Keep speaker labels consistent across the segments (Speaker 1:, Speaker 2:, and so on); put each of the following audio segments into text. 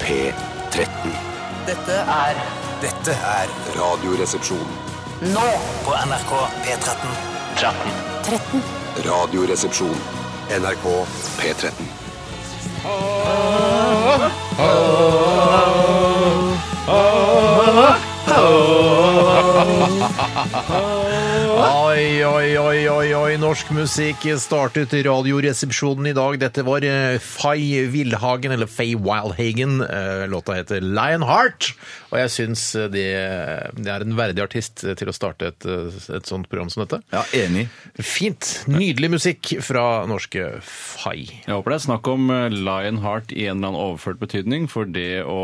Speaker 1: P13.
Speaker 2: Dette er
Speaker 3: Dette er
Speaker 1: Radioresepsjon.
Speaker 2: nå
Speaker 3: på NRK P13.
Speaker 2: 13.
Speaker 1: Radioresepsjon. NRK P13.
Speaker 4: Oi, oi, oi, oi, oi. Norsk musikk startet Radioresepsjonen i dag. Dette var eh, Fay Wilhagen, eller Fay Wildhagen. Eh, Låta heter Lionheart. Og jeg syns eh, det, det er en verdig artist eh, til å starte et, eh, et sånt program som dette.
Speaker 5: Ja, enig.
Speaker 4: Fint. Nydelig musikk fra norske Fay.
Speaker 6: Jeg håper det er snakk om eh, Lionheart i en eller annen overført betydning, for det å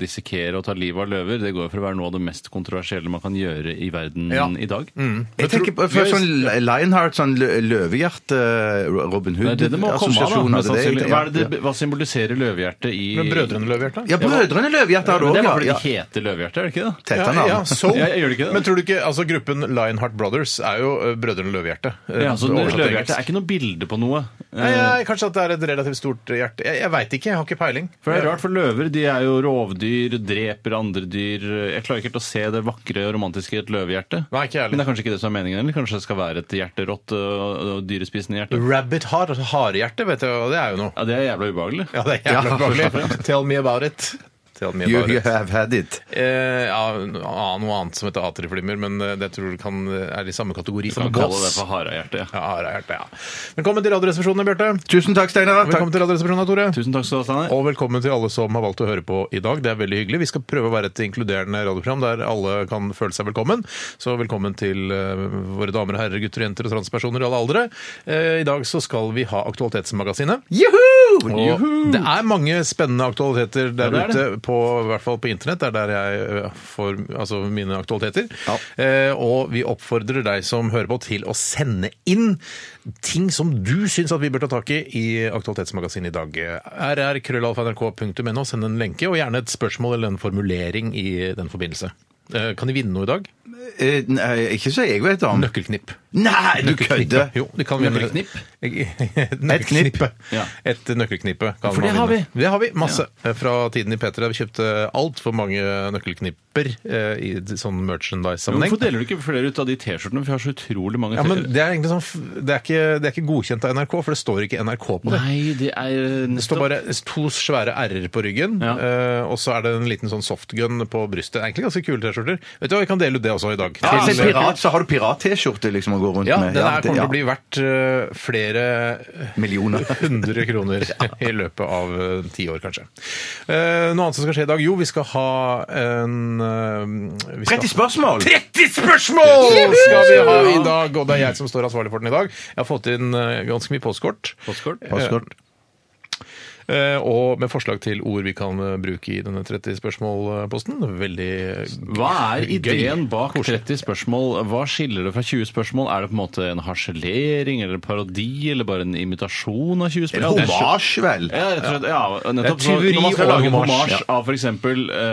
Speaker 6: dissekere og ta livet av løver, det går jo for å være noe av det mest kontroversielle man kan gjøre i verden
Speaker 4: Ja.
Speaker 6: i dag.
Speaker 5: Jeg tenker på for sånn Lionheart, sånn lø- løvehjerte, eh, Robin
Speaker 6: Det er det det må komme av, da.
Speaker 5: Hood-assosiasjoner.
Speaker 6: mest sannsynlig. Hva, er det, det- hva symboliserer løvehjertet i
Speaker 4: Men Brødrene Løvhjerte?
Speaker 5: Ja, Brødrene Løvehjerte har
Speaker 6: Det
Speaker 5: du
Speaker 6: er bare
Speaker 5: òg,
Speaker 6: fordi
Speaker 5: ja.
Speaker 6: de heter løvehjerte, er det ikke det?
Speaker 5: Tett
Speaker 4: Ja,
Speaker 5: han
Speaker 4: ja,
Speaker 5: av.
Speaker 4: Soul.
Speaker 6: Jeg- jeg gjør det ikke det.
Speaker 4: Men tror du ikke, altså Gruppen Lionheart Brothers er jo eh, Brødrene Løvhjerte. eh,
Speaker 6: Ja, så
Speaker 4: oversatt til
Speaker 6: Løvehjerte er
Speaker 4: engelsk.
Speaker 6: ikke noe bilde på noe.
Speaker 4: Nei, nei, kanskje at det er et relativt stort hjerte. Jeg, jeg veit ikke, jeg har ikke peiling.
Speaker 6: For det er rart, for løver de er jo rovdyr, dreper andre dyr Jeg klarer ikke helt å se det vakre og romantiske i et løvehjerte.
Speaker 4: Nei, ikke jeg heller.
Speaker 6: Men det er kanskje ikke det som er meningen? eller Kanskje det skal være et hjerterått øh, og dyrespisende hjerte?
Speaker 4: Rabbit har harehjerte, vet du, og det er jo noe.
Speaker 6: Ja, Det er jævla ubehagelig.
Speaker 4: Ja, det er jævla
Speaker 5: Ja,
Speaker 4: ubehagelig. Tell me about it. Tell me
Speaker 5: You,
Speaker 4: about
Speaker 5: you
Speaker 4: it.
Speaker 5: have had it.
Speaker 4: Eh, ja, noe annet som heter atriflimmer, men eh, det tror jeg kan, er i samme kategori som
Speaker 6: Kan kalle det
Speaker 4: gass.
Speaker 6: for harehjerte. Ja.
Speaker 4: Ja, harehjerte, ja. Velkommen til Radioresepsjonen, Bjarte.
Speaker 5: Tusen takk, Steinar.
Speaker 4: Velkommen
Speaker 5: Takk.
Speaker 4: til Radioresepsjonen, Tore.
Speaker 6: Tusen takk skal du ha, Steinar.
Speaker 4: Og velkommen til alle som har valgt å høre på i dag. Det er veldig hyggelig. Vi skal prøve å være et inkluderende radioprogram der alle kan føle seg velkommen. Så velkommen til eh, våre damer og herrer, gutter og jenter og transpersoner i alle aldre. Eh, I dag så skal vi ha Aktualitetsmagasinet.
Speaker 5: Juhu!
Speaker 4: Og det er mange spennende aktualiteter der
Speaker 6: Ja, det er
Speaker 4: ute, på, i hvert fall på internett. Det er der jeg ø, får altså, mine aktualiteter. Eh, og vi oppfordrer deg som hører på til å sende inn ting som du syns at vi bør ta tak i i Aktualitetsmagasinet i dag. rr.krøllalfa.nrk.no. Send en lenke, og gjerne et spørsmål eller en formulering i den forbindelse. Eh, kan de vinne noe i dag?
Speaker 5: Eh, Nei, ikke så jeg vet om.
Speaker 4: Nøkkelknipp.
Speaker 5: Nei, du kødder!
Speaker 4: Jo, de kan vinne.
Speaker 6: Nøkkelknipp?
Speaker 4: Et knipp.
Speaker 6: Ja.
Speaker 4: Et nøkkelknippe. Kan
Speaker 6: For det
Speaker 4: man
Speaker 6: har
Speaker 4: vinne.
Speaker 6: vi.
Speaker 4: Det har vi. Masse. Fra tiden i P3 vi kjøpte altfor mange nøkkelknipper eh, i sånn merchandise-sammenheng.
Speaker 6: Hvorfor deler du ikke flere ut av de T-skjortene? For vi har så utrolig mange
Speaker 4: Ja, men
Speaker 6: T-skjorter.
Speaker 4: det er egentlig sånn, f- det er, ikke, det er ikke godkjent av NRK, for det står ikke NRK på det.
Speaker 6: Nei, det er eh,
Speaker 4: Det står bare to svære r-er på ryggen,
Speaker 6: Ja.
Speaker 4: eh, og så er det en liten sånn softgun på brystet. Egentlig ganske kule T-skjorter. Vet du hva, Vi kan dele ut det også i dag.
Speaker 5: Hvis
Speaker 4: Til-
Speaker 5: jeg er pirat, Ah, så har du pirat-T-skjorte liksom å gå rundt
Speaker 4: ja,
Speaker 5: med.
Speaker 4: den her
Speaker 5: det-
Speaker 4: kommer til å bli
Speaker 5: ja.
Speaker 4: verdt eh, flere
Speaker 5: Millioner.
Speaker 4: 100 kroner i løpet av eh, ti år, kanskje. Eh, noe annet som skal skje i dag? Jo, vi skal ha en eh, vi skal
Speaker 5: 30 spørsmål!
Speaker 4: 30 spørsmål skal vi ha i dag, og det er jeg som står ansvarlig for den i dag. Jeg har fått inn eh, ganske mye postkort.
Speaker 6: Postkort?
Speaker 5: Postkort.
Speaker 4: Eh, og med forslag til ord vi kan eh, bruke i denne 30 spørsmål-posten. Veldig
Speaker 6: Hva er
Speaker 4: Gøy.
Speaker 6: ideen bak 30 spørsmål? Hva skiller det fra 20 spørsmål? Er det på en måte en harselering eller en parodi eller bare en imitasjon av 20 spørsmål?
Speaker 5: Eller hommage, vel?
Speaker 6: Ja, rett og slett. Ja, nettopp.
Speaker 4: Det
Speaker 6: Så
Speaker 4: er tyveri
Speaker 6: når man skal
Speaker 4: og
Speaker 6: lage en
Speaker 4: hommage.
Speaker 6: hommage av f.eks.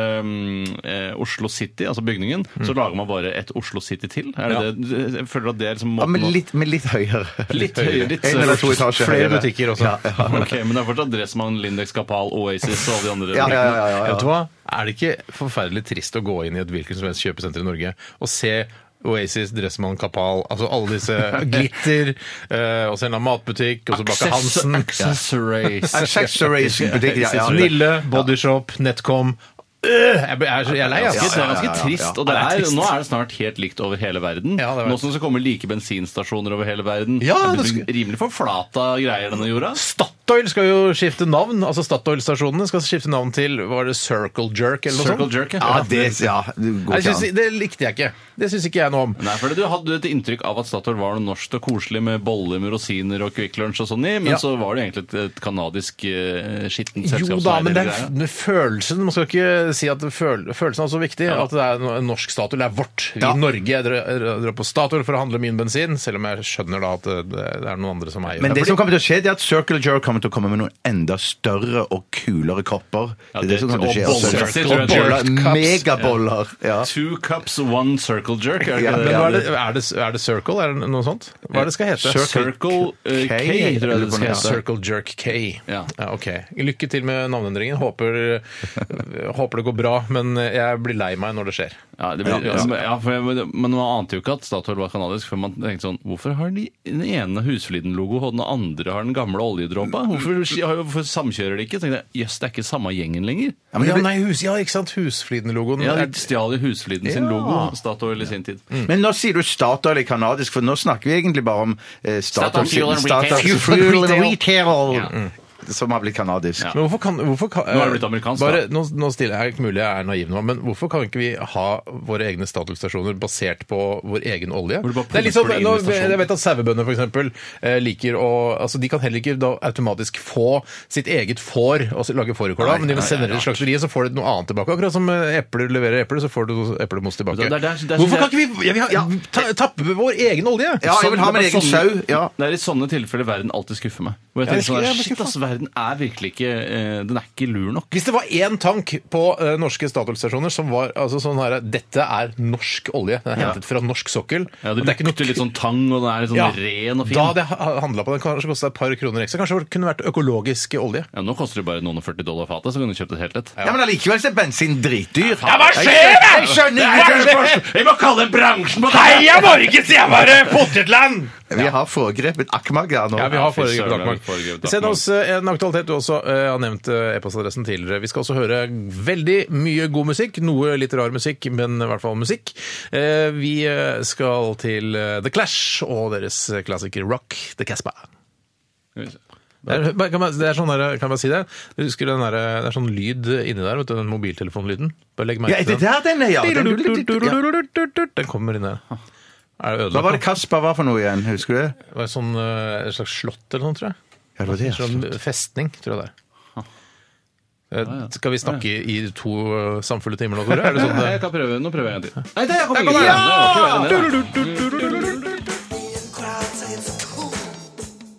Speaker 6: Eh, Oslo City, altså bygningen,
Speaker 5: Mm.
Speaker 6: så lager man bare et Oslo City til? Er det det? Jeg føler at det er liksom
Speaker 5: Ja,
Speaker 6: måten
Speaker 5: men
Speaker 6: å-
Speaker 5: litt, men litt høyere.
Speaker 6: litt høyere. Litt,
Speaker 5: En eller to etasjer
Speaker 4: Flere
Speaker 5: høyere.
Speaker 4: butikker også.
Speaker 6: Ok, men det er fortsatt Dressmann, Lindex, Kapal, Oasis og alle de andre.
Speaker 5: Ja, ja, ja, ja, ja.
Speaker 4: Vet du hva? Er det ikke forferdelig trist å gå inn i et hvilket som helst kjøpesenter i Norge og se Oasis, Dressmann, Kapal, altså alle disse glitter, eh, og så en eller annen matbutikk, og så Bakke Hansen,
Speaker 6: Accessories.
Speaker 5: Accessories butikk, ja, ja.
Speaker 4: Snille, Bodyshop, Netcom. Øh, Jeg ble- jeg er så- jeg er lei,
Speaker 6: Det
Speaker 4: altså.
Speaker 6: er
Speaker 5: ja, ja,
Speaker 6: ganske
Speaker 5: ja.
Speaker 6: trist. Og
Speaker 4: Ja,
Speaker 6: det
Speaker 4: det er
Speaker 6: er,
Speaker 4: trist.
Speaker 6: nå er det snart helt likt over hele verden.
Speaker 4: Ja, det er
Speaker 6: nå som det kommer like bensinstasjoner over hele verden.
Speaker 4: Ja,
Speaker 6: det
Speaker 4: det
Speaker 6: blir rimelig forflata greier denne jorda.
Speaker 4: Statoil skal jo skifte navn. altså Statoil-stasjonene skal skifte navn til var det Circle Jerk eller noe
Speaker 6: Circle
Speaker 4: sånt.
Speaker 6: jerk,
Speaker 5: Sånn. Ja, det, ja, det går
Speaker 4: Jeg
Speaker 5: ikke
Speaker 4: synes,
Speaker 5: an.
Speaker 4: det likte jeg ikke. Det syns ikke jeg noe om.
Speaker 6: Nei, for Du hadde et inntrykk av at Statoil var noe norsk og koselig med boller med rosiner og Quick Lunch og sånn i, men
Speaker 4: Ja.
Speaker 6: så var det egentlig et, et kanadisk eh, skittent
Speaker 4: Jo
Speaker 6: selskap. som
Speaker 4: da,
Speaker 6: eide
Speaker 4: men det
Speaker 6: hele
Speaker 4: er
Speaker 6: greia.
Speaker 4: f- følelsen. Man skal ikke si at føl følelsen er så viktig at det er en- en norsk Statoil. Det er vårt. I Norge. Jeg drar- jeg drar på Statoil for å handle min bensin, selv om jeg skjønner da at det- det er noen andre som eier
Speaker 5: Men det
Speaker 4: Fordi-
Speaker 5: som kommer til å skje, det er at Circle Jerk kommer til å komme med noen enda større og kulere kopper. det er
Speaker 6: Ja,
Speaker 5: det
Speaker 6: det-
Speaker 5: som kommer til å
Speaker 6: og
Speaker 5: skje.
Speaker 6: boller.
Speaker 5: altså. Og boller. Megaboller. Ja.
Speaker 6: Two cups, one circle jerk. Er det
Speaker 5: Ja,
Speaker 6: ikke
Speaker 4: Men
Speaker 6: det?
Speaker 4: hva er, det, er, det, er det Circle? Er det noe sånt? Hva er det skal hete?
Speaker 6: Circle eh,
Speaker 5: K,
Speaker 6: K, tror jeg det skal
Speaker 5: Ja.
Speaker 6: hete.
Speaker 4: Circle Jerk K.
Speaker 6: Ja.
Speaker 4: ok. Lykke til med navneendringen. Håper, håper det går bra, men jeg blir lei meg når det skjer.
Speaker 6: Ja, det blir, ja, men- ja, for jeg, men man ante jo ikke at Statoil var kanadisk, for man tenkte sånn Hvorfor har de den ene Husfliden-logo, og den andre har den gamle oljedråpa? Hvorfor, hvorfor samkjører de ikke? Tenkte jeg, Jøss, det er ikke samme gjengen lenger.
Speaker 5: Ja, men
Speaker 4: ja,
Speaker 5: det blir-
Speaker 4: nei, hus, ja, ikke sant? Husfliden-logoen.
Speaker 6: Ja,
Speaker 4: Er-
Speaker 6: de stjal jo Husfliden sin
Speaker 4: Ja. Mm.
Speaker 6: logo, Statoil i sin tid.
Speaker 5: Men nå sier du Statoil i kanadisk, for nå snakker vi egentlig bare om eh, Statoil
Speaker 6: Statoil Fuel and Retail.
Speaker 5: Fuel and Retail, som har blitt kanadisk.
Speaker 6: Ja.
Speaker 4: Men hvorfor kan, hvorfor kan
Speaker 6: Nå er det blitt amerikansk,
Speaker 4: bare,
Speaker 6: da.
Speaker 4: nå, nå stiller jeg ikke mulig jeg er naiv nå, men hvorfor kan ikke vi ha våre egne Statoil-stasjoner basert på vår egen olje?
Speaker 6: Hvor du bare
Speaker 4: Det er litt sånn,
Speaker 6: pumper det inn i
Speaker 4: nå,
Speaker 6: stasjonen.
Speaker 4: jeg vet at sauebønder f.eks. Eh, liker å altså, De kan heller ikke da automatisk få sitt eget får og så lage fårikål av, men de sender det til slakteriet, så får de noe annet tilbake. Akkurat som eh, epler leverer epler, så får du eplemos tilbake.
Speaker 6: Det er- det er- det er-
Speaker 4: hvorfor kan ikke vi jeg vil ha, ta, tappe vår egen olje? Sånn,
Speaker 5: Ja, jeg vil ha min egen sau. Ja.
Speaker 6: Det er i sånne tilfeller verden alltid skuffer meg. Hvor jeg
Speaker 4: Ja,
Speaker 6: tenker
Speaker 4: jeg
Speaker 6: sånn,
Speaker 4: skulle- jeg ble
Speaker 6: der, Shit, ass, verden er virkelig ikke eh, Den er ikke lur nok.
Speaker 4: Hvis det var én tank på eh, norske Statoil-stasjoner som var altså, sånn her Dette er norsk olje. Den er hentet fra norsk sokkel.
Speaker 6: Ja,
Speaker 4: og
Speaker 6: det
Speaker 4: er ikke
Speaker 6: lukter
Speaker 4: nok-
Speaker 6: litt sånn tang, og den er litt sånn
Speaker 4: Ja,
Speaker 6: ren og fin.
Speaker 4: Da hadde jeg handla på den. Kanskje kosta et par kroner ekstra. Kanskje det kunne vært økologisk olje.
Speaker 6: Ja, nå koster det bare noen og 40 dollar fatet, så kan du kjøpt et helt et.
Speaker 5: Ja, Men allikevel så er bensin dritdyr.
Speaker 6: Ja, hva skjer
Speaker 5: da?! Jeg skjønner ikke!
Speaker 6: Vi må kalle bransjen på deg!
Speaker 4: Heia Norge, sier jeg bare! Potetland!
Speaker 5: Vi har foregrepet Akmag her nå.
Speaker 4: Ja, vi har
Speaker 6: fy
Speaker 4: foregrepet
Speaker 6: søren,
Speaker 4: Dagmar.
Speaker 6: vi har foregrepet
Speaker 4: Send
Speaker 6: Dagmar.
Speaker 4: oss eh, en aktualitet. Du også eh, har nevnt eh, e-postadressen tidligere. Vi skal også høre veldig mye god musikk. Noe litt rar musikk, men i hvert fall musikk. Eh, Vi eh, skal til eh, The Clash og deres eh, klassiker rock, The Casbah. Det er, bare- kan, man, det er sånn der, kan man si det? Du husker den der, det er sånn lyd inni der, vet du, den mobiltelefonlyden? Bare legg
Speaker 5: Ja,
Speaker 4: merke
Speaker 5: er det der den er, ja? Den- Ja.
Speaker 4: den. Den kommer inn der. Er det
Speaker 5: Hva var det
Speaker 4: ødelagt?
Speaker 5: Kasper var for noe igjen? Husker du det?
Speaker 4: da? Det var sånn, eh, et slags slott eller noe, tror jeg.
Speaker 5: Ja, det altså. var det.
Speaker 4: Sånn festning, tror jeg det er. Eh, Skal vi snakke i to eh, samfulle timer nå, Tore? Er det sånn det
Speaker 6: Jeg kan prøve. Nå prøver jeg en til. Nei, det jeg
Speaker 4: ikke igjen.
Speaker 6: kommer ikke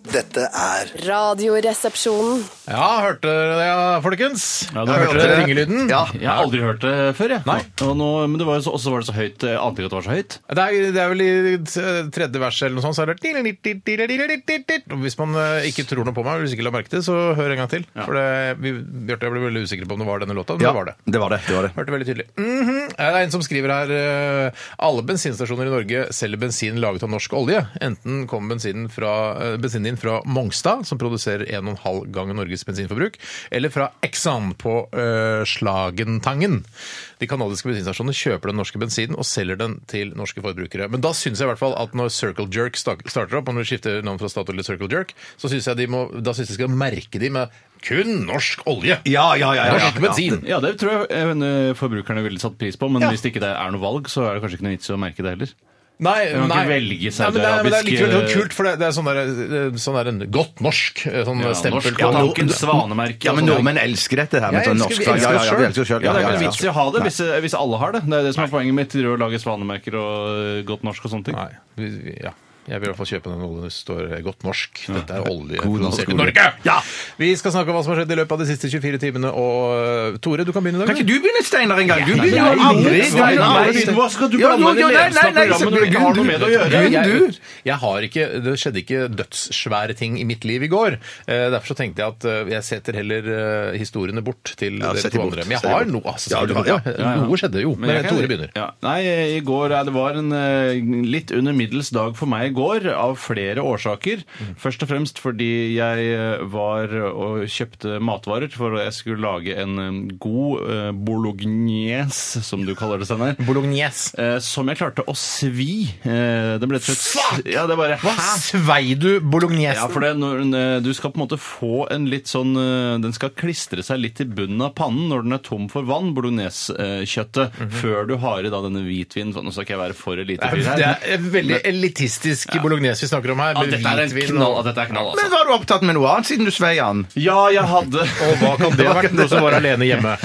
Speaker 7: Dette er
Speaker 8: Radioresepsjonen.
Speaker 4: Ja, hørte dere det, ja, folkens?
Speaker 6: Ja, du
Speaker 4: da
Speaker 6: hørte
Speaker 4: hørte dere
Speaker 6: det.
Speaker 4: ringelyden?
Speaker 5: Ja.
Speaker 6: Jeg har aldri hørt det før, jeg. Og nå, men det var jo så, også var det så høyt. Jeg ante ikke at det var så høyt.
Speaker 4: Det er, det er vel i eh, tredje vers eller noe sånt, så er det Og Hvis man eh, ikke tror noe på meg, hvis ikke la merke til, så hør en gang til. For det, vi, Bjarte, jeg ble veldig usikker på om det var denne låta, men
Speaker 5: Ja,
Speaker 4: det var det.
Speaker 5: det var det. det, var det.
Speaker 4: Hørte veldig tydelig. Mhm. Det er en som skriver her eh, alle bensinstasjoner i Norge selger bensin laget av norsk olje. Enten kommer bensinen, fra, eh, bensinen din fra Mongstad, som produserer 1,5 ganger Norges bensinforbruk, eller fra Exxon på eh, Slagentangen. De kanadiske bensinstasjonene kjøper den norske bensinen og selger den til norske forbrukere. Men da syns jeg i hvert fall at når Circle Jerk sta- starter opp, og når de skifter navn fra Statoil til Circle Jerk, så syns jeg de må, da synes jeg de skal merke de med kun norsk olje!
Speaker 5: Ja, ja, ja. ja, ja.
Speaker 4: Norsk bensin!
Speaker 6: Ja, det tror jeg eh, men, eh, forbrukerne ville satt pris på, men
Speaker 4: Ja.
Speaker 6: hvis det ikke det er noe valg, så er det kanskje ikke noe vits i å merke det heller.
Speaker 4: Nei,
Speaker 6: Man kan
Speaker 4: nei.
Speaker 6: ikke
Speaker 4: Nei,
Speaker 6: velge
Speaker 4: men det, er- men det er
Speaker 6: saudiarabisk,
Speaker 4: likevel sånn
Speaker 6: eh,
Speaker 4: kult, for det, det er sånn der, eh, sånn der en godt norsk eh, sånn
Speaker 6: Ja,
Speaker 4: stempel.
Speaker 6: norsk
Speaker 4: på-
Speaker 6: på
Speaker 4: Ja,
Speaker 6: tanken, svanemerke
Speaker 5: Ja, men
Speaker 6: og sånne ting.
Speaker 5: nordmenn elsker dette her. med
Speaker 4: Jeg
Speaker 5: sånn
Speaker 4: elsker-
Speaker 5: norsk-
Speaker 4: vi elsker
Speaker 5: ja,
Speaker 4: oss
Speaker 5: ja, ja,
Speaker 4: selv.
Speaker 5: vi elsker oss selv.
Speaker 6: Ja,
Speaker 5: Ja,
Speaker 6: det
Speaker 5: ja,
Speaker 6: er ikke
Speaker 5: ja.
Speaker 6: noe vits i å ha det hvis, eh, hvis alle har det. Det er det som er poenget mitt. Å lage svanemerker og eh, godt norsk og sånne ting.
Speaker 4: Nei, vi- vi- ja. Jeg vil i hvert fall kjøpe den oljen det står eh, godt norsk. Dette er olje
Speaker 5: God
Speaker 4: produsert
Speaker 5: norsk
Speaker 4: i
Speaker 5: olje.
Speaker 4: Norge! Ja! Vi skal snakke om hva som har skjedd i løpet av de siste 24 timene, og eh, Tore, du kan begynne i dag.
Speaker 5: Kan ikke du begynne, Steinar, en gang? Du
Speaker 4: nei,
Speaker 5: begynner
Speaker 4: jeg
Speaker 5: jo aldri.
Speaker 4: begynner.
Speaker 5: Du er jo
Speaker 4: Nei,
Speaker 5: aldri-
Speaker 4: begynner.
Speaker 6: Hva skal du
Speaker 5: Ja,
Speaker 6: blande
Speaker 5: jo,
Speaker 6: deg i
Speaker 5: jo, nei,
Speaker 6: ledelsen
Speaker 5: nei,
Speaker 6: av
Speaker 5: nei,
Speaker 6: programmet når du ikke
Speaker 5: Gunn,
Speaker 6: har noe med det å gjøre?
Speaker 5: Gunn,
Speaker 4: jeg,
Speaker 5: du.
Speaker 4: jeg har ikke, det skjedde ikke dødssvære ting i mitt liv i går. Eh, derfor så tenkte jeg at eh, jeg setter heller eh, historiene bort til
Speaker 5: Ja,
Speaker 4: dere
Speaker 5: sett
Speaker 4: to
Speaker 5: bort,
Speaker 4: andre. Men jeg
Speaker 5: sett
Speaker 4: har
Speaker 5: bort.
Speaker 4: noe. Altså,
Speaker 5: Ja, du har-
Speaker 4: selvfølgelig.
Speaker 6: ja, ja.
Speaker 4: Noe skjedde jo. Men,
Speaker 6: jeg kan-
Speaker 4: Tore begynner.
Speaker 6: Ja. Nei, i går, eh, Det var en eh, litt under middels dag for meg i går, av flere årsaker.
Speaker 4: Mm.
Speaker 6: Først og fremst fordi jeg eh, var og kjøpte matvarer for jeg skulle lage en eh, god eh, bolognese, som du kaller det, Steinar.
Speaker 4: Bolognese.
Speaker 6: eh, Som jeg klarte å svi. Eh, Den ble rett og slett Ja, det bare Hæ?
Speaker 4: Svei du bolognesen?
Speaker 6: Ja, for det, er når, den, eh, du skal på en måte få en litt sånn eh, Den skal klistre seg litt til bunnen av pannen når den er tom for vann,
Speaker 5: Mhm.
Speaker 6: bologneskjøttet, før du har i da denne hvitvinen. Sånn, nå skal ikke jeg være for elite
Speaker 4: Det er veldig elitistisk fransk bolognese vi snakker om her.
Speaker 7: Ja,
Speaker 4: med
Speaker 7: dette er en
Speaker 4: hvitvin
Speaker 7: knall,
Speaker 4: og-
Speaker 7: ja, dette er knall
Speaker 5: Men
Speaker 7: altså.
Speaker 5: var du opptatt med noe annet siden du svei an?
Speaker 6: Ja, jeg hadde
Speaker 4: Og hva kan det ha vært? Noe som var alene hjemme.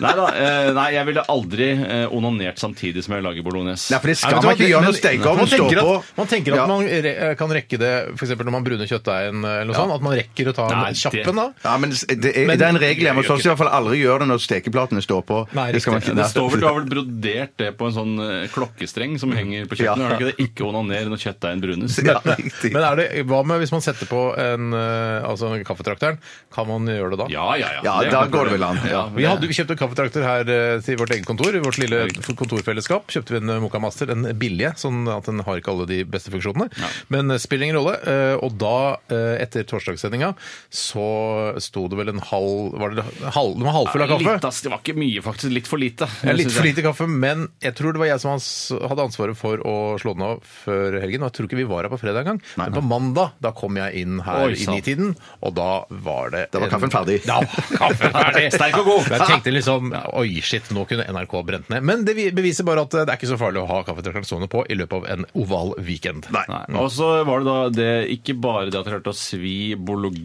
Speaker 6: Nei da. eh, Nei, jeg ville aldri eh, onanert samtidig som jeg lager bolognese.
Speaker 5: Nei, for det
Speaker 4: Nei,
Speaker 5: skal
Speaker 4: vet du
Speaker 5: man
Speaker 4: hva,
Speaker 5: ikke
Speaker 4: det-
Speaker 5: gjøre
Speaker 4: men-
Speaker 5: når stekeovnen
Speaker 4: man tenker
Speaker 5: står på.
Speaker 4: at- Man tenker at
Speaker 5: Ja.
Speaker 4: man re eh, kan rekke det for eksempel når man bruner kjøttdeigen, eh, eller noe sånt, at man rekker å ta
Speaker 6: Nei,
Speaker 4: en
Speaker 6: det-
Speaker 4: kjappen da.
Speaker 5: Ja, men det er,
Speaker 4: Men-
Speaker 5: det er en regel hjemme hos
Speaker 4: Gjør
Speaker 5: oss i hvert fall. Aldri gjør det når stekeplatene står på.
Speaker 4: Nei,
Speaker 5: det skal man
Speaker 4: riktig.
Speaker 5: ikke
Speaker 6: Det står vel, Du har vel brodert det på en sånn eh, klokkestreng som henger på kjøkkenet?
Speaker 5: Ja.
Speaker 6: Har du ikke det? Ikke onaner når kjøttdeigen brunes.
Speaker 5: Ja, riktig.
Speaker 4: Men er det, hva med hvis man setter på en, eh, altså en kaffetrakteren? Kan man gjøre det da?
Speaker 6: Ja, ja, ja.
Speaker 5: Ja,
Speaker 6: Det er
Speaker 5: da
Speaker 6: ikke noe
Speaker 5: går det
Speaker 6: problem.
Speaker 5: vel an.
Speaker 6: Ja,
Speaker 4: Vi hadde jo kjøpt en kaffetrakter her eh, til vårt eget kontor. I vårt lille
Speaker 6: riktig.
Speaker 4: kontorfellesskap kjøpte vi en eh, Moka Master, den billige, sånn at den har ikke alle de beste funksjonene. Men eh, spiller ingen rolle. Eh, Og da, eh, etter torsdagssendinga, så sto det vel en halv Var det en halv, den var halvfull av
Speaker 6: Litt,
Speaker 4: kaffe?
Speaker 6: ass, det var ikke mye, faktisk. Litt for lite.
Speaker 4: Ja, Litt
Speaker 6: synes
Speaker 4: for
Speaker 6: jeg.
Speaker 4: lite kaffe, men jeg tror det var jeg som ans- hadde ansvaret for å slå den av før helgen. Og jeg tror ikke vi var her på fredag engang. Men på mandag da kom jeg inn her
Speaker 6: Oi,
Speaker 4: i
Speaker 6: sant.
Speaker 4: nitiden, og da var det
Speaker 5: Da var
Speaker 4: en-
Speaker 5: kaffen ferdig.
Speaker 4: Da var kaffen ferdig!
Speaker 6: Sterk og god.
Speaker 4: Jeg tenkte liksom oi, shit, nå kunne NRK brent ned. Men det vi- beviser bare at det er ikke så farlig å ha kaffetrakteren stående på i løpet av en oval weekend.
Speaker 6: Nei. Og så var det da det, ikke bare det at jeg klarte å svi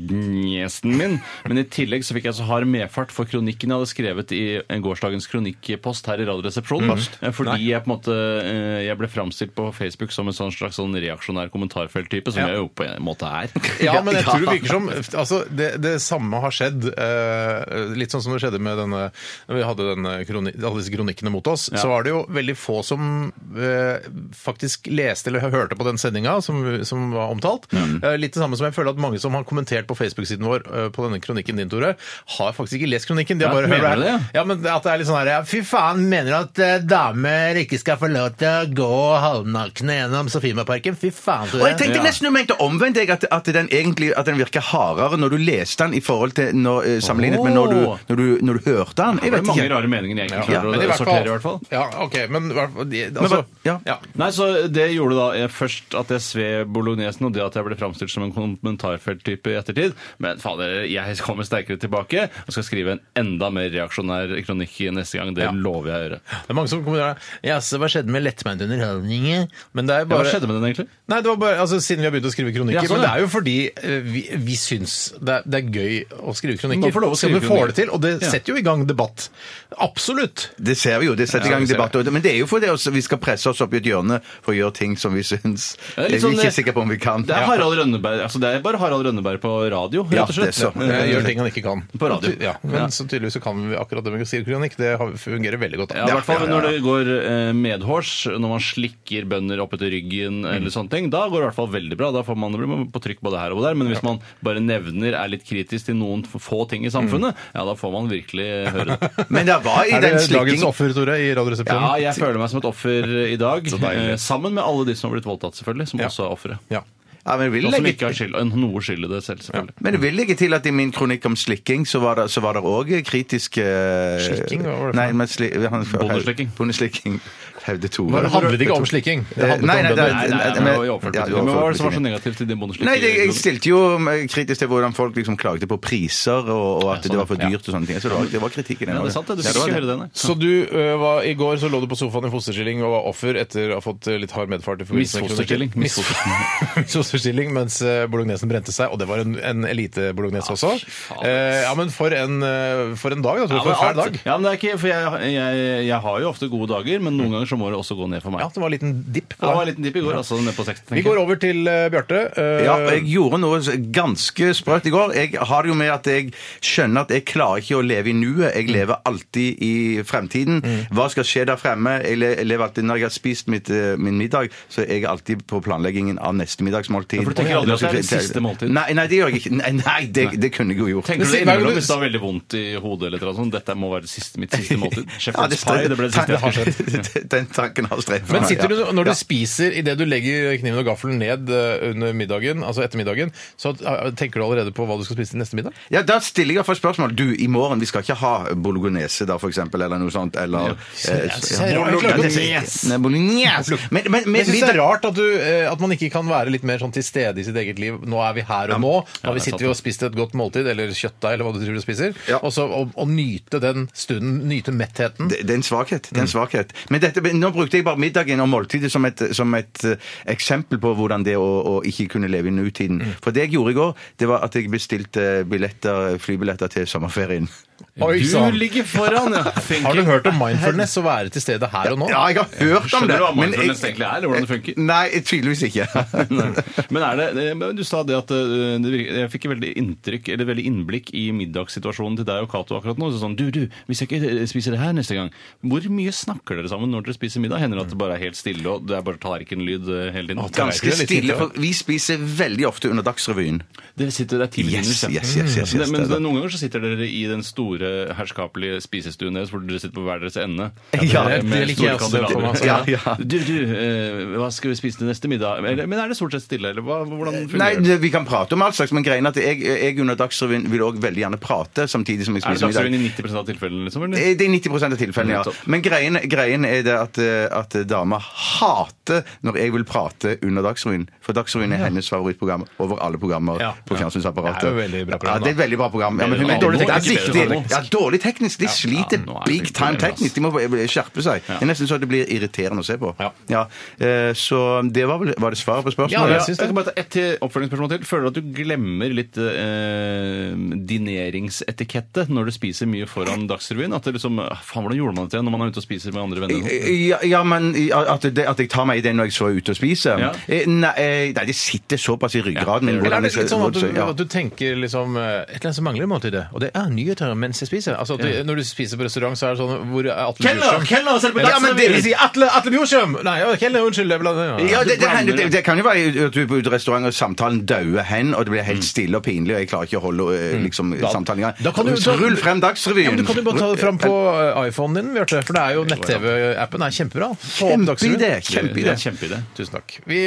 Speaker 6: bolognesen min, men i tillegg så fikk jeg så hard medfart for kronikken jeg hadde skrevet i en gårsdagens kronikkpost her i Radioresepsjonen.
Speaker 4: Mm.
Speaker 6: Eh, Fordi jeg på en måte eh, jeg ble framstilt på Facebook som en sånn slags sånn reaksjonær kommentarfelttype, som jeg jo på en måte er.
Speaker 4: Ja, men jeg tror det virker som altså, det, det samme har skjedd. eh, litt sånn som det skjedde med denne Når vi hadde denne kroni, alle disse kronikkene mot oss, så var det jo veldig få som eh, faktisk leste eller hørte på den sendinga som, som var omtalt. Eh, litt det samme som jeg føler at mange som har kommentert på Facebook-siden vår eh, på denne kronikken din, Tore, har faktisk ikke lest kronikken. De har
Speaker 6: Ja,
Speaker 4: bare
Speaker 6: mener
Speaker 4: hørt
Speaker 6: du det?
Speaker 4: Ja, men at det er litt sånn her ja, Fy faen, mener du at eh, damer ikke skal få lov til å gå halvnakne gjennom Sofiemarparken? Fy faen,
Speaker 5: Og
Speaker 4: Tore.
Speaker 5: jeg tenkte
Speaker 6: Ja.
Speaker 5: nesten du mente omvendt, jeg, at, at, den egentlig, at den virker hardere når du leste den i forhold til når, eh, sammenlignet med når du, når, du, når du hørte den. Jeg
Speaker 6: Det er
Speaker 5: vet
Speaker 6: mange
Speaker 5: ikke.
Speaker 6: rare meninger jeg ikke
Speaker 5: Ja,
Speaker 6: klarer
Speaker 4: Men i
Speaker 6: å
Speaker 4: hvert fall-
Speaker 6: sortere, i hvert fall.
Speaker 4: Ja, ok, men i hvert fall- de- altså,
Speaker 5: hva- ja.
Speaker 4: ja.
Speaker 6: Nei, så Det gjorde da eh, først at jeg sved bolognesen, og det at jeg ble framstilt som en kommentarfelttype i ettertid. Men fader, jeg kommer sterkere tilbake og skal skrive en enda mer reaksjonær kronikk neste gang. Det
Speaker 4: Ja.
Speaker 6: lover jeg å gjøre.
Speaker 4: Det er mange som kommer der. Jaså, hva skjedde med lettmeint underholdning? Men det er jo
Speaker 6: Ja,
Speaker 4: bare
Speaker 6: hva skjedde med den, egentlig?
Speaker 4: Nei, det var bare, altså, Siden vi har begynt å skrive kronikker.
Speaker 6: Ja, sånn,
Speaker 4: men det
Speaker 6: ja.
Speaker 4: er jo fordi eh, vi, vi syns det er, det er gøy å skrive kronikker.
Speaker 6: Man får lov å
Speaker 4: Så
Speaker 6: skrive
Speaker 4: vi får
Speaker 6: kronikker.
Speaker 4: det til, og det
Speaker 6: Ja.
Speaker 4: setter jo i gang debatt. Absolutt.
Speaker 5: Det ser vi jo. Det setter i
Speaker 6: Ja, vi
Speaker 5: gang
Speaker 6: ser
Speaker 5: debatter. Men det er jo fordi også vi skal presse oss opp i et hjørne for å gjøre ting som vi syns
Speaker 6: Ja,
Speaker 5: Jeg
Speaker 6: litt
Speaker 5: er
Speaker 6: sånn,
Speaker 5: ikke
Speaker 6: eh,
Speaker 5: sikker på om vi kan.
Speaker 6: Det er Harald Rønneberg, altså det er bare Harald Rønneberg på radio,
Speaker 5: Ja,
Speaker 6: rett og
Speaker 5: det
Speaker 6: slett.
Speaker 5: er så.
Speaker 4: Eh, Gjør ting han ikke kan.
Speaker 6: På radio.
Speaker 4: Ja, men
Speaker 6: Ja.
Speaker 4: så tydeligvis så kan vi akkurat det med å skrive kronikk. Det har- fungerer veldig godt. da.
Speaker 6: Ja, i hvert fall når det går eh, medhårs, når man slikker bønder oppetter ryggen eller sånne ting, da går det i hvert fall veldig bra. Da får man det blir man på trykk både her og der. Men hvis man bare nevner, er litt kritisk til noen få ting i samfunnet, ja, da får man virkelig høre det.
Speaker 5: Men det var i
Speaker 4: Er det
Speaker 5: den
Speaker 4: dagens
Speaker 5: slikkingen
Speaker 4: offer, Tore, i
Speaker 6: Ja,
Speaker 4: Radioresepsjonen?
Speaker 6: jeg føler meg som et offer i dag.
Speaker 4: deilig.
Speaker 6: eh, Sammen med alle de som har blitt voldtatt, selvfølgelig, som
Speaker 4: Ja.
Speaker 6: også er ofre.
Speaker 4: Ja.
Speaker 5: ja, men jeg vil
Speaker 6: Og som
Speaker 5: legge-
Speaker 6: ikke har skyld, noe skyld i det selv, selvfølgelig.
Speaker 5: Men det vil legge til at i min kronikk om slikking, så var det, så var det også kritisk eh,
Speaker 4: Slikking? Hva var det for
Speaker 5: Nei,
Speaker 4: noe?
Speaker 5: men sli, han,
Speaker 6: Bondeslikking.
Speaker 5: Bondeslikking. Haude Tore.
Speaker 4: Men Det handlet ikke om slikking. Det
Speaker 5: Eh,
Speaker 4: handlet
Speaker 5: nei,
Speaker 4: om
Speaker 5: nei, det
Speaker 4: bønder.
Speaker 5: er-
Speaker 6: Nei, nei, nei,
Speaker 5: men-
Speaker 6: men, i overført
Speaker 5: ja,
Speaker 6: betydning. men hva var det som var så
Speaker 5: betydning.
Speaker 6: negativt i din bondeslikke?
Speaker 5: Nei, det, jeg stilte jo eh, kritisk til hvordan folk liksom klaget på priser, og, og at
Speaker 6: Ja, sånn,
Speaker 5: det var for
Speaker 6: ja.
Speaker 5: dyrt og sånne ting. Så det var, det var kritikken.
Speaker 6: Ja, det er sant, det. Du
Speaker 5: Ja,
Speaker 6: fikk
Speaker 5: var
Speaker 6: ikke høre det, nei.
Speaker 4: Så du ø, var, i går så lå du på sofaen i fosterstilling og var offer etter å ha fått ø, litt hard medfart? i forbindelse med
Speaker 6: Misfosterstilling.
Speaker 4: kronikken. Mis- Misfosterstilling mens ø, bolognesen brente seg, og det var en, en elite-bolognese også.
Speaker 6: Ah, faen.
Speaker 4: Eh, ja, men for en, ø, for en dag, da. Tore.
Speaker 6: Ja,
Speaker 4: For
Speaker 6: men,
Speaker 4: en fæl
Speaker 6: alt-
Speaker 4: dag.
Speaker 6: ja, men det er ikke, for jeg, jeg, jeg har jo ofte gode dager, men noen ganger så må det også gå ned for meg.
Speaker 4: Ja, det var en liten dipp. på
Speaker 6: Ja, det var en
Speaker 4: deg.
Speaker 6: liten dipp i går, altså ned på 60.
Speaker 4: Vi går over til ø, Bjarte. Eh, ø,
Speaker 5: Ja, og jeg gjorde noe ganske sprøtt i går. Jeg har det jo med at jeg skjønner at jeg klarer ikke å leve i nuet.
Speaker 6: Mm.
Speaker 5: Jeg lever alltid i fremtiden. Hva skal skje der fremme? Jeg le- jeg lever alltid når jeg har spist mitt, eh, min middag, så jeg er alltid på planleggingen av neste middagsmåltid.
Speaker 6: Ja, for du tenker aldri at det er det siste måltid?
Speaker 5: Nei, nei det gjør jeg ikke. Nei, nei det, det kunne jeg jo gjort.
Speaker 6: Tenker du det
Speaker 4: Men hver gang
Speaker 6: innimellom
Speaker 4: du-
Speaker 6: hvis du har veldig vondt i hodet eller noe sånt? Dette må være det siste, mitt siste måltid.
Speaker 5: Ja,
Speaker 6: Shepherd's pie, det ble det siste jeg skulle
Speaker 5: Den tanken har streit
Speaker 4: Men sitter du, når du
Speaker 5: Ja.
Speaker 4: spiser, idet du legger kniven og gaffelen ned ø, under middagen, altså etter middagen, så ø, tenker du allerede på hva du skal spise til neste middag?
Speaker 5: Ja, Da stiller jeg iallfall spørsmål. Du, i morgen vi skal ikke ha bolognese da, for eksempel, eller noe sånt. Eller eh,
Speaker 4: så er det rart.
Speaker 5: Bolognese. Nei, bolognese. Men, men, men
Speaker 4: Jeg synes
Speaker 5: vi-
Speaker 4: det er rart at, du, eh, at man ikke kan være litt mer sånn til stede i sitt eget liv. Nå er vi her og nå. Nå har vi
Speaker 6: det er sant,
Speaker 4: sittet og spist et godt måltid, eller kjøttdeig, eller hva du driver og spiser.
Speaker 5: Ja.
Speaker 4: Og så å, å nyte den stunden, nyte mettheten. Mm.
Speaker 5: det, det er en svakhet. Det er en svakhet. Men dette nå brukte jeg bare middagen og måltidet som et, som et eh, eksempel på hvordan det å, å ikke kunne leve i nutiden.
Speaker 4: Mm.
Speaker 5: For det jeg gjorde i går, det var at jeg bestilte billetter, flybilletter til sommerferien.
Speaker 4: Oi, sann.
Speaker 6: Du ligger foran, ja.
Speaker 4: Har du hørt om mindfulness å være til stede her og nå?
Speaker 5: Ja, jeg har hørt om
Speaker 6: Skjønner
Speaker 5: det.
Speaker 6: du hva
Speaker 5: men
Speaker 6: mindfulness
Speaker 5: jeg-
Speaker 6: egentlig er, eller hvordan det funker?
Speaker 5: Nei, tydeligvis ikke.
Speaker 6: Men er det, eh, men du sa det at eh, det virker, jeg fikk et veldig inntrykk, eller veldig innblikk i middagssituasjonen til deg og Cato akkurat nå. Så sånn, du, du, hvis jeg ikke eh, spiser det her neste gang, hvor mye snakker dere sammen når dere spiser middag? Hender det at det bare er helt stille, og det er bare tallerkenlyd eh, hele tiden?
Speaker 5: Ganske stille, for vi spiser veldig ofte under Dagsrevyen.
Speaker 6: Dere sitter der tidlig.
Speaker 5: Yes,
Speaker 6: inne,
Speaker 5: yes, yes, yes, yes,
Speaker 6: Men,
Speaker 5: det er det.
Speaker 6: men noen ganger så sitter dere i den store, herskapelige spisestuen deres, hvor dere sitter på hver deres ende.
Speaker 5: Ja,
Speaker 6: Med
Speaker 4: det liker jeg
Speaker 6: store
Speaker 4: også, det er for meg,
Speaker 6: kandelabrer.
Speaker 4: altså.
Speaker 5: Ja, ja.
Speaker 6: Du, du, eh, hva skal vi spise til neste middag? Eller, men er det stort sett stille, eller hva, hvordan fungerer
Speaker 5: Eh, Nei,
Speaker 6: det?
Speaker 5: det- vi kan prate om alt slags, men greien er at jeg, jeg under Dagsrevyen vil òg veldig gjerne prate samtidig som jeg
Speaker 6: Er det
Speaker 5: spiser middag.
Speaker 6: Dagsrevyen i 90 av tilfellene? liksom? eller?
Speaker 5: Eh, Det er 90 av tilfellene, ja.
Speaker 6: Nettopp.
Speaker 5: Men greien, greien er det at, eh, at dama hater når jeg vil prate under Dagsrevyen. For Dagsrevyen er hennes favorittprogram over alle programmer
Speaker 4: Ja.
Speaker 5: på fjernsynsapparatet.
Speaker 4: Det er jo et veldig bra program,
Speaker 5: Ja, det er et veldig bra program. Ja, men hun
Speaker 6: Bedre
Speaker 5: er
Speaker 6: dårlig
Speaker 5: det er
Speaker 6: teknisk, bedre
Speaker 5: viktig.
Speaker 6: teknisk.
Speaker 5: Ja, dårlig teknisk. De sliter
Speaker 6: nå er det
Speaker 5: big
Speaker 6: ikke
Speaker 5: time
Speaker 6: det, altså.
Speaker 5: teknisk. De må skjerpe seg. Det er nesten så det blir irriterende å se på.
Speaker 4: Ja.
Speaker 5: eh, Så det var vel var det svaret på spørsmålet?
Speaker 4: Ja,
Speaker 6: Ja,
Speaker 4: jeg
Speaker 6: jeg,
Speaker 4: syns det.
Speaker 6: kan bare ta ett til oppfølgingsspørsmål til. Føler du at du glemmer litt eh, dineringsetikette når du spiser mye foran Dagsrevyen? At det liksom Faen, hvordan gjorde man det til når man er ute og spiser med andre venner?
Speaker 5: Ja, ja, men i- at, det, at jeg tar meg i det når jeg så er ute og spiser?
Speaker 6: Ja.
Speaker 5: Eh, Nei, eh, nei, det sitter såpass i ryggraden min.
Speaker 4: Eller er
Speaker 5: hvordan
Speaker 4: det
Speaker 5: jeg
Speaker 4: litt
Speaker 5: skal-
Speaker 4: sånn at du,
Speaker 5: ja.
Speaker 4: at du tenker liksom eh, et eller annet som mangler i måltidet, og det er nyheter mens jeg spiser? Altså at du, Når du spiser på restaurant, så er det sånn Hvor er Atle Bjurstrøm?
Speaker 6: Kelner, selv
Speaker 4: Ja, men det vil si Atle, Atle Bjurstrøm! Nei, ja, Kelner, unnskyld. jeg blander- ja.
Speaker 5: Ja, det, det,
Speaker 6: blander
Speaker 5: hender,
Speaker 6: det.
Speaker 5: det, det kan jo være at du er på et restaurant og samtalen dauer hen, og det blir helt stille og pinlig, og jeg klarer ikke å holde eh, liksom, samtalen i gang.
Speaker 4: Mm. da kan du-
Speaker 5: Så rull frem
Speaker 4: Ja,
Speaker 5: Dagsrevyen!
Speaker 4: men du kan jo bare ta det fram på eh, iPhonen din, Bjarte. For det er jo nett-TV-appen er kjempebra. Få opp Dagsrevyen.
Speaker 5: Kjempeidé! Kjempeidé.
Speaker 6: Kjempeidé.
Speaker 4: Tusen takk. Vi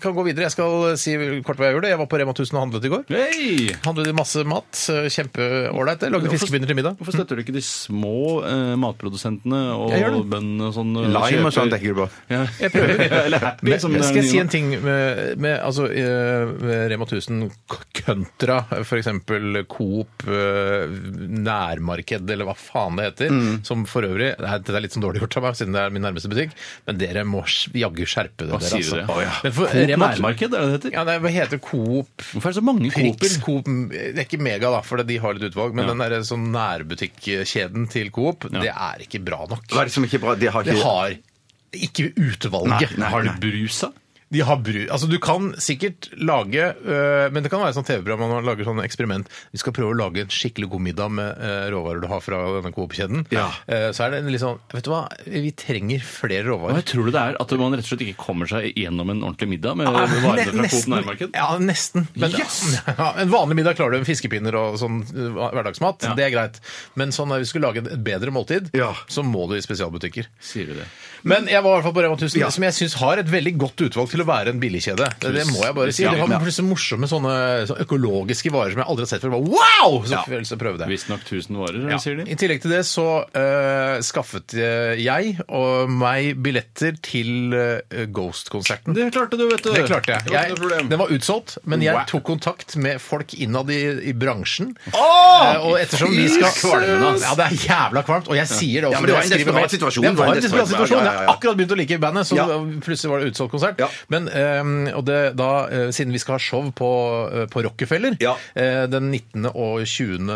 Speaker 4: kan gå videre. Jeg skal si kort hva jeg gjorde. Jeg var på Rema 1000 og handlet i går.
Speaker 6: Hei!
Speaker 4: Handlet i masse mat. Eh, Kjempeålreit. Jeg Lagde fiskepinner til middag.
Speaker 6: Hvorfor støtter du ikke de små eh, matprodusentene og
Speaker 4: Jeg gjør det.
Speaker 6: bøndene og sånn? og
Speaker 5: Lime og
Speaker 6: kjøper-
Speaker 5: sånn tenker du på.
Speaker 6: Ja. Eller happy,
Speaker 4: Men,
Speaker 6: som det er
Speaker 4: skal jeg si
Speaker 6: nye nå.
Speaker 4: en ting med, med, altså, eh, med Rema 1000 k- kontra f.eks. Coop eh, nærmarked, eller hva faen det heter.
Speaker 6: Mm.
Speaker 4: Som for øvrig det er, det er litt sånn dårlig gjort av meg, siden det er min nærmeste butikk, men dere må s- jaggu skjerpe dere. altså.
Speaker 6: Hva sier du det? Å, ja.
Speaker 4: Men for
Speaker 6: Coop
Speaker 4: Rema-
Speaker 6: nærmarked, er det det heter?
Speaker 4: Ja, nei, hva heter Coop?
Speaker 6: Hvorfor er det så mange
Speaker 4: Prix,
Speaker 6: Cooper?
Speaker 4: Coop Det er ikke mega, da, for de har litt utvalg, men den der sånn nærbutikkjeden til Coop, det er ikke bra nok.
Speaker 5: Hva er det som ikke er bra? De har
Speaker 4: Det
Speaker 5: ikke
Speaker 4: har ikke utvalget.
Speaker 5: Nei, nei,
Speaker 6: Har du brusa?
Speaker 4: De har bru... Altså, du kan sikkert lage øh, Men det kan være sånn TV-program man lager sånne eksperiment. Vi skal prøve å lage en skikkelig god middag med øh, råvarer du har fra denne Coop-kjeden.
Speaker 5: Ja.
Speaker 4: Eh, så er det litt sånn Vet du hva, vi trenger flere
Speaker 6: Hva
Speaker 4: råvarer.
Speaker 6: tror du det er? At man rett og slett ikke kommer seg gjennom en ordentlig middag med
Speaker 4: Ah, Ne-
Speaker 6: varene fra Coop
Speaker 4: nesten.
Speaker 6: nærmarked?
Speaker 4: Ja, nesten. Men, ja, en vanlig middag klarer du med fiskepinner og sånn øh, hverdagsmat.
Speaker 6: Ja.
Speaker 4: Det er greit. Men sånn når vi skulle lage et bedre måltid,
Speaker 5: Ja.
Speaker 4: så må du i spesialbutikker.
Speaker 6: Sier du det?
Speaker 4: Men jeg var i hvert fall på Rema 1000,
Speaker 5: Ja.
Speaker 4: som jeg syns har et veldig godt utvalg til å være en billigkjede. Det, det må jeg bare si.
Speaker 6: Ja,
Speaker 4: De har
Speaker 6: ja.
Speaker 4: plutselig morsomme sånne, sånne økologiske varer som jeg aldri har sett før. Bare, wow! Så fikk jeg lyst til å prøve det.
Speaker 6: Visstnok 1000 varer,
Speaker 4: Ja.
Speaker 6: sier de.
Speaker 4: I tillegg til det så eh, skaffet eh, jeg og meg billetter til eh, Ghost-konserten.
Speaker 6: Det klarte du, vet du.
Speaker 4: Det klarte jeg.
Speaker 6: var ikke noe
Speaker 4: jeg
Speaker 6: problem.
Speaker 4: den var utsolgt, men jeg
Speaker 6: Wow.
Speaker 4: tok kontakt med folk innad i, i bransjen. Eh, og ettersom vi skal
Speaker 6: Kvalmende, ass.
Speaker 4: Ja, det er jævla kvalmt. Og jeg sier det også.
Speaker 5: Ja, men det var en
Speaker 4: når jeg skriver
Speaker 5: desperat
Speaker 4: mail.
Speaker 5: situasjon.
Speaker 4: Det var en desperat situasjon.
Speaker 5: ja, ja,
Speaker 4: Jeg
Speaker 5: ja.
Speaker 4: har akkurat begynt å like bandet, så
Speaker 5: Ja.
Speaker 4: plutselig var det utsolgt konsert.
Speaker 5: Ja.
Speaker 4: Men eh, og det, da, eh, siden vi skal ha show på, eh, på Rockefeller
Speaker 5: Ja.
Speaker 4: eh, den 19. og 20.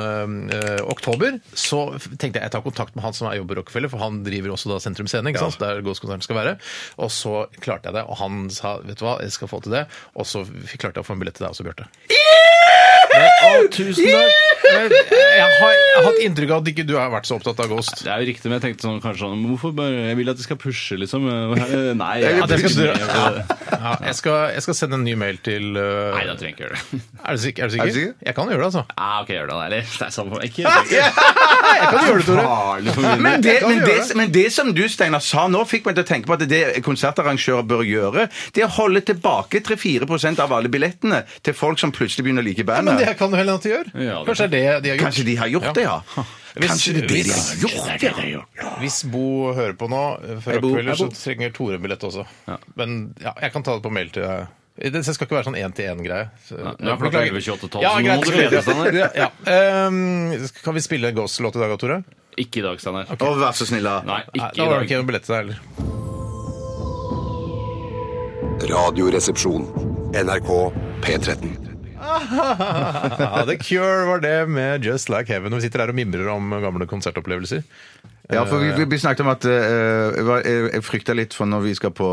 Speaker 4: eh, oktober, så f- tenkte jeg jeg tar kontakt med han som er jobber på Rockefeller, for han driver også da Sentrum Scene, ikke sant? der Ghost-konserten skal være. Og så klarte jeg det, og han sa vet du hva, jeg skal få til det. Og så f- klarte jeg å få en billett til deg også, Bjarte.
Speaker 6: Å, tusen takk!
Speaker 4: Men Eh, Jeg har, jeg har hatt inntrykk av at ikke du har vært så opptatt av Ghost.
Speaker 6: Det er jo riktig, men jeg tenkte sånn, kanskje sånn men Hvorfor bare Jeg vil at de skal pushe, liksom. Eh, Nei,
Speaker 4: Ja, det skal du-
Speaker 6: jeg-
Speaker 4: Ja, jeg, skal, jeg skal sende en ny mail til uh,
Speaker 6: Nei, da
Speaker 4: er,
Speaker 6: trenger jeg ikke gjøre det.
Speaker 4: du sikker, er du sikker?
Speaker 5: Er du sikker?
Speaker 4: Jeg kan gjøre det, altså.
Speaker 6: Ah, ok, gjør det, da. Eller det er samme for meg. Ikke
Speaker 4: Ah!
Speaker 6: gjør det.
Speaker 4: Jeg kan gjøre det, Tore.
Speaker 6: Farlig for min del.
Speaker 5: Men det,
Speaker 4: kan
Speaker 5: men,
Speaker 4: gjøre
Speaker 5: det, men det som du, Steinar, sa nå, fikk meg til å tenke på at det konsertarrangører bør gjøre, det er å holde tilbake 3-4 av alle billettene til folk som plutselig begynner å like
Speaker 4: Ja, men
Speaker 5: bandet.
Speaker 4: det kan du heller ikke gjøre.
Speaker 6: Ja, det-
Speaker 4: Kanskje det er det de har gjort.
Speaker 5: Kanskje de har gjort det, ja.
Speaker 4: Hvis-
Speaker 5: Kanskje det er det de
Speaker 4: hvis-
Speaker 5: har gjort, ja.
Speaker 4: Hvis Bo hører på nå, eh, fra
Speaker 5: Hei, Bo.
Speaker 4: Rockefeller,
Speaker 5: Hei,
Speaker 4: så
Speaker 5: Bo.
Speaker 4: trenger Tore en billett også.
Speaker 6: Ja.
Speaker 4: Men ja, jeg kan ta det på mail til deg. Det det skal ikke være sånn én-til-én-greie. Så- eh,
Speaker 6: Nei, nå er klokka
Speaker 4: Beklager.
Speaker 6: 11.28,
Speaker 4: Ja,
Speaker 6: så nå må
Speaker 4: greit.
Speaker 6: du glede deg, Steinar.
Speaker 4: Ja, ja. Um, Kan vi spille en Ghost-låt i dag, Tore?
Speaker 6: Ikke i dag, Steinar.
Speaker 5: Å, vær så snill, da.
Speaker 6: Nei,
Speaker 4: Nei,
Speaker 6: ikke
Speaker 4: da var det
Speaker 6: i dag.
Speaker 4: ikke noe billett til deg heller.
Speaker 1: Radioresepsjon. NRK P13.
Speaker 4: Ja, The Cure var det med Just Like Heaven. Og vi sitter her og mimrer om gamle konsertopplevelser.
Speaker 5: Ja, for vi, vi- vi snakket om at eh, jeg var- jeg, jeg frykta litt for når vi skal på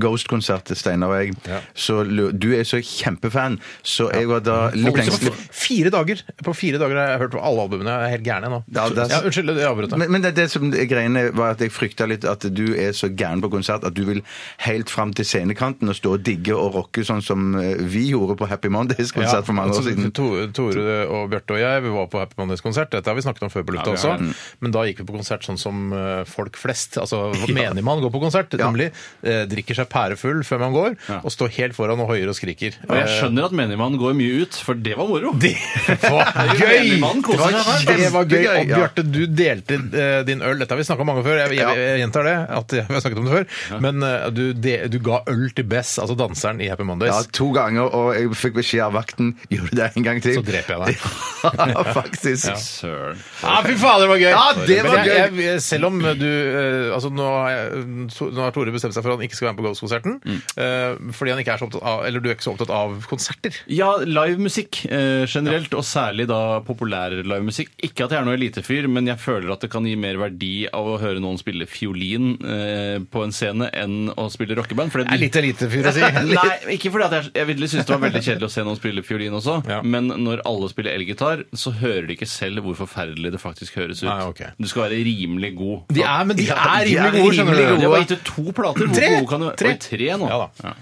Speaker 5: Ghost-konsert til Steinar og jeg.
Speaker 4: Ja.
Speaker 5: Så lu- du er så kjempefan, så jeg var da litt
Speaker 4: Folk som
Speaker 5: engstelig.
Speaker 4: har fire dager, På fire dager har jeg hørt alle albumene. Jeg er helt gæren jeg nå.
Speaker 5: Ja, det er-
Speaker 4: ja, unnskyld, jeg avbrøt deg.
Speaker 5: Men, men det, det som er greiene var at jeg frykta litt at du er så gæren på konsert at du vil helt fram til scenekanten og stå og digge og rocke sånn som eh, vi gjorde på Happy Mondays konsert for mange
Speaker 4: altså,
Speaker 5: år siden.
Speaker 4: To- Tore og Bjarte og jeg vi var på Happy Mondays konsert. Dette har vi snakket om før på lufta
Speaker 6: Ja, vi har-
Speaker 4: også. Men da gikk vi på konsert sånn som eh, folk flest. Altså menigmann går på konsert.
Speaker 5: Ja.
Speaker 4: Nemlig eh, drikker seg pærefull før man går,
Speaker 6: Ja.
Speaker 4: og står helt foran og hoier og skriker. Eh,
Speaker 6: Og jeg skjønner at menigmannen går mye ut, for det var moro.
Speaker 4: Det var gøy!
Speaker 6: Menigmannen koser seg her.
Speaker 4: Det var gøy. Og
Speaker 5: Ja.
Speaker 4: Bjarte, du delte eh, din øl. Dette har vi snakka om mange før. Jeg, jeg,
Speaker 5: Ja.
Speaker 4: jeg gjentar det. at jeg- vi har snakket om det før. Men eh, du, de, du ga øl til Bess, altså danseren i Happy
Speaker 5: Ja,
Speaker 4: Mondays.
Speaker 5: to ganger, og jeg fikk beskjed av vakten gjør du det en gang til.
Speaker 4: Så dreper jeg deg.
Speaker 5: Ja, faktisk.
Speaker 6: Søren.
Speaker 4: Ja, fy fader, det var gøy!
Speaker 5: Ja, det var
Speaker 4: Men jeg,
Speaker 5: gøy.
Speaker 4: jeg, jeg, selv om du eh, altså nå, har jeg- to- nå har Tore bestemt seg for at han ikke skal være med på Ghost-konserten.
Speaker 6: Mm.
Speaker 4: eh, fordi han ikke er så opptatt av Eller du er ikke så opptatt av konserter.
Speaker 6: Ja, livemusikk eh, generelt, og særlig da populær livemusikk. Ikke at jeg er noe elitefyr, men jeg føler at det kan gi mer verdi av å høre noen spille fiolin eh, på en scene enn å spille rockeband. For det-
Speaker 4: Jeg er litt elitefyr å si.
Speaker 6: Nei, ikke fordi at jeg, jeg ville synes det var veldig kjedelig å se noen spille fiolin også,
Speaker 4: Ja.
Speaker 6: men når alle spiller elgitar, så hører de ikke selv hvor forferdelig det faktisk høres ut.
Speaker 4: Nei, ok.
Speaker 6: Du skal være rimelig god.
Speaker 4: De er, men de
Speaker 5: Ja,
Speaker 4: er
Speaker 5: de er
Speaker 4: rimelig gode, skjønner
Speaker 5: rimelig
Speaker 4: du.
Speaker 5: gode.
Speaker 6: Jeg har gitt ut to plater. Hvor
Speaker 4: Tre!
Speaker 6: gode kan du være?
Speaker 4: Tre.
Speaker 6: Oi, tre nå.
Speaker 4: Ja da.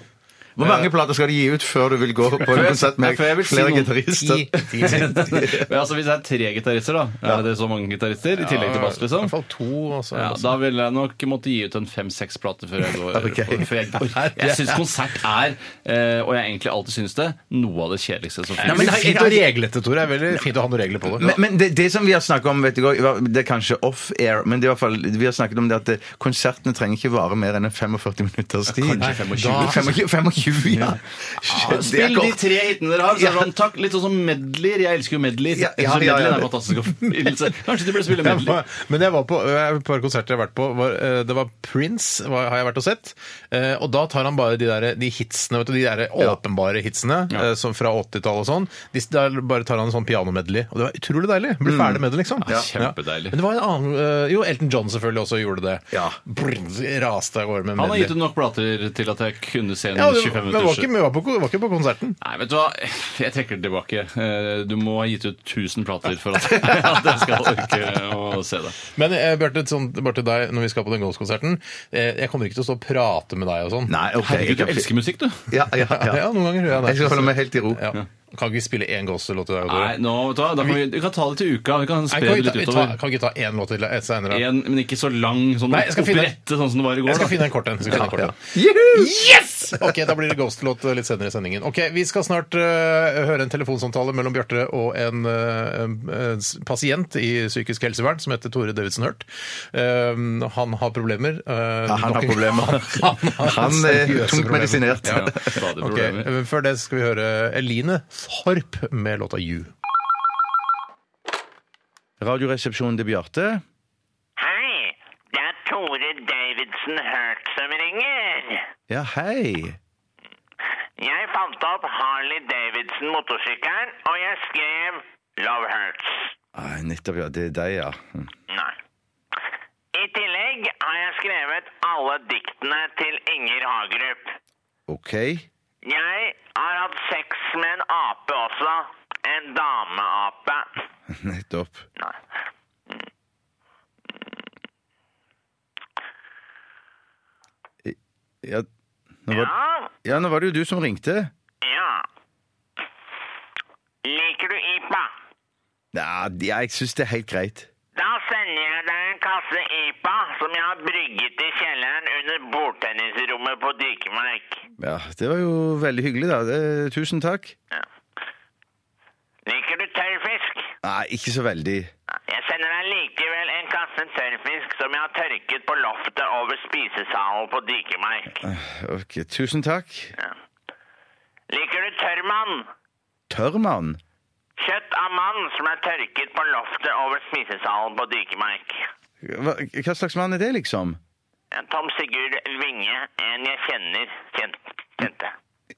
Speaker 5: Hvor mange plater skal de gi ut før du vil gå på en konsert med
Speaker 6: Ja, før jeg vil si
Speaker 5: flere
Speaker 6: noen.
Speaker 5: gitarister?
Speaker 6: Men altså, hvis det er tre gitarister, da, er det så mange gitarister i tillegg til bass,
Speaker 4: I
Speaker 6: liksom?
Speaker 4: hvert fall to. og så er
Speaker 6: Ja,
Speaker 4: det
Speaker 6: da ville jeg nok måtte gi ut en fem-seks plater før jeg går.
Speaker 5: Ok.
Speaker 6: For jeg, orker- jeg syns konsert er, eh, og jeg har egentlig alltid syns det, noe av det kjedeligste som
Speaker 4: Nei, men det
Speaker 6: finnes.
Speaker 4: er fint og reglete, Tore. Det er veldig fint å ha noen regler på det.
Speaker 5: Men, men det, det som vi har snakket om, vet du, godt, det er kanskje off-air, men det er i hvert fall, vi har snakket om det at eh, konsertene trenger ikke vare mer enn en 45 minutters tid.
Speaker 4: Kanskje Ah, 25.
Speaker 5: Da- 25, 25 ja. Shit, det er
Speaker 6: Spill de
Speaker 5: kort.
Speaker 6: tre hitene dere har. Så er det
Speaker 5: Ja.
Speaker 6: sånn, takk, Litt sånn som medleyer. Jeg elsker jo medleyer.
Speaker 5: Ja, ja,
Speaker 6: Jeg synes
Speaker 5: ja, ja.
Speaker 6: medleyer er en fantastisk oppfinnelse. Kanskje du burde spille
Speaker 4: Jeg
Speaker 6: medley.
Speaker 4: var, men jeg var på eh, et par konserter jeg har vært på. Var, eh, det var Prince var, har jeg vært og sett. Eh, og da tar han bare de, der, de hitsene, vet du, de der åpenbare hitsene eh, som fra 80-tallet og sånn. De, der bare tar han en sånn pianomedley. Og det var utrolig deilig. Blir ferdig med det, liksom.
Speaker 6: Mm. Ja, kjempedeilig.
Speaker 4: Men det var en annen eh, Jo, Elton John selvfølgelig også gjorde det.
Speaker 5: Ja.
Speaker 4: Brr, raste av gårde med
Speaker 6: Han har gitt
Speaker 4: medley.
Speaker 6: ut nok plater til at jeg kunne se en
Speaker 4: Ja, det,
Speaker 6: 25
Speaker 4: men det var
Speaker 6: minutters
Speaker 4: ikke, men det var, på, det var ikke på konserten.
Speaker 6: Nei, vet du hva? Jeg trekker det tilbake. Eh, Du må ha gitt ut 1000 plater for at at jeg skal orke å se det.
Speaker 4: Men eh, Bjarte, sånn, bare til deg når vi skal på den Ghost-konserten. Eh, jeg kommer ikke til å stå og prate med deg og sånn.
Speaker 5: Nei, ok. jeg
Speaker 6: Herregud,
Speaker 5: kan-
Speaker 6: du elsker musikk, du.
Speaker 5: Ja, ja,
Speaker 4: Ja,
Speaker 5: ja.
Speaker 4: noen ganger gjør jeg det.
Speaker 5: Jeg skal holde meg helt i ro.
Speaker 4: Ja. Kan ikke vi spille én Ghost-låt i dag? Tore?
Speaker 6: Nei, nå, vet du hva? Da kan vi, vi kan ta det til uka. Vi kan
Speaker 4: Nei,
Speaker 6: spre
Speaker 4: kan, vi
Speaker 6: det
Speaker 4: ta,
Speaker 6: litt
Speaker 4: vi ta,
Speaker 6: utover.
Speaker 4: kan vi ikke ta én låt til eh, senere? da?
Speaker 6: En, men ikke så lang, sånn
Speaker 4: Nei, jeg skal finne-
Speaker 6: opprette sånn som det var i går.
Speaker 4: Jeg skal
Speaker 6: da.
Speaker 4: finne en kort en. jeg Skal finne en kort en. Yes! Ok, Da blir det Ghost-låt eh, litt senere i sendingen. Ok, Vi skal snart øh, høre en telefonsamtale mellom Bjarte og en øh, øh, s- pasient i psykisk helsevern som heter Tore Davidsen Hurt. Ehm, han har problemer. øh,
Speaker 5: Ja, han har
Speaker 4: nok-
Speaker 5: problemer.
Speaker 4: han, har
Speaker 5: Han er
Speaker 4: seriøse
Speaker 5: tungt
Speaker 4: problemer.
Speaker 5: medisinert.
Speaker 4: Ja. Ok,
Speaker 6: Stadig problemer.
Speaker 4: men Før det skal vi høre Eline Sorp med låta You.
Speaker 5: Radioresepsjonen til Bjarte.
Speaker 7: Hei, det er Tore Davidsen Hurt som ringer.
Speaker 5: Ja, hei.
Speaker 7: Jeg fant opp Harley Davidson motorsykkelen, og jeg skrev Love Hurts.
Speaker 5: Ah, nettopp, ja. Det er deg, ja. Mm.
Speaker 7: Nei. I tillegg har jeg skrevet alle diktene til Inger Hagerup.
Speaker 5: OK.
Speaker 7: Jeg har hatt sex med en ape også. En dameape.
Speaker 5: Nettopp.
Speaker 7: Nei.
Speaker 5: Ja, nå var,
Speaker 7: Ja,
Speaker 5: ja, nå var det jo du som ringte.
Speaker 7: ja. Liker du IPA?
Speaker 5: Ja, jeg syns det er helt greit.
Speaker 7: Da sender jeg deg en kasse IPA som jeg har brygget i kjelleren under bordtennisrommet på Dikemark.
Speaker 5: Ja, Det var jo veldig hyggelig, da. Det, tusen takk.
Speaker 7: Ja. Liker du tørrfisk?
Speaker 5: Nei, ikke så veldig.
Speaker 7: Ja, Jeg sender deg likevel en kasse tørrfisk som jeg har tørket på loftet over spisesalen på Dikemark.
Speaker 5: Ok, Tusen takk.
Speaker 7: Liker du tørrmann?
Speaker 5: Tørrmann?
Speaker 7: Kjøtt av mann som er tørket på loftet over spisesalen på Dikemark.
Speaker 5: Hva, hva slags mann er det, liksom?
Speaker 7: Tom Sigurd Vinge, en jeg kjenner, kjent, kjente.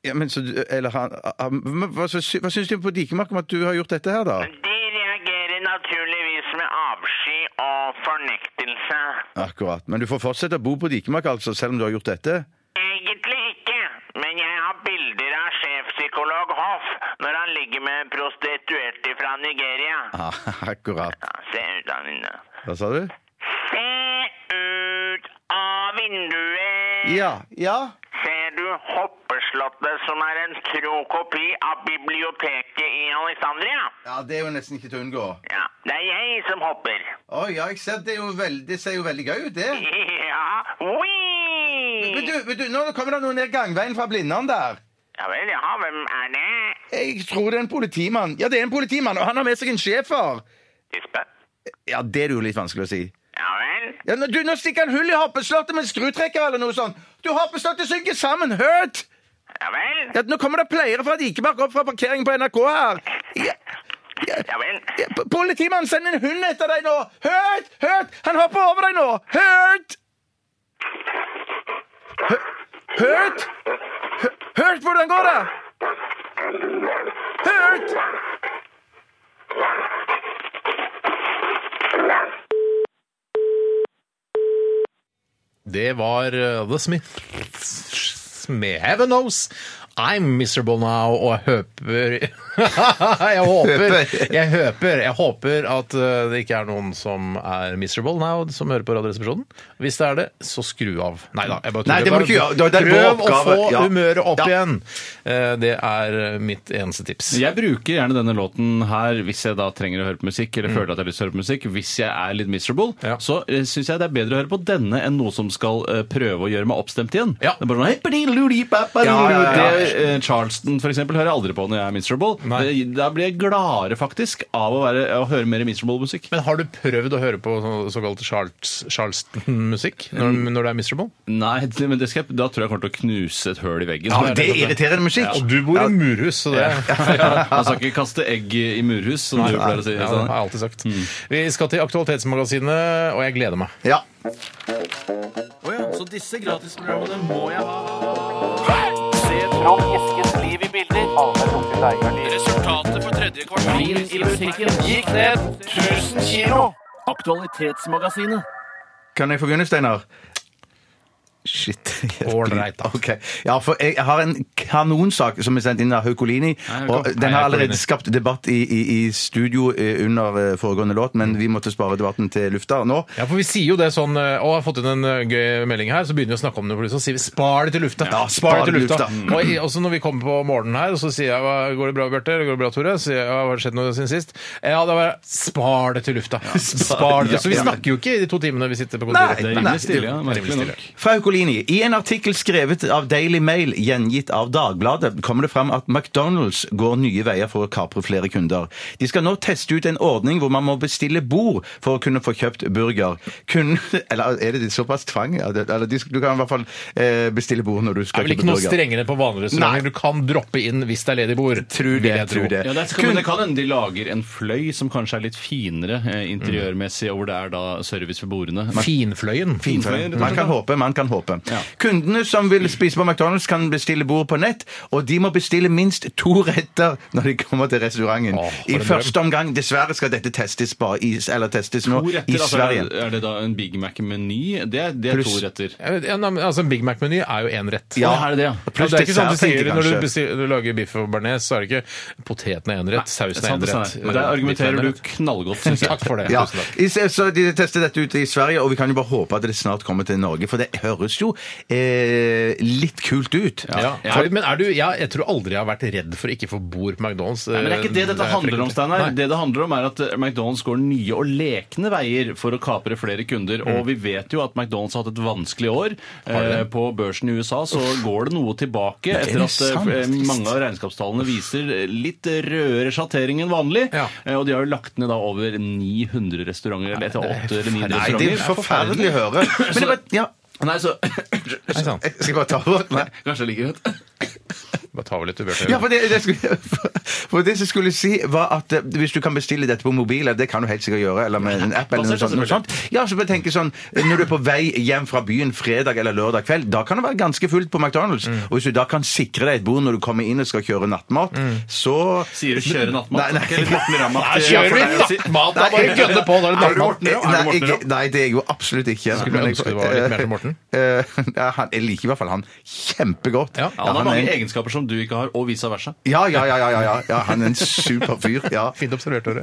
Speaker 5: Ja, men så, du- eller han, han men Hva, så sy- hva syns du på Dikemark om at du har gjort dette her, da?
Speaker 7: De reagerer naturligvis med avsky og fornektelse.
Speaker 5: Akkurat. Men du får fortsette å bo på Dikemark, altså, selv om du har gjort dette?
Speaker 7: Egentlig ikke, men jeg har bilder av sjefpsykolog Hoff når han ligger med prostituerte fra Nigeria.
Speaker 5: Ja, Ah, akkurat.
Speaker 7: Ja, se ut av vinduet.
Speaker 5: Hva sa du?
Speaker 7: Se ut av vinduet!
Speaker 5: Ja. Ja.
Speaker 7: Ser du Hoppeslottet, som er en tro kopi av biblioteket i Alexandria?
Speaker 5: Ja, Det er jo nesten ikke til å unngå.
Speaker 7: Ja, det er jeg som hopper.
Speaker 5: Å ja, jeg ser det, er jo veldig, det ser jo veldig gøy ut, det.
Speaker 7: Ja,
Speaker 5: Men
Speaker 7: Whee!
Speaker 5: du, men du, nå kommer det noen ned gangveien fra Blindern der.
Speaker 7: Ja vel, ja, hvem er det?
Speaker 5: Jeg tror det er en politimann. Ja, det er en politimann, og han har med seg en schæfer.
Speaker 7: Tispe.
Speaker 5: Ja, det er det jo litt vanskelig å si.
Speaker 7: Ja vel.
Speaker 5: Ja, nå- du, nå stikker han hull i hoppeslottet med en skrutrekker eller noe sånt. Du, hoppeslottet synker sammen, hørt!
Speaker 7: Ja vel.
Speaker 5: Ja, nå kommer det pleiere fra Dikemark opp fra parkeringen på NRK her. Ja, ja,
Speaker 7: Ja vel.
Speaker 5: ja, p- politimannen, send en hund etter deg nå! Hørt! Hørt! Han hopper over deg nå! Hørt! Hø- Hørt! Hø- Hørt hvordan går det? Hørt!
Speaker 4: Det var eh, The Smiths med Heaven Knows. I'm miserable now, og høper Jeg håper
Speaker 5: Høper.
Speaker 4: Jeg høper, jeg håper at eh, det ikke er noen som er miserable now, som hører på Radioresepsjonen. Hvis det er det, så skru av. Nei da, jeg bare
Speaker 5: Nei, det må du ikke gjøre. Det er- det er
Speaker 4: Prøv
Speaker 5: vår
Speaker 4: å få
Speaker 5: oppgave. Ja.
Speaker 4: humøret opp
Speaker 5: Ja.
Speaker 4: igjen. Eh, Det er eh, mitt eneste tips.
Speaker 6: Jeg bruker gjerne denne låten her hvis jeg da trenger å høre på musikk,
Speaker 5: Mm.
Speaker 6: eller føler at jeg har lyst til å høre på musikk. Hvis jeg er litt miserable,
Speaker 4: Ja.
Speaker 6: så syns jeg det er bedre å høre på denne enn noe som skal eh, prøve å gjøre meg oppstemt igjen.
Speaker 4: Ja.
Speaker 6: Det er bare sånn, «Hei, bidi, ludi, ba, ba,
Speaker 5: Ja, ja, ja, ja.
Speaker 6: Det, eh, Charleston for eksempel hører jeg aldri på når jeg er miserable.
Speaker 4: Nei.
Speaker 6: Det- Da blir jeg gladere faktisk av å, være, å høre mer miserable musikk.
Speaker 4: Men har du prøvd å høre på så- såkalt Charles, Charleston-musikk når,
Speaker 5: Mm.
Speaker 4: når du er miserable?
Speaker 6: Nei, det- men det skal jeg, da tror jeg jeg kommer til å knuse et høl i veggen. Sånn
Speaker 5: Ja, men det er irriterende musikk.
Speaker 4: Og du bor i murhus, så det
Speaker 6: Man skal ikke kaste egg i murhus, som du pleier å si.
Speaker 4: Ja, det
Speaker 6: Sånn.
Speaker 4: har jeg alltid sagt.
Speaker 5: Mm.
Speaker 4: Vi skal til Aktualitetsmagasinet, og jeg gleder meg.
Speaker 5: Ja.
Speaker 6: Så disse gratisprogrammene må jeg ha.
Speaker 9: Vin i butikken gikk ned 1000 kilo. Aktualitetsmagasinet.
Speaker 5: Kan jeg få begynne, Steinar? Shit.
Speaker 4: Ålreit, da.
Speaker 5: Ok. Ja, for jeg har en kanonsak som er sendt inn av Haukolini.
Speaker 6: Hei,
Speaker 5: Og
Speaker 6: Hauko.
Speaker 5: den
Speaker 4: Hei,
Speaker 5: har
Speaker 4: Haukolini.
Speaker 5: allerede skapt debatt i, i, i studio eh, under eh, foregående låt, men vi måtte spare debatten til lufta nå.
Speaker 4: Ja, for vi sier jo det sånn Å, jeg har fått inn en eh, gøy melding her, så begynner vi å snakke om det, og så sier vi 'spar det til lufta'.
Speaker 5: Ja, spar det til lufta. Mm.
Speaker 4: Og i- også når vi kommer på morgenen her, og så sier jeg «Hva- 'Går det bra, Bjarte?' eller 'Går det bra, Tore?' Så sier jeg «Ja, 'Hva har skjedd noe siden sist?' Ja, det var 'spar det til lufta'. Spar det. Så vi
Speaker 5: Ja, men-
Speaker 4: snakker jo ikke i de to timene vi sitter på kontoret.
Speaker 5: Nei,
Speaker 6: Det er
Speaker 5: nei,
Speaker 6: rimelig stille, ja. Merkelig
Speaker 4: rimelig
Speaker 6: nok.
Speaker 5: Fra Haukolini. I en artikkel skrevet av Daily Mail, gjengitt av Dagbladet, kommer det fram at McDonald's går nye veier for å kapre flere kunder. De skal nå teste ut en ordning hvor man må bestille bord for å kunne få kjøpt burger. Kun, eller er det såpass tvang? Ja, det- Eller, de skal- du kan i hvert fall eh, bestille bord når du
Speaker 4: Det er
Speaker 5: skal
Speaker 4: vel
Speaker 5: kjøpe
Speaker 4: ikke noe
Speaker 5: burger.
Speaker 4: strengere på vanlige restauranter. Du kan droppe inn hvis det er ledig bord. Tror
Speaker 5: det, tror det.
Speaker 6: Ja, det, er, men det kan hende de lager en fløy som kanskje er litt finere eh, interiørmessig, og hvor det er da service for bordene.
Speaker 4: Finfløyen.
Speaker 6: Finfløyen, rett og
Speaker 5: Man kan håpe, man kan håpe. Kundene som vil spise på McDonald's, kan bestille bord på nett, og de må bestille minst to retter når de kommer til restauranten.
Speaker 4: Åh, for
Speaker 5: I
Speaker 4: en
Speaker 5: første omgang, dessverre skal dette testes, bare i, eller testes nå
Speaker 6: To retter,
Speaker 5: i
Speaker 6: altså,
Speaker 5: Sverige.
Speaker 6: er, er det da en Big Mac-meny? Det, er- det er
Speaker 5: Pluss-
Speaker 6: to retter.
Speaker 4: Ja, men, altså, en Big Mac-meny er jo én rett.
Speaker 5: Ja.
Speaker 6: Å, er det det, ja?
Speaker 5: Og
Speaker 4: Ja,
Speaker 5: Pluss
Speaker 4: det er ikke sånn du
Speaker 5: dessert, tenker
Speaker 4: sier
Speaker 5: jeg
Speaker 4: når du,
Speaker 5: kanskje.
Speaker 4: bestiller, du lager biff og bearnés, så er det ikke poteten er én rett, sausen er
Speaker 6: Sant,
Speaker 4: én
Speaker 6: sant,
Speaker 4: rett.
Speaker 6: sant. Der argumenterer du knallgodt, synes jeg.
Speaker 4: Takk for det.
Speaker 5: Ja.
Speaker 4: Tusen takk.
Speaker 5: I se- Så de tester dette ut i Sverige, og vi kan jo bare håpe at det snart kommer til Norge, for det høres jo eh, litt kult ut.
Speaker 4: Ja. Er du, men er du, ja, jeg tror aldri jeg har vært redd for å ikke få bord på McDonald's. eh,
Speaker 6: Nei, men det er ikke
Speaker 5: Eh,
Speaker 6: det dette handler om, Steinar. Det det handler om er at eh, McDonald's går nye og lekne veier for å kapre flere kunder.
Speaker 5: Mm.
Speaker 6: Og vi vet jo at McDonald's har hatt et vanskelig år. Eh, på børsen i USA så går det noe tilbake
Speaker 5: er
Speaker 6: etter at
Speaker 5: sant.
Speaker 6: eh, mange av regnskapstallene viser eh, litt rødere sjattering enn vanlig.
Speaker 4: Ja.
Speaker 6: Eh, og de har jo lagt ned da over 900 restauranter. Eller etter 8 eller 9
Speaker 5: Nei, det er
Speaker 6: restauranter.
Speaker 5: forferdelig å høre. Men det var, ja,
Speaker 6: Nei, så
Speaker 4: Nei, sant.
Speaker 5: jeg skal bare ta over. Nei.
Speaker 6: Kanskje jeg liker det.
Speaker 4: Bare ta vel litt til Bjarte.
Speaker 5: Ja, for det, det skulle, for det som jeg skulle si, var at eh, hvis du kan bestille dette på mobil, det kan du helt sikkert gjøre, eller med en app eller noe
Speaker 4: Appbasert,
Speaker 5: sånt, noe sånt. Ja, så bare tenke sånn eh, Når du er på vei hjem fra byen fredag eller lørdag kveld, da kan det være ganske fullt på McDonald's.
Speaker 4: Mm.
Speaker 5: Og hvis du da kan sikre deg et bord når du kommer inn og skal kjøre nattmat, så
Speaker 6: Sier du 'kjøre
Speaker 5: Nei,
Speaker 6: nattmat'?
Speaker 5: nei.
Speaker 6: Ikke litt Morten Ramm at-
Speaker 4: Mm. Nei, kjører vi nattmat? Da bare gønne på. Da er det
Speaker 5: Er du
Speaker 4: nattmat.
Speaker 5: Morten,
Speaker 4: Er du
Speaker 5: Nei,
Speaker 4: Morten,
Speaker 5: jeg, nei, det er jeg jo absolutt ikke.
Speaker 4: Skulle du ønske du var litt mer til Morten?
Speaker 5: Eh, ja, han, jeg liker i hvert fall han kjempegodt.
Speaker 4: Ja,
Speaker 6: Han har
Speaker 5: er-
Speaker 6: mange egenskaper som du ikke har, og vice versa.
Speaker 5: Ja, ja, ja, ja, ja, ja. Han er en super fyr. Ja.
Speaker 4: Fint observert, Tore.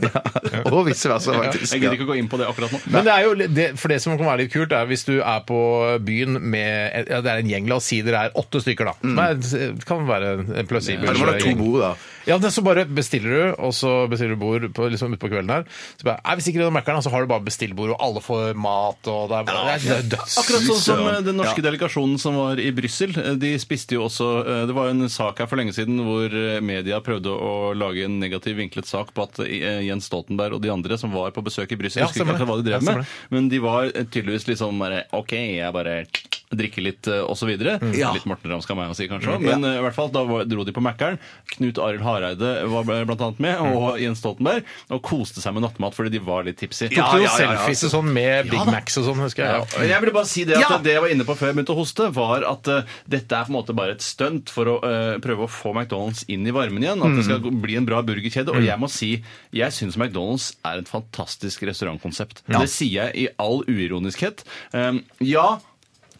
Speaker 5: Og vice versa, faktisk.
Speaker 6: Jeg gidder ikke å gå inn på det akkurat nå.
Speaker 4: Men det er jo, litt- det, for det som kan være litt kult, er hvis du er på byen med ja, Det er en gjeng, la oss si dere er åtte stykker, da.
Speaker 6: Mm.
Speaker 4: Nei, det kan være en plausibel
Speaker 5: Eller må du ha to
Speaker 4: gjeng.
Speaker 5: bord, da?
Speaker 4: Ja, men så bare bestiller du, og så bestiller du bord på, liksom utpå kvelden her. Så bare, er vi sikre på Mækkern, og så har du bare bestillbord, og alle får mat, og det er, det er, det er døds...
Speaker 6: Akkurat sånn som eh, den norske delegasjonen som var i Brussel. eh, De spiste jo også eh, Det var jo en sak her for lenge siden hvor eh, media prøvde å lage en negativ vinklet sak på at eh, Jens Stoltenberg og de andre som var på besøk i Brussel,
Speaker 4: Ja,
Speaker 6: jeg husker
Speaker 4: stemmer
Speaker 6: ikke
Speaker 4: det.
Speaker 6: akkurat hva
Speaker 4: Ja,
Speaker 6: de drev
Speaker 4: stemmer
Speaker 6: med, men de var eh, tydeligvis litt sånn bare OK, jeg bare drikker litt eh, og så videre.
Speaker 4: Mm.
Speaker 6: Litt Morten Ramm skal meg å si, kanskje. Men eh, i hvert fall, da var- dro de på Mækkern. Knut Arild Hareide var blant annet med,
Speaker 4: Mm.
Speaker 6: og Jens Stoltenberg, og koste seg med nattmat fordi de var litt tipsy.
Speaker 4: Tok du jo
Speaker 6: ja, ja.
Speaker 4: selfies og sånn med Big Macs og sånn, husker jeg.
Speaker 6: Ja, jeg ville bare si det at det jeg var inne på før jeg begynte å hoste, var at eh, dette er på en måte bare et stunt for å eh, prøve å få McDonald's inn i varmen igjen. At det skal gå- bli en bra burgerkjede. Og jeg må si jeg syns McDonald's er et fantastisk restaurantkonsept. Det sier jeg i all uironiskhet. Um, ja,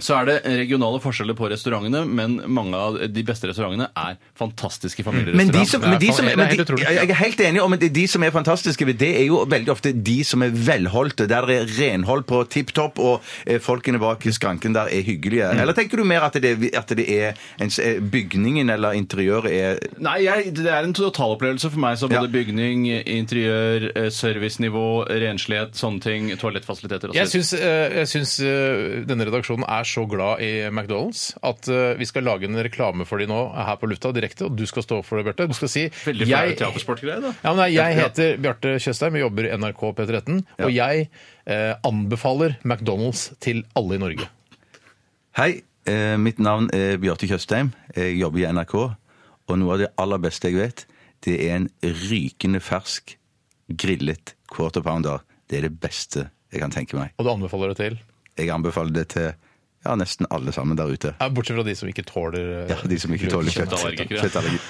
Speaker 6: så er det regionale forskjeller på restaurantene, men mange av de beste restaurantene er fantastiske
Speaker 5: Men de
Speaker 6: familierestauranter.
Speaker 5: som, men de som
Speaker 4: Det er
Speaker 5: men
Speaker 4: helt
Speaker 5: de,
Speaker 4: utrolig.
Speaker 5: Jeg er helt enig om at de som er fantastiske, ved det er jo veldig ofte de som er velholdte. Der er renhold på tipp topp, og eh, folkene bak skranken der er hyggelige. Eller tenker du mer at det, at det er en, s- eh, bygningen eller interiøret er
Speaker 6: Nei, jeg, det er en totalopplevelse for meg. Så både
Speaker 5: Ja.
Speaker 6: bygning, interiør, eh, servicenivå, renslighet, sånne ting, toalettfasiliteter og så
Speaker 4: Jeg
Speaker 6: videre.
Speaker 4: syns, eh, jeg syns eh, denne redaksjonen er så glad i McDonald's at eh, vi skal lage en reklame for de nå her på lufta direkte, og du skal stå for det, Bjarte. Du skal si
Speaker 6: Veldig flau
Speaker 4: jeg,
Speaker 6: teatersportgreie, da.
Speaker 4: ja, men nei, jeg heter Bjarte Tjøstheim, jeg jobber i NRK P13, og jeg eh, anbefaler McDonald's til alle i Norge.
Speaker 5: Hei, eh, mitt navn er Bjarte Tjøstheim. Jeg jobber i NRK. Og noe av det aller beste jeg vet, det er en rykende fersk grillet quarter pounder. Det er det beste jeg kan tenke meg.
Speaker 4: Og du anbefaler det til?
Speaker 5: Jeg anbefaler det til ja, nesten alle sammen der ute.
Speaker 4: Ja, bortsett fra de som ikke tåler eh,
Speaker 5: Ja, de som ikke tåler kjøtt.
Speaker 6: Kjøttallergikere.
Speaker 5: Kjøttallergi.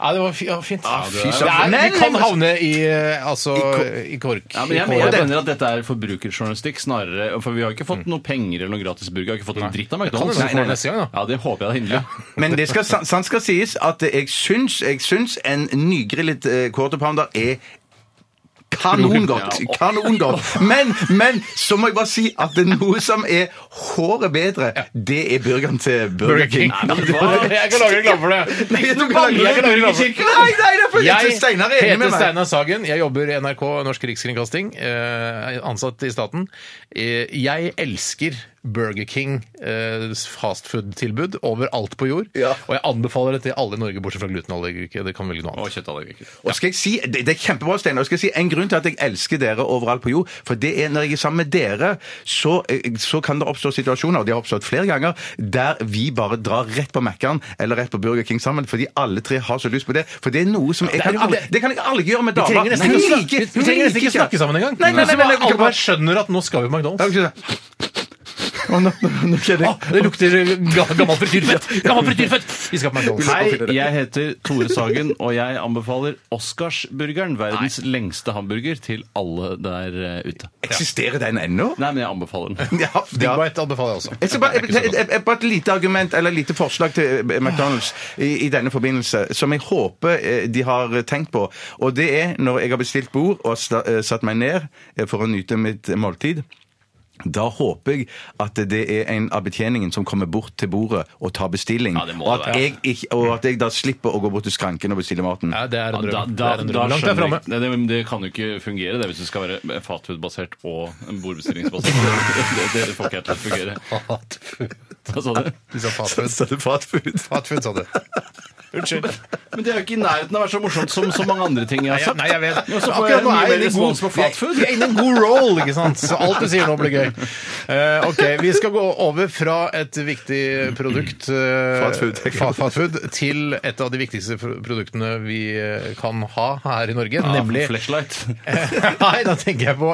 Speaker 4: Ja, det var fi- ja, fint.
Speaker 5: fy
Speaker 4: det er,
Speaker 5: søren.
Speaker 4: vi kan havne i eh, altså
Speaker 5: I
Speaker 4: i kork.
Speaker 6: Ja, men jeg,
Speaker 4: i
Speaker 6: jeg
Speaker 4: kål.
Speaker 6: mener at dette er forbrukerjournalistikk snarere. For vi har jo ikke
Speaker 4: Mm.
Speaker 6: fått noe penger eller noe gratis burger. Vi har ikke fått en dritt av
Speaker 4: Kan
Speaker 6: McDonald's.
Speaker 4: du få det neste gang, da?
Speaker 6: Ja, det håper jeg da inderlig.
Speaker 5: Men det skal, sant sant skal sies at jeg syns, jeg syns en nygrillet eh, quarter pounder er Kanongodt!
Speaker 6: Ja.
Speaker 5: kanongodt. Men, men så må jeg bare si at det er noe som er håret bedre, det er burgeren til Burger King.
Speaker 4: Nei, men hva? Jeg kan lage reklame for det.
Speaker 5: Nei, jeg tror ikke
Speaker 4: Jeg kan lage reklame for det.
Speaker 5: Nei, nei, det er fordi
Speaker 4: Jeg
Speaker 5: altså. Steinar er enig
Speaker 4: heter
Speaker 5: med meg.
Speaker 4: Steinar Sagen. Jeg jobber i NRK, Norsk Rikskringkasting, eh, ansatt i staten. Eh, Jeg elsker Burger King eh, fastfood-tilbud overalt på jord.
Speaker 5: Ja.
Speaker 4: Og jeg anbefaler det til alle i Norge, bortsett fra glutenallergikere. Det kan velge noe
Speaker 6: Og
Speaker 4: annet.
Speaker 6: kjøttallergiker.
Speaker 5: Og skal jeg si, det, det er kjempebra, Steinar. og Skal jeg si en grunn til at jeg elsker dere overalt på jord? For det er når jeg er sammen med dere, så, eh, så kan det oppstå situasjoner, og de har oppstått flere ganger, der vi bare drar rett på Mækkern eller rett på Burger King sammen, fordi alle tre har så lyst på det. For det er noe som jeg
Speaker 4: Det er
Speaker 5: kan
Speaker 4: jo-
Speaker 5: aldri, Det kan jeg aldri gjøre med
Speaker 4: Vi
Speaker 5: damer.
Speaker 4: trenger nesten
Speaker 5: Nei,
Speaker 4: ikke,
Speaker 5: vi liker-
Speaker 4: vi trenger nesten ikke
Speaker 5: vi liker
Speaker 4: snakke sammen engang.
Speaker 5: Nei, nei, nei, nei, nei,
Speaker 4: alle
Speaker 5: nei,
Speaker 4: bare skjønner at nå skal vi på McDonald's.
Speaker 5: Å, nå- nå- nå kjenner jeg-
Speaker 4: Ah, det lukter ga- gammel frityrfett! Gammel frityrfett! Vi skal på McDonald's.
Speaker 6: Hei, jeg heter Tore Sagen, og jeg anbefaler Oscarsburgeren, verdens lengste hamburger, til alle der eh, ute.
Speaker 5: Eksisterer den ennå?
Speaker 6: Nei, men jeg anbefaler den.
Speaker 5: Ja,
Speaker 4: Big
Speaker 5: ja.
Speaker 4: Bite anbefaler jeg også.
Speaker 5: Jeg skal bare, jeg, jeg, jeg, jeg, bare et lite argument, eller et lite forslag til eh, McDonald's i, i denne forbindelse, som jeg håper eh, de har tenkt på. Og det er når jeg har bestilt bord og sta- eh, satt meg ned eh, for å nyte mitt måltid. Da håper jeg at det er en av betjeningen som kommer bort til bordet og tar bestilling.
Speaker 6: Ja, det må
Speaker 5: og,
Speaker 6: det
Speaker 5: at
Speaker 6: være.
Speaker 5: jeg, ikke, og at jeg da slipper å gå bort til skranken og bestille maten.
Speaker 4: Ja, det er en
Speaker 6: Da,
Speaker 4: drøm. det
Speaker 6: da,
Speaker 4: er en
Speaker 6: da
Speaker 4: drøm. Langt der
Speaker 6: skjønner
Speaker 4: framme.
Speaker 6: jeg ikke. Nei, Det, men det kan jo ikke fungere det hvis det skal være fatfood-basert og bordbestillingsbasert. Det, det, det får ikke jeg til å fungere.
Speaker 4: Fatfood.
Speaker 6: Hva sa du?
Speaker 4: Du sa fatfood.
Speaker 5: Så er det fatfood.
Speaker 4: Fatfood, sa du. Unnskyld.
Speaker 6: Men det er jo ikke i nærheten av å være så morsomt som så mange andre ting jeg har
Speaker 4: Nei, jeg-
Speaker 6: sagt.
Speaker 4: nei, jeg vet.
Speaker 6: Men så får
Speaker 4: Akkurat
Speaker 6: jeg
Speaker 4: nå
Speaker 6: mye
Speaker 4: er jeg
Speaker 6: mer
Speaker 4: inne i
Speaker 6: respons på
Speaker 4: god-
Speaker 6: fatfood.
Speaker 4: Jeg er inne i en god roll, ikke sant? Så alt du sier nå blir gøy. Eh, ok, Vi skal gå over fra et viktig produkt eh,
Speaker 5: Fast food.
Speaker 4: fa- fast food, til et av de viktigste pro- produktene vi eh, kan ha her i Norge, nemlig
Speaker 6: Flashlight.
Speaker 4: Nei, da tenker jeg på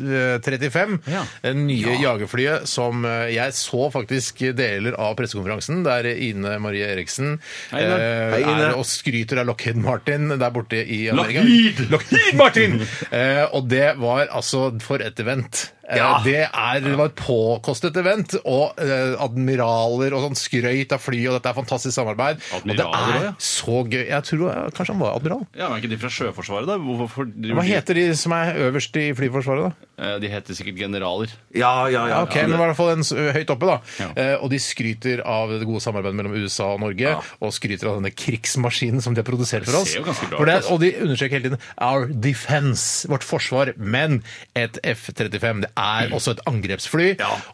Speaker 4: F-35.
Speaker 6: Ja.
Speaker 4: Det nye jagerflyet som eh, jeg så faktisk deler av pressekonferansen. Der Ine Marie Eriksen
Speaker 6: Hei, Ine.
Speaker 4: eh,
Speaker 5: Hei, Ine.
Speaker 4: er og skryter av Lockheed Martin der borte i Amerika.
Speaker 6: Lockheed!
Speaker 4: Lockheed Martin! Eh, og det var altså for et event. Eh, Det, er, det var et påkostet event, og eh, admiraler og sånn skrøyt av flyet, og dette er fantastisk samarbeid. og
Speaker 6: Admiraler,
Speaker 4: det er
Speaker 6: ja.
Speaker 4: så gøy. Jeg tror eh, kanskje han var admiral.
Speaker 6: Ja, men Er ikke de fra Sjøforsvaret, da? Hvorfor driver
Speaker 4: Hva heter de som er øverst i Flyforsvaret, da?
Speaker 6: de Eh, De heter sikkert generaler.
Speaker 5: Ja, ja, ja.
Speaker 4: Ok, men i hvert fall en s- høyt oppe da.
Speaker 6: Ja.
Speaker 4: Eh, og de skryter av det gode samarbeidet mellom USA og Norge, og skryter av denne krigsmaskinen som de har produsert for
Speaker 6: Det
Speaker 4: oss.
Speaker 6: ser jo ganske bra
Speaker 4: For det,
Speaker 6: ut, altså.
Speaker 4: og de understreker hele tiden our defense, vårt forsvar, men et F-35. Det er også et angrepsfly,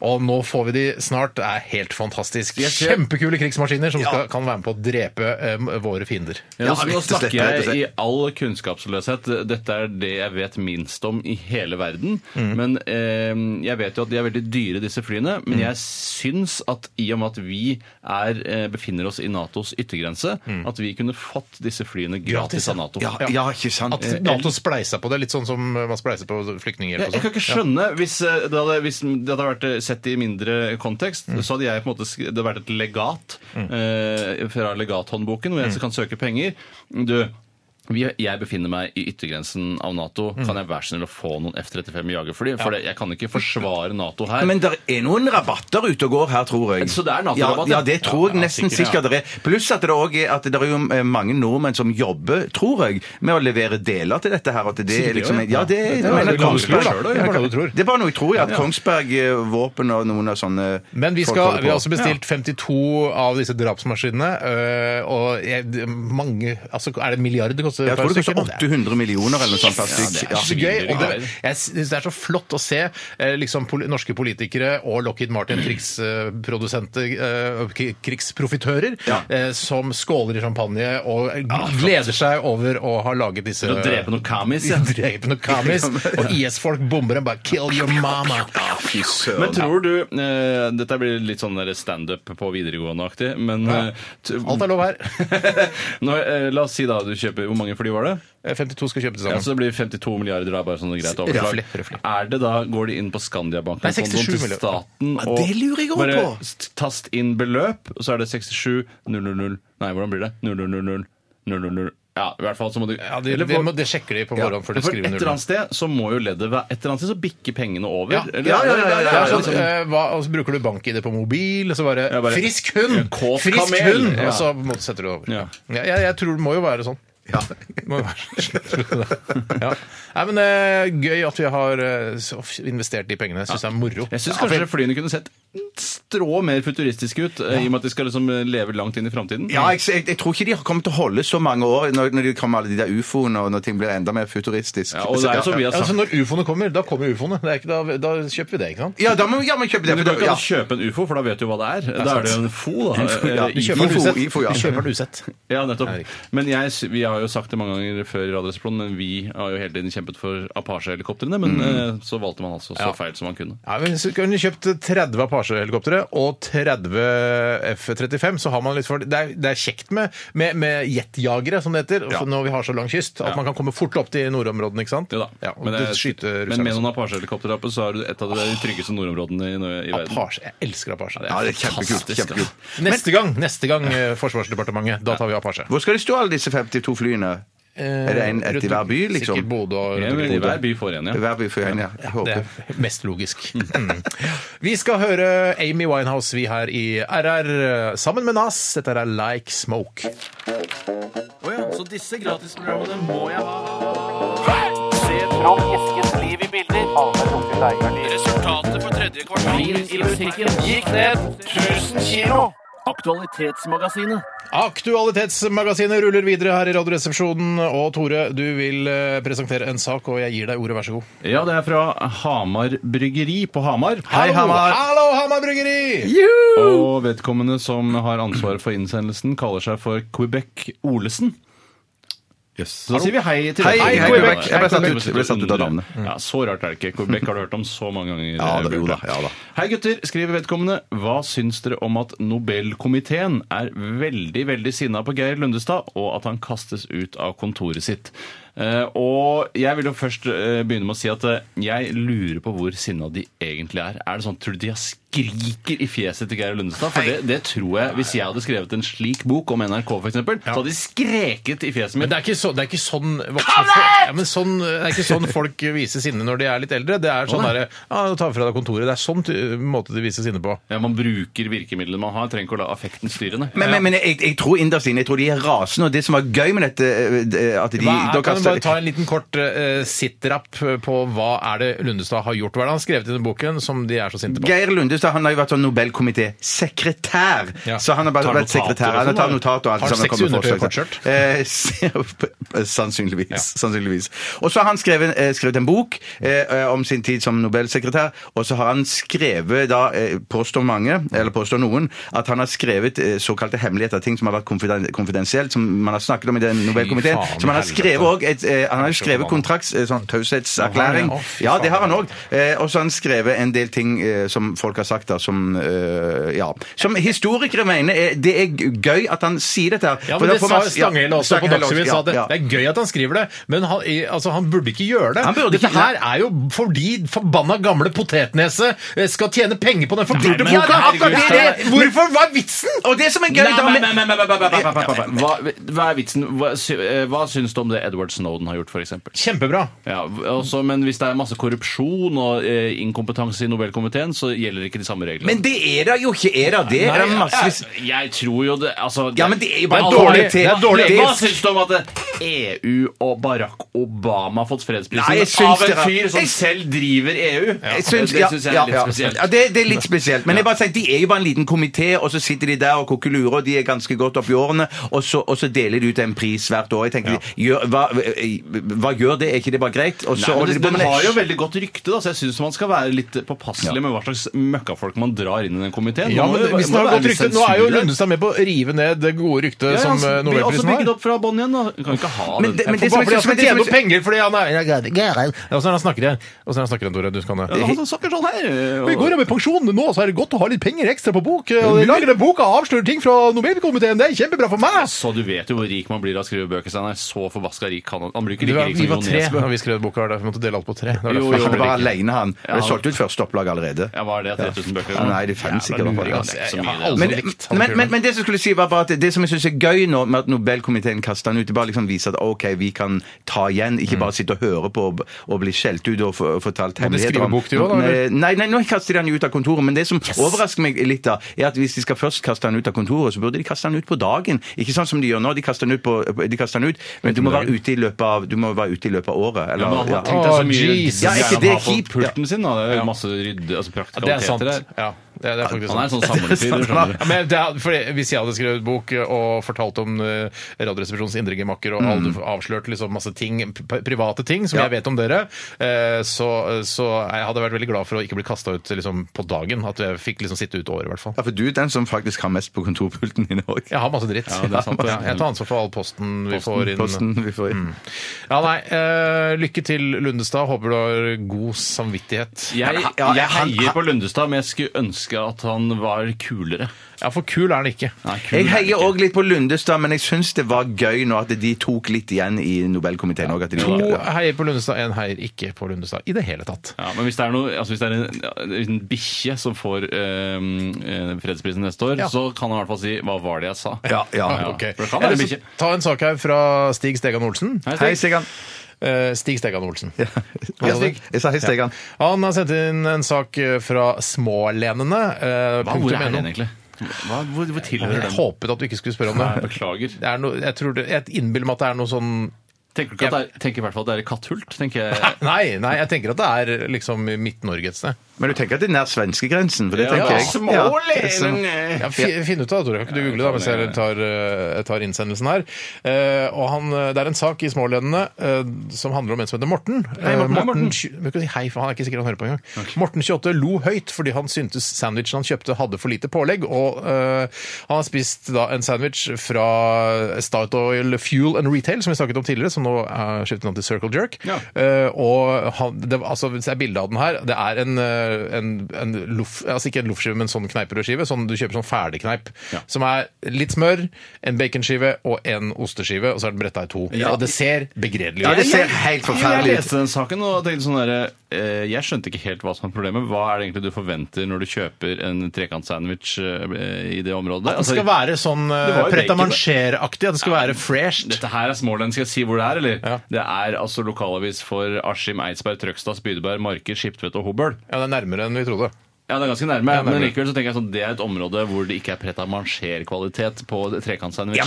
Speaker 4: og nå får vi de snart. Det er helt fantastisk.
Speaker 6: ser-
Speaker 4: Kjempekule krigsmaskiner som skal, kan være med på å drepe eh, våre fiender.
Speaker 6: Ja,
Speaker 5: Ja,
Speaker 6: nå
Speaker 5: rett og slett,
Speaker 6: snakker
Speaker 5: rett og
Speaker 6: jeg i
Speaker 5: slett.
Speaker 6: all kunnskapsløshet. Dette er det jeg vet minst om i hele verden.
Speaker 5: Mm.
Speaker 6: Men eh, jeg vet jo at de er veldig dyre, disse flyene.
Speaker 5: Mm.
Speaker 6: Men jeg syns at i og med at vi er, eh, befinner oss i Natos yttergrense, at vi kunne fått disse flyene gratis av Nato.
Speaker 5: Mm. Ja, ja, ikke sant?
Speaker 4: At NATO spleisa på det, litt sånn som man spleiser på flyktninger.
Speaker 6: Eh,
Speaker 4: sånn.
Speaker 6: Jeg, jeg kan ikke skjønne hvis, eh, det hadde, hvis det hadde vært eh, sett i mindre kontekst,
Speaker 4: Mm.
Speaker 6: så hadde jeg på en måte sk- det hadde vært et legat eh, fra legathåndboken, hvor jeg
Speaker 4: Mm.
Speaker 6: kan søke penger. Du, vi, jeg befinner meg i yttergrensen av Nato.
Speaker 4: Mm.
Speaker 6: Kan jeg være så snill å få noen F-35 jagerfly? For det, jeg kan ikke forsvare Nato her.
Speaker 5: Men det er noen rabatter ute og går her, tror jeg.
Speaker 6: Så det er NATO-rabatt,
Speaker 5: ja?
Speaker 6: ja?
Speaker 5: Ja, det tror jeg
Speaker 6: Ja, ja,
Speaker 5: nesten
Speaker 6: sikkert,
Speaker 5: sikkert det er. Pluss at det også er, at det er jo eh, mange nordmenn som jobber, tror jeg, med å levere deler til dette her. At det
Speaker 6: Sikkert
Speaker 5: er liksom
Speaker 6: det, ja.
Speaker 5: Ja, det
Speaker 6: Det er
Speaker 5: jeg mener
Speaker 6: jo Kongsberg
Speaker 5: Kongsberg-
Speaker 6: selv, da. Det er
Speaker 4: bare noe du tror.
Speaker 5: Det er bare noe jeg tror, ja. At Kongsberg eh, våpen og noen av sånne
Speaker 4: Men vi,
Speaker 5: folk
Speaker 4: skal,
Speaker 5: holder
Speaker 4: vi
Speaker 5: på.
Speaker 4: har også bestilt 52 av disse drapsmaskinene. øh, og jeg, det- mange altså, Er det en milliard det koster?
Speaker 5: Jeg tror det
Speaker 4: per stykke?
Speaker 5: koster 800 millioner eller noe sånt. per stykk.
Speaker 4: Det er så gøy. Og det,
Speaker 6: Ja.
Speaker 4: jeg synes det er så flott å se eh, liksom, poli norske politikere og Lockheed Martin, krigsprodusenter, eh, kri- krigsprofitører, eh, som skåler i champagne og gleder seg over å ha laget disse
Speaker 6: Til å drepe noen kamis, ja.
Speaker 4: Drepe noen kamis. Og IS-folk bomber dem bare 'kill your mama'.
Speaker 6: Men tror du eh, Dette blir litt sånn der standup på videregående-aktig, men eh, t-
Speaker 4: Alt er lov her.
Speaker 6: Nå, eh, La oss si da du kjøper Hvor mange fly var det?
Speaker 4: 52 Øh, skal kjøpe til
Speaker 6: Ja,
Speaker 4: sammen.
Speaker 6: så det blir 52 milliarder da, bare sånn greit overslag.
Speaker 4: Røffelig, røffelig.
Speaker 6: Er det da, går de inn på Skandiabanken
Speaker 4: Nei, 67
Speaker 6: kontoen til
Speaker 4: milliarder.
Speaker 6: staten
Speaker 5: Ja, det lurer jeg også
Speaker 6: bare
Speaker 5: på.
Speaker 6: st- tast inn beløp, og så er det 67 000 Nei, hvordan blir det? 000 000 Ja, i hvert fall så må du
Speaker 4: Ja, de,
Speaker 6: eller
Speaker 4: de,
Speaker 6: på-
Speaker 4: må- det sjekker de på
Speaker 6: Ja,
Speaker 4: forhånd før de
Speaker 6: for
Speaker 4: skriver
Speaker 6: et eller annet sted så må jo leddet være Et eller annet sted så bikker pengene over.
Speaker 4: Ja.
Speaker 6: eller-
Speaker 5: Ja, ja, ja, ja, ja,
Speaker 4: Det er sånn,
Speaker 6: liksom-
Speaker 4: eh, hva, og så bruker du bank-ID på mobil, og så bare,
Speaker 6: Ja, bare-
Speaker 4: 'Frisk hund!'
Speaker 6: Kåt
Speaker 4: frisk
Speaker 6: kamel!
Speaker 4: hund!
Speaker 6: Ja.
Speaker 4: Og så på en måte setter du det over.
Speaker 6: Ja.
Speaker 4: Ja, jeg, jeg tror det må jo være sånn. Det Må jo være sånn. ja. Nei, men eh, Gøy at vi har eh, så f- investert de pengene. Jeg syns det er moro.
Speaker 6: Jeg syns kanskje flyene kunne sett et strå mer futuristiske ut, eh, i og med at de skal liksom eh, leve langt inn i framtiden.
Speaker 5: Ja, jeg, jeg, jeg tror ikke de har kommet til å holde så mange år når, når de kommer alle de der ufoene, og når ting blir enda mer futuristisk.
Speaker 6: Ja, og det er jo som vi har
Speaker 4: Altså,
Speaker 6: sagt.
Speaker 4: når ufoene kommer, da kommer ufoene. Det er ikke, da, da kjøper vi det, ikke sant?
Speaker 5: Ja, da må vi ja, men kjøpe det.
Speaker 6: Men du
Speaker 5: for
Speaker 6: kan
Speaker 5: det-
Speaker 6: ikke
Speaker 5: ja.
Speaker 6: kjøpe en ufo, for da vet du hva det er. Da er det jo en fo, da.
Speaker 5: ja.
Speaker 6: Eh,
Speaker 5: Vi
Speaker 6: ifo.
Speaker 5: kjøper den usett. Ifo, ja.
Speaker 4: Vi kjøper den usett.
Speaker 6: Ja, nettopp.
Speaker 4: Nei, det er riktig.
Speaker 6: Men jeg, sy- vi har jo sagt det mange ganger før i Radioresepsjonen, men vi har jo hele tiden kjempet for Apache-helikoptrene, men
Speaker 5: Mm.
Speaker 6: eh, så valgte man altså så
Speaker 4: Ja.
Speaker 6: feil som man kunne.
Speaker 4: Ja, men så kunne du kjøpt 30 Apache-helikoptre og 30 F-35, så har man litt for... Det er, det er kjekt med, med, med jetjagere, som det heter, for når vi har så lang kyst, at man kan komme fort opp til nordområdene, ikke sant?
Speaker 6: Jo da.
Speaker 4: Ja, og
Speaker 6: men,
Speaker 4: det,
Speaker 6: det-
Speaker 4: skyte
Speaker 6: men med sånn-
Speaker 4: russerne.
Speaker 6: noen Apache-helikoptre oppe, så har du et av de tryggeste nordområdene i, i verden.
Speaker 4: Apache, jeg elsker Apache.
Speaker 5: Ja, det er kjempekult.
Speaker 6: Fantastisk, altså.
Speaker 5: kjempekult.
Speaker 4: Neste gang, neste gang, eh, Forsvarsdepartementet, da tar vi Apache.
Speaker 5: Hvor skal de stå, alle disse 52 flyene? Er det en ett i hver by, liksom?
Speaker 4: Eh, Sikkert Bodø og
Speaker 6: Ja,
Speaker 4: rundt
Speaker 6: men i
Speaker 4: omkring.
Speaker 6: hver by får en, ja.
Speaker 5: Hver by for en, ja. Jeg
Speaker 4: Det
Speaker 5: håper.
Speaker 4: er mest logisk. Mm. Vi skal høre Amy Winehouse, vi her i RR, sammen med Nas. Dette er Like Smoke.
Speaker 9: Så disse gratisprogrammene må jeg ha. Se Trond Eskens liv i bilder. Resultatet for tredje kvartal i musikken gikk ned 1000 kilo. Aktualitetsmagasinet.
Speaker 4: Aktualitetsmagasinet ruller videre her i Radioresepsjonen. Og Tore, du vil eh, presentere en sak, og jeg gir deg ordet, vær så god.
Speaker 6: Ja, det er fra Hamar Bryggeri på Hamar.
Speaker 4: Hallo! Hallo, Hamar Bryggeri!
Speaker 6: Og vedkommende som har ansvaret for innsendelsen, kaller seg for Quebec Olesen. Så da sier vi hei til
Speaker 5: Hei,
Speaker 6: dere.
Speaker 5: hei, Quebec. Jeg ble satt ut- jeg ble satt ut av navnet.
Speaker 6: Ja, Så rart er det ikke. Quebec har du hørt om så mange ganger.
Speaker 5: Ja da, jo da,
Speaker 6: Bjarte.
Speaker 5: ja da.
Speaker 6: Hei gutter, skriver vedkommende. Hva syns dere om at Nobelkomiteen er veldig, veldig sinna på Geir Lundestad, og at han kastes ut av kontoret sitt? Eh, og jeg vil jo først eh, begynne med å si at eh, jeg lurer på hvor sinna de egentlig er. Er det sånn, Tror du de har skriker i fjeset til Geir Lundestad? For det, det tror jeg, hvis jeg hadde skrevet en slik bok om NRK, f.eks., eksempel, så hadde de skreket i fjeset mitt.
Speaker 4: Men det er ikke, så, det er ikke sånn voksne folk, ja, men sånn, Det er ikke sånn folk viser sinne når de er litt eldre. Det er sånn derre ja, 'Ta fra deg kontoret'. Det er sånn ty- måte de viser sinne på.
Speaker 6: Ja, Man bruker virkemidlene man har. Trenger ikke å la affekten styre. nei.
Speaker 5: Men, men, men jeg, jeg tror inderst inne jeg tror de er rasende. Og det som var gøy med dette eh, at de,
Speaker 4: Hva er,
Speaker 5: da
Speaker 4: kan du
Speaker 5: kaster-
Speaker 4: bare ta en liten kort uh, sitrapp på hva er det Lundestad har gjort? Hva er det han har skrevet i den boken som de er så sinte på?
Speaker 5: Geir Lundestad han har jo vært sånn Nobelkomité-sekretær.
Speaker 4: Ja.
Speaker 5: Så han har bare
Speaker 6: Tar
Speaker 5: vært
Speaker 6: notater og
Speaker 5: sekretær. Han
Speaker 6: sånn,
Speaker 5: har tatt
Speaker 6: da.
Speaker 5: notater og alt
Speaker 4: Har
Speaker 5: sammen.
Speaker 4: seks
Speaker 5: kommer med
Speaker 4: undertøy og
Speaker 5: forslag til. Eh, sannsynligvis. sannsynligvis. Og så har han skrevet, eh, skrevet en bok eh, om sin tid som Nobelsekretær, og så har han skrevet, da eh, påstår mange, eller påstår noen, at han har skrevet eh, såkalte hemmeligheter, ting som har vært konfiden- konfidensielt, som man har snakket om i den Nobelkomiteen.
Speaker 4: faen,
Speaker 5: Som han har
Speaker 4: helvete.
Speaker 5: skrevet òg eh, Han har jo skrevet kontrakts... Eh, sånn taushetserklæring.
Speaker 4: Å, fy
Speaker 5: Ja, det har
Speaker 4: faen.
Speaker 5: han òg. Eh, og så har han skrevet en del ting eh, som folk har sagt, da, som eh, Ja. Som historikere mener er, det er gøy at han sier dette. her.
Speaker 4: Ja,
Speaker 5: For
Speaker 4: men
Speaker 5: da
Speaker 4: Det
Speaker 5: får
Speaker 4: sa
Speaker 5: man-
Speaker 4: Stanghelle også på
Speaker 5: Stanghelle
Speaker 4: Dagsrevyen.
Speaker 5: også,
Speaker 4: sa at det,
Speaker 5: ja,
Speaker 4: det
Speaker 5: ja.
Speaker 4: er gøy at han skriver det, men han, i- altså, han burde ikke gjøre det.
Speaker 5: Han burde
Speaker 4: Dette
Speaker 5: ikke-
Speaker 4: her er jo fordi forbanna gamle potetnese eh, skal tjene penger på den forbudte
Speaker 6: men-
Speaker 4: boka!
Speaker 6: herregud,
Speaker 4: Akkurat det er det!
Speaker 5: Stein.
Speaker 4: Hvorfor? Hva er vitsen?
Speaker 5: Og det som er
Speaker 6: Nei,
Speaker 5: gøy da
Speaker 6: nei,
Speaker 5: med-
Speaker 6: nei, nei, nei, nei, nei, nei, nei, nei, nei. Hva hva er vitsen? Hva, sy- eh, hva syns du om det Edward Snowden har gjort, f.eks.?
Speaker 4: Kjempebra.
Speaker 6: Ja, også, men hvis det er masse korrupsjon og eh, inkompetanse i Nobelkomiteen, så gjelder ikke de samme reglene.
Speaker 5: Men det er da jo ikke! Er da det? er da massevis
Speaker 6: jeg, jeg tror jo det altså,
Speaker 5: Ja, men det er jo bare
Speaker 6: Men
Speaker 5: dårlig
Speaker 6: hva-
Speaker 5: te- det
Speaker 6: hva-
Speaker 5: er dårlig
Speaker 6: Hva
Speaker 5: te-
Speaker 6: syns du om at EU og Barack Obama har fått fredsprisen
Speaker 5: Nei, jeg syns
Speaker 6: av en
Speaker 5: dere-
Speaker 6: fyr som
Speaker 5: jeg-
Speaker 6: selv driver EU?
Speaker 5: Jeg syns-
Speaker 6: det
Speaker 5: ja,
Speaker 6: syns jeg
Speaker 5: ja,
Speaker 6: er litt
Speaker 5: ja.
Speaker 6: spesielt.
Speaker 5: Ja, det, det er litt spesielt. Men jeg bare sier, de er jo bare en liten komité, og så sitter de der og koker lurer, og de er ganske godt oppi årene, og så, og så deler de ut en pris hvert år. Jeg tenker, de, gjør, hva, hva gjør det? Er ikke det bare greit? Og så,
Speaker 6: Nei, men det,
Speaker 5: men-
Speaker 6: den har jo veldig godt rykte, da, så jeg syns man skal være litt påpasselig med hva slags møkkafolk man drar inn i den komiteen.
Speaker 4: Ja,
Speaker 6: Man må
Speaker 4: men
Speaker 6: jo-
Speaker 4: hvis
Speaker 6: må
Speaker 4: den har
Speaker 6: være
Speaker 4: gått
Speaker 6: litt
Speaker 4: rykte, Nå er jo
Speaker 6: sensur der.
Speaker 4: Lundestad med på å rive ned det gode ryktet
Speaker 6: Ja, ja,
Speaker 4: som
Speaker 6: altså,
Speaker 4: eh,
Speaker 6: blir også
Speaker 4: Nobelprisen
Speaker 6: bygget
Speaker 4: har.
Speaker 6: opp fra bånn igjen, da. Du kan ikke ha
Speaker 5: Men
Speaker 6: det.
Speaker 5: det- men
Speaker 4: Det
Speaker 5: det som
Speaker 4: som
Speaker 5: jeg
Speaker 4: bare fordi han
Speaker 5: synes- men
Speaker 4: skal
Speaker 5: det som
Speaker 4: tjene
Speaker 5: jeg
Speaker 4: opp penger fordi han er Geir. Ja, Åssen er det han snakker igjen? Åssen er det han snakker igjen, Tore? Du skal
Speaker 6: Ja,
Speaker 4: ned.
Speaker 6: han snakker sånn her.
Speaker 4: Og I går er vi i pensjon, nå så er det godt å ha litt penger ekstra på bok. eh, Og de lager den boka og avslører ting fra Nobelkomiteen. Det er kjempebra for meg! altså.
Speaker 6: Så du vet jo hvor rik man blir av å skrive bøker. Steinar. Så forbaska rik kan han Han blir ikke
Speaker 4: Vi
Speaker 6: like
Speaker 4: var,
Speaker 6: rik
Speaker 4: vi
Speaker 6: som
Speaker 4: var
Speaker 6: Jon
Speaker 4: tre
Speaker 6: Nesbø.
Speaker 4: da vi skrev boka, derfor måtte vi dele alt på tre. Det var
Speaker 6: Jo,
Speaker 4: derfor
Speaker 6: jo,
Speaker 4: jeg
Speaker 5: Han
Speaker 6: men
Speaker 5: er
Speaker 4: ble
Speaker 5: bare
Speaker 4: rik.
Speaker 5: alene, han.
Speaker 6: Ja,
Speaker 5: Det er
Speaker 6: han-
Speaker 5: solgt ut første opplag allerede.
Speaker 6: Ja, var det 3000 bøker?
Speaker 5: Ja, nei, det er fem
Speaker 6: Jævla
Speaker 5: sikkert, i hvert fall.
Speaker 6: luring, altså. Det er ikke så
Speaker 4: Jeg
Speaker 6: mye,
Speaker 4: har
Speaker 6: det.
Speaker 4: aldri
Speaker 5: Men,
Speaker 4: likt han
Speaker 5: men,
Speaker 4: fyren.
Speaker 5: men, men det som skulle si var bare at det som jeg synes er gøy nå med at Nobelkomiteen kaster han ut, det bare liksom viser at ok, vi kan ta igjen, ikke bare sitte og høre på og, og bli skjelt ut og få-
Speaker 4: Mm.
Speaker 5: fortalt
Speaker 4: de
Speaker 5: hemmeligheter
Speaker 4: skrive bok til også, da, eller?
Speaker 5: Nei, nei, nå kaster de han ut av kontoret, men det som overrasker meg litt da, er at hvis de skal først kaste han ut av kontoret, så burde de kaste han ut på dagen. Ikke sånn som de gjør nå, de kaster han ut, på, de kaster han ut men du må være ute i løpet av, du må være ute i løpet av året.
Speaker 6: Ja,
Speaker 5: Eller,
Speaker 6: men han har
Speaker 5: ja.
Speaker 6: tenkt deg så
Speaker 4: Å,
Speaker 6: mye
Speaker 4: Jesus.
Speaker 5: Ja, er ikke
Speaker 6: greier
Speaker 5: det
Speaker 6: han har
Speaker 5: kjipt?
Speaker 6: på pulten sin. da. Det er jo masse rydde, altså
Speaker 4: Ja, det er
Speaker 6: praktikaliteter
Speaker 4: sant.
Speaker 6: der.
Speaker 4: Ja, det er, det er faktisk
Speaker 6: Han er en sånn
Speaker 5: sant.
Speaker 6: samlerfyr. skjønner du.
Speaker 4: Ja, men det er, fordi hvis jeg hadde skrevet bok og fortalt om eh, Radioresepsjonens indre gemakker
Speaker 6: Mm.
Speaker 4: og aldri avslørt liksom masse ting, p- private ting som
Speaker 5: Ja.
Speaker 4: jeg vet om dere, eh, så, så jeg hadde vært veldig glad for å ikke bli kasta ut liksom, på dagen. At jeg fikk liksom sitte ut året, i hvert fall.
Speaker 5: Ja, for du er den som faktisk har mest på kontorpulten din også.
Speaker 4: Jeg har masse dritt.
Speaker 6: Ja, det er sant.
Speaker 4: Ja, jeg tar ansvar for all posten vi får inn.
Speaker 5: Posten vi får
Speaker 4: Mm.
Speaker 5: inn.
Speaker 4: Ja, nei, eh, lykke til, Lundestad. Håper du har god samvittighet.
Speaker 6: Jeg,
Speaker 5: Ja, ja,
Speaker 6: jeg
Speaker 5: han-
Speaker 6: heier på Lundestad, men jeg skulle ønske at han var kulere.
Speaker 4: Ja, for kul er han ikke.
Speaker 6: Nei, kul
Speaker 5: Jeg
Speaker 6: er han ikke.
Speaker 5: heier òg litt på Lundestad, men jeg syns det var gøy nå at de tok litt igjen i Nobelkomiteen òg.
Speaker 4: To heier på Lundestad, én heier ikke på Lundestad i det hele tatt.
Speaker 6: Ja, men hvis det er, noe, altså hvis det er en, ja, en bikkje som får øhm, eh, fredsprisen neste år,
Speaker 4: Ja.
Speaker 6: så kan han i hvert fall si 'hva var det jeg sa'?
Speaker 5: Ja, ja.
Speaker 6: Ja.
Speaker 4: Ah, Ok.
Speaker 6: For det kan være
Speaker 4: Jeg vil
Speaker 6: mye.
Speaker 4: ta en sak her fra Stig Stegan Olsen.
Speaker 6: Hei, Stig.
Speaker 5: Hei, Stegan.
Speaker 4: Eh, Stig Stegan Olsen.
Speaker 5: Ja, Stig. Jeg sa hei, Stegan.
Speaker 4: Han har sendt inn en sak eh, fra Smålenene. eh,
Speaker 6: Hva, hvor
Speaker 4: punktum
Speaker 6: er
Speaker 4: NO.
Speaker 6: den egentlig? Hva, hvor, hvor tilhører
Speaker 4: Jeg
Speaker 6: den?
Speaker 4: håpet at du ikke skulle spørre om
Speaker 6: Nei,
Speaker 4: det.
Speaker 6: beklager.
Speaker 4: det er noe, jeg tror det, jeg innbiller meg at det er noe sånn
Speaker 6: Tenker du ikke at det er, tenker i hvert fall at det er i Katthult? tenker jeg.
Speaker 4: Nei, nei, jeg tenker at det er liksom i Midt-Norge et sted.
Speaker 5: Men du tenker at det er nær svenskegrensen? For det
Speaker 6: Ja,
Speaker 5: tenker jeg.
Speaker 6: små
Speaker 4: Eh, Ja, fi, Finn ut av det, Tore. Kan ikke du google det mens jeg tar, eh, tar innsendelsen her? Eh, og han, eh, Det er en sak i Smålenene eh, som handler om en som heter Morten. Hei,
Speaker 6: Morten. Hei, Morten.
Speaker 4: Morten. Hei, for han er ikke sikker han hører på engang. Morten 28 lo høyt fordi han syntes sandwichen han kjøpte hadde for lite pålegg. Og eh, han har spist da en sandwich fra Statoil Fuel and Retail, som vi snakket om tidligere, som nå er skiftet navn til Circle Jerk.
Speaker 6: Ja.
Speaker 4: Eh, og han, det, var- altså, hvis det er bilde av den her, det er en, eh, en, en loff, altså ikke en loffskive, men sånn kneiperødskive, sånn du kjøper sånn ferdigkneip, som er litt smør, en baconskive og en osteskive, og så er den bretta i to.
Speaker 6: Ja.
Speaker 4: Og det ser begredelig ut.
Speaker 5: Ja, det ser helt
Speaker 6: Jeg
Speaker 5: forferdelig ut.
Speaker 6: leste den saken og tenkte sånn derre eh, Jeg skjønte ikke helt hva som er problemet. Hva er det egentlig du forventer når du kjøper en trekantsandwich eh, i det området?
Speaker 4: At det skal
Speaker 6: Altså,
Speaker 4: være sånn
Speaker 6: Det var jo
Speaker 4: pret à manger-aktig, at det skal være fresh.
Speaker 6: dette her er Småland. Skal jeg si hvor det er, eller?
Speaker 4: Ja.
Speaker 6: Det er altså lokalavis for Askim, Eidsberg, Trøgstad, Spydeberg, Marker, Skiptvet og Hobøl.
Speaker 4: Ja, det er nærmere enn vi trodde.
Speaker 6: Ja, det er ganske nærme,
Speaker 4: Ja, nærme.
Speaker 6: men likevel så tenker jeg sånn det er et område hvor det ikke er pret à manger-kvalitet på trekantsandwichen.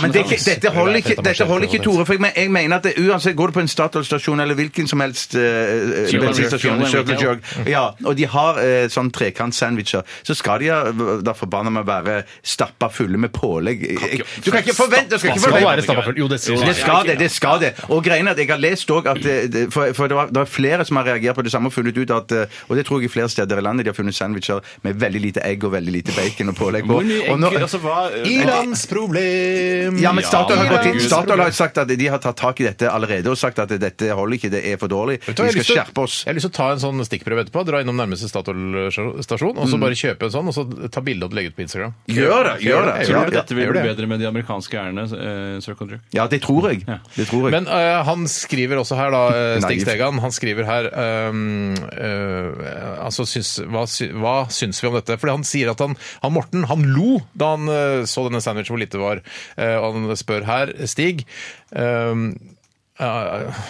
Speaker 5: Ja, men det, dette holder ikke, dette holder ikke Tore. For jeg, men- jeg mener at det, uansett går du på en Statoil-stasjon eller hvilken som helst eh, eh,
Speaker 6: Circle
Speaker 5: bensinstasjon
Speaker 6: Jerk,
Speaker 5: Circle
Speaker 6: Circle
Speaker 5: Jerk, ja, og de har eh, sånn trekant-sandwicher, så skal de ja, da forbanna meg være stappa fulle med pålegg. Eh, Du kan ikke forvente du skal ikke
Speaker 4: Skal
Speaker 5: forvente-
Speaker 4: være stappa full. Jo, det synes
Speaker 5: Det
Speaker 4: jeg.
Speaker 5: skal det, det skal det. Og greiene er at jeg har lest også at det, det- For, for det, var, det er flere som har reagert på det samme og funnet ut at eh, Og det tror jeg i flere steder i landet de har funnet sandwicher med veldig lite egg og veldig lite bacon og pålegg på.
Speaker 6: Hvor mye
Speaker 5: Og nå-
Speaker 6: enkel, altså hva
Speaker 4: Ilandsproblem!
Speaker 5: ja, men
Speaker 6: Ja,
Speaker 5: Statoil har,
Speaker 6: men
Speaker 5: gått inn.
Speaker 6: Gud.
Speaker 5: Statoil har sagt at de har tatt tak i dette allerede og sagt at dette holder ikke, det er for dårlig. Vi
Speaker 4: Vet du hva, jeg har
Speaker 5: skal
Speaker 4: lyst til-
Speaker 5: skjerpe oss.
Speaker 4: Jeg har lyst til å ta en sånn stikkprøve etterpå. Dra innom nærmeste Statoil-stasjon,
Speaker 5: Mm.
Speaker 4: og så bare kjøpe en sånn, og så ta bilde og legge ut på Instagram.
Speaker 5: Gjør det! gjør det.
Speaker 6: Tror du
Speaker 5: Ja,
Speaker 6: dette vil
Speaker 4: gjør
Speaker 6: bli
Speaker 4: det.
Speaker 6: bedre med de amerikanske eierne, eh, Circle Jerk?
Speaker 5: Ja, det tror jeg. Det tror jeg.
Speaker 4: Men eh, han skriver også her, da, eh, Stig
Speaker 5: Naiv.
Speaker 4: Stegan, han skriver her ehm, eh, Altså, syns, hva, sy, hva syns vi om dette? Fordi han sier at han, han Morten, han lo da han eh, så denne sandwichen hvor lite det var. Eh, og han spør her, Stig ehm, eh,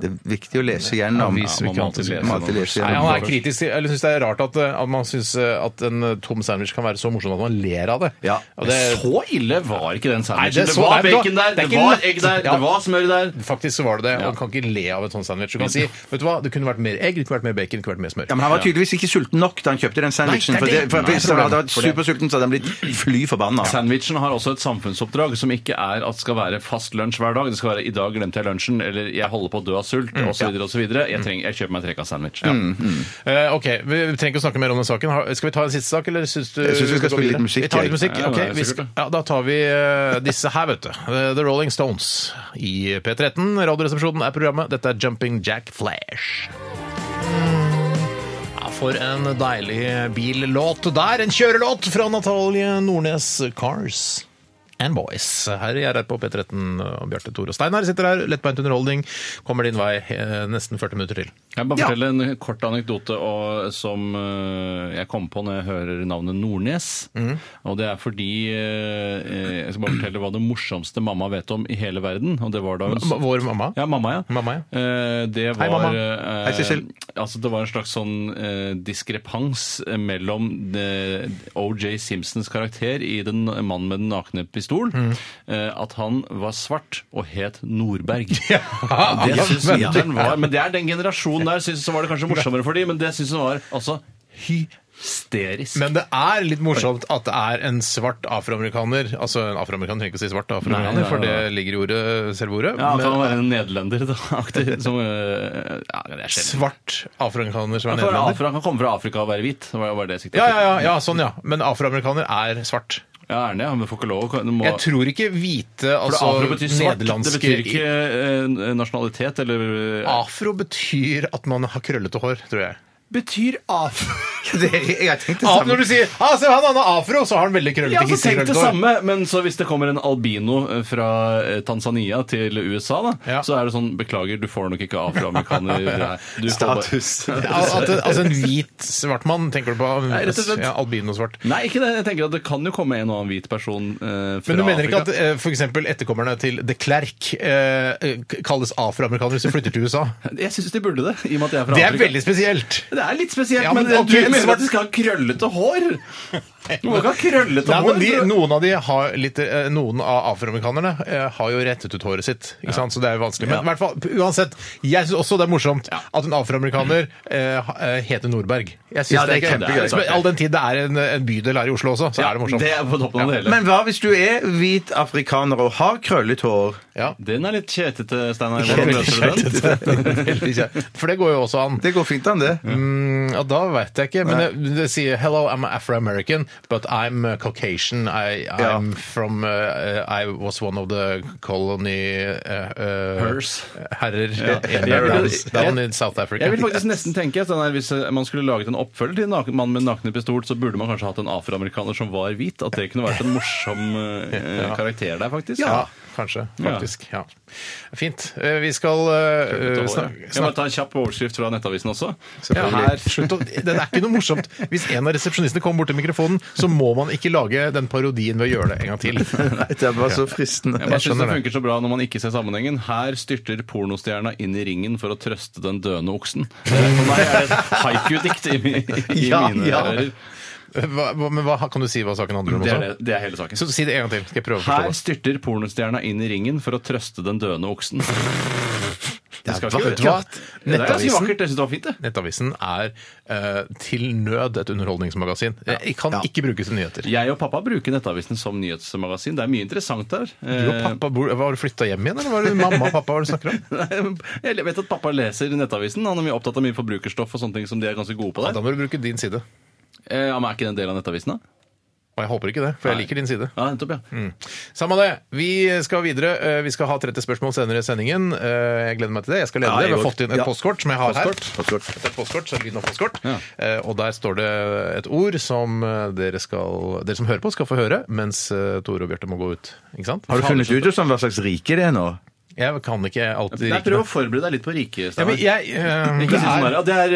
Speaker 5: Det er viktig å lese gjennom.
Speaker 4: Avis vil
Speaker 5: Ja,
Speaker 4: ikke alltid lese
Speaker 5: må alltid lese
Speaker 4: Nei, han er
Speaker 5: gjennom.
Speaker 4: kritisk. til- Eller syns det er rart at, eh, at man syns eh, at en eh, tom sandwich kan være så morsom at man ler av det.
Speaker 5: Ja.
Speaker 4: Og det
Speaker 6: Så ille var ikke den
Speaker 4: Nei, det
Speaker 6: sandwichen. Det,
Speaker 4: er så- Nei,
Speaker 6: var bacon
Speaker 4: det var- det
Speaker 6: der,
Speaker 4: er
Speaker 6: det,
Speaker 4: ikke
Speaker 6: var
Speaker 4: lett.
Speaker 6: egg der,
Speaker 4: Ja.
Speaker 6: det var smør der.
Speaker 4: Faktisk så var det det.
Speaker 6: Ja.
Speaker 4: Og man kan ikke le av en sånn sandwich. Du kan si vet du hva, det kunne vært mer egg, det kunne vært mer bacon, det kunne vært mer smør.
Speaker 5: Ja, men Han var tydeligvis ikke sulten nok da han kjøpte den sandwichen.
Speaker 4: Nei,
Speaker 5: for
Speaker 4: det er
Speaker 5: det,
Speaker 4: det.
Speaker 5: for
Speaker 4: Nei,
Speaker 5: Hvis han hadde
Speaker 4: problemet.
Speaker 5: vært supersulten, så hadde han blitt fly forbanna.
Speaker 6: Sandwichen har også et samfunnsoppdrag som ikke er at det skal være fast lunsj hver dag. Det skal være 'i dag glemte jeg lunsjen', eller 'jeg holder på å dø av sult',
Speaker 4: Mm.
Speaker 6: og så videre og så videre. Jeg, trenger, jeg kjøper meg en trekant-sandwich. Ja.
Speaker 4: Eh, ok, Vi vi trenger ikke å snakke mer om den saken. Har- Skal vi ta en siste sak, eller syns du
Speaker 5: Jeg synes vi skal
Speaker 4: gå
Speaker 5: spille litt
Speaker 4: videre?
Speaker 5: musikk,
Speaker 4: Vi tar litt
Speaker 5: jeg.
Speaker 4: musikk.
Speaker 6: Ja,
Speaker 4: ok.
Speaker 6: det er
Speaker 4: vi
Speaker 6: sikkert
Speaker 4: skal,
Speaker 6: det.
Speaker 4: ja, da tar vi eh, disse her, vet du. Eh, The Rolling Stones i P13. Radioresepsjonen er programmet. Dette er Jumping Jack Flash. Ja, For en deilig billåt der. En kjørelåt fra Natalie Nordnes Cars and Boys. Her i RR på P13 og Bjarte Tore og Steinar sitter her. Lettbeint underholdning kommer din vei eh, nesten 40 minutter til.
Speaker 6: Jeg vil bare fortelle en kort anekdote og, som eh, jeg kom på når jeg hører navnet Nordnes.
Speaker 4: Mm.
Speaker 6: Og det er fordi eh, Jeg skal bare fortelle hva det morsomste mamma vet om i hele verden. Og det var da hun
Speaker 4: M- Vår mamma.
Speaker 6: Ja, mamma, ja.
Speaker 4: Mamma, ja.
Speaker 6: Eh, det var,
Speaker 4: Hei, mamma.
Speaker 6: eh,
Speaker 5: Hei, Sissel.
Speaker 6: Altså, det var en slags sånn eh, diskrepans mellom eh, O.J. Simpsons karakter i den mannen med den nakne pistol,
Speaker 4: Mm.
Speaker 6: eh, at han var svart og het Nordberg. Det syns lytteren var Men det er den generasjonen der synes så var det kanskje morsommere for de, men det syns hun var altså hysterisk.
Speaker 4: Men det er litt morsomt at det er en svart afroamerikaner Altså en afroamerikaner trenger ikke å si svart afroamerikaner,
Speaker 6: Nei, ja,
Speaker 4: for
Speaker 6: ja.
Speaker 4: det ligger i ordet, selve ordet.
Speaker 6: ja, han
Speaker 4: men
Speaker 6: kan være en nederlender, da. Aktig, som, eh, ja, det er sjelden.
Speaker 4: svart afroamerikaner som er
Speaker 6: Han kan være
Speaker 4: nederlender.
Speaker 6: afro- Han kan komme fra Afrika og være hvit. Det var, var det jeg siktet
Speaker 4: Ja,
Speaker 6: til.
Speaker 4: ja, ja, ja, sånn ja. Men afroamerikaner er svart.
Speaker 6: Ja, Erne, ja, men får ikke lov å du må,
Speaker 4: Jeg tror ikke hvite,
Speaker 6: For
Speaker 4: altså
Speaker 6: afro betyr svart. Det
Speaker 4: nederlandske
Speaker 6: betyr ikke eh, nasjonalitet eller eh,
Speaker 4: Afro betyr at man har krøllete hår, tror jeg.
Speaker 6: Betyr afro
Speaker 5: Det, jeg har tenkt det
Speaker 4: Af-
Speaker 5: samme.
Speaker 4: Når du sier ah, se, 'han han har afro', så har han veldig krøllete
Speaker 6: Ja, så tenk
Speaker 4: krøllete
Speaker 6: det
Speaker 4: hår.
Speaker 6: samme, men så hvis det kommer en albino eh, fra eh, Tanzania til USA, da,
Speaker 4: Ja.
Speaker 6: så er det sånn Beklager, du får nok ikke afroamerikaner her. Du får bare-
Speaker 5: Status.
Speaker 4: Al- at, altså en hvit svart mann, tenker du på?
Speaker 6: Nei, rett og slett.
Speaker 4: Ja, Albinosvart.
Speaker 6: Nei, ikke det. Jeg tenker at det kan jo komme en og annen hvit person eh, fra
Speaker 4: Men du mener ikke at
Speaker 6: Afrika.
Speaker 4: eh, for eksempel etterkommerne til de Klerk eh, k- kalles afroamerikanere hvis de flytter til USA?
Speaker 6: Jeg syns de burde det, i og med at de er fra
Speaker 4: Det er
Speaker 6: Afrika.
Speaker 4: veldig spesielt!
Speaker 6: Det er litt spesielt,
Speaker 4: Ja,
Speaker 6: men,
Speaker 4: men ok,
Speaker 6: du
Speaker 4: men-
Speaker 6: mener at de skal ha krøllete hår? Noen kan krølle
Speaker 4: Nei, men de,
Speaker 6: hår.
Speaker 4: noen av de har litt, eh, noen av afroamerikanerne eh, har jo rettet ut håret sitt, ikke sant? så det er jo vanskelig. Men i hvert fall, uansett, jeg syns også det er morsomt at en afroamerikaner eh, ha- eh, heter Nordberg. Jeg synes
Speaker 5: Ja, det er
Speaker 4: ikke-
Speaker 5: kjempegøy.
Speaker 4: Men All den tid det er en, en bydel her i Oslo også, så er det morsomt.
Speaker 6: Det er på toppen av det hele.
Speaker 5: Men hva hvis du er hvit afrikaner og har krøllet hår?
Speaker 4: Ja.
Speaker 6: Den er litt kjetete, Steinar. Hvordan løser du den?
Speaker 4: Veldig kjekt. For det går jo også an.
Speaker 5: Det går fint an, det.
Speaker 4: Ja, da vet jeg ikke, men det, det sier 'Hello, I'm Afro-American, but I'm uh, Caucasian. I, I'm from uh, uh, I was one of the colony uh, uh,
Speaker 6: Hers.
Speaker 4: herrer
Speaker 6: Jeg
Speaker 4: in,
Speaker 6: vil-
Speaker 4: Barbados,
Speaker 6: jeg-
Speaker 4: down in South Africa.
Speaker 6: Jeg vil faktisk nesten tenke at den her, Hvis eh, man skulle laget en oppfølger til naken, 'Mann med nakne pistol', så burde man kanskje hatt en afroamerikaner som var hvit. At det kunne vært en morsom eh, karakter der, faktisk.
Speaker 4: ja, kanskje. Faktisk. Ja. Fint. Eh, Vi skal uh, snakke,
Speaker 6: Kan man ta en kjapp overskrift fra Nettavisen også?
Speaker 4: Ja, her, slutt å, den er ikke noe morsomt. Hvis en av resepsjonistene kommer bort til mikrofonen, så må man ikke lage den parodien ved å gjøre det en gang til.
Speaker 5: Nei, det er bare så fristende.
Speaker 6: Jeg bare synes
Speaker 4: skjønner
Speaker 6: det
Speaker 4: det.
Speaker 6: funker så bra når man ikke ser sammenhengen. Her styrter pornostjerna inn i ringen for å trøste den døende oksen. Det er- For meg er det et haiku-dikt i, mi- i
Speaker 4: Ja,
Speaker 6: mine
Speaker 4: ja.
Speaker 6: ører.
Speaker 4: Hva, hva- men hva, kan du si hva saken handler om?
Speaker 6: Det er,
Speaker 4: også?
Speaker 6: det, det er hele saken.
Speaker 4: Så Si det en gang til. Skal jeg prøve å forstå
Speaker 6: Her
Speaker 4: det.
Speaker 6: styrter pornostjerna inn i ringen for å trøste den døende oksen. Det skal ikke-
Speaker 4: Vet du hva?
Speaker 6: Det er ganske
Speaker 4: Nettavisen,
Speaker 6: vakkert. Jeg syns det var fint, det.
Speaker 4: Nettavisen er eh, til nød et underholdningsmagasin. Det kan ikke brukes til nyheter.
Speaker 6: Jeg og pappa bruker Nettavisen som nyhetsmagasin. Det er mye interessant der. Eh,
Speaker 4: Du og pappa, bor, var du flytta hjem igjen, eller var det mamma og pappa hva er det du snakker om?
Speaker 6: Eh, Jeg vet at pappa leser Nettavisen. Han er mye opptatt av mye forbrukerstoff og sånne ting som de er ganske gode på
Speaker 4: Ja, da
Speaker 6: der.
Speaker 4: må du bruke din side.
Speaker 6: Eh, Ja, men er ikke det en del av Nettavisen, da?
Speaker 4: Og jeg håper ikke det, for jeg
Speaker 6: Nei.
Speaker 4: liker din side.
Speaker 6: Ja, nettopp, ja.
Speaker 4: Mm. Samme det. Vi skal videre. Eh, Vi skal ha 30 spørsmål senere i sendingen. Eh, Jeg gleder meg til det. Jeg skal lede
Speaker 5: Ja,
Speaker 4: det. Vi
Speaker 5: jeg
Speaker 4: har
Speaker 5: går.
Speaker 4: fått inn et
Speaker 5: Ja.
Speaker 4: postkort som jeg har her.
Speaker 5: Postkort. Postkort.
Speaker 4: Dette er et postkort, så er det lyden av postkort.
Speaker 6: Ja.
Speaker 4: Eh, Og der står det et ord som eh, dere, skal, dere som hører på, skal få høre, mens eh, Tore og Bjarte må gå ut. Ikke sant?
Speaker 5: Har du funnet ut om hva slags rike det er nå?
Speaker 4: Jeg kan ikke alltid
Speaker 6: Nei, prøv å forberede deg litt på riket,
Speaker 4: Ja, men
Speaker 6: Steinar.
Speaker 4: jeg, eh,
Speaker 6: Ikke si sånn her, ja, det er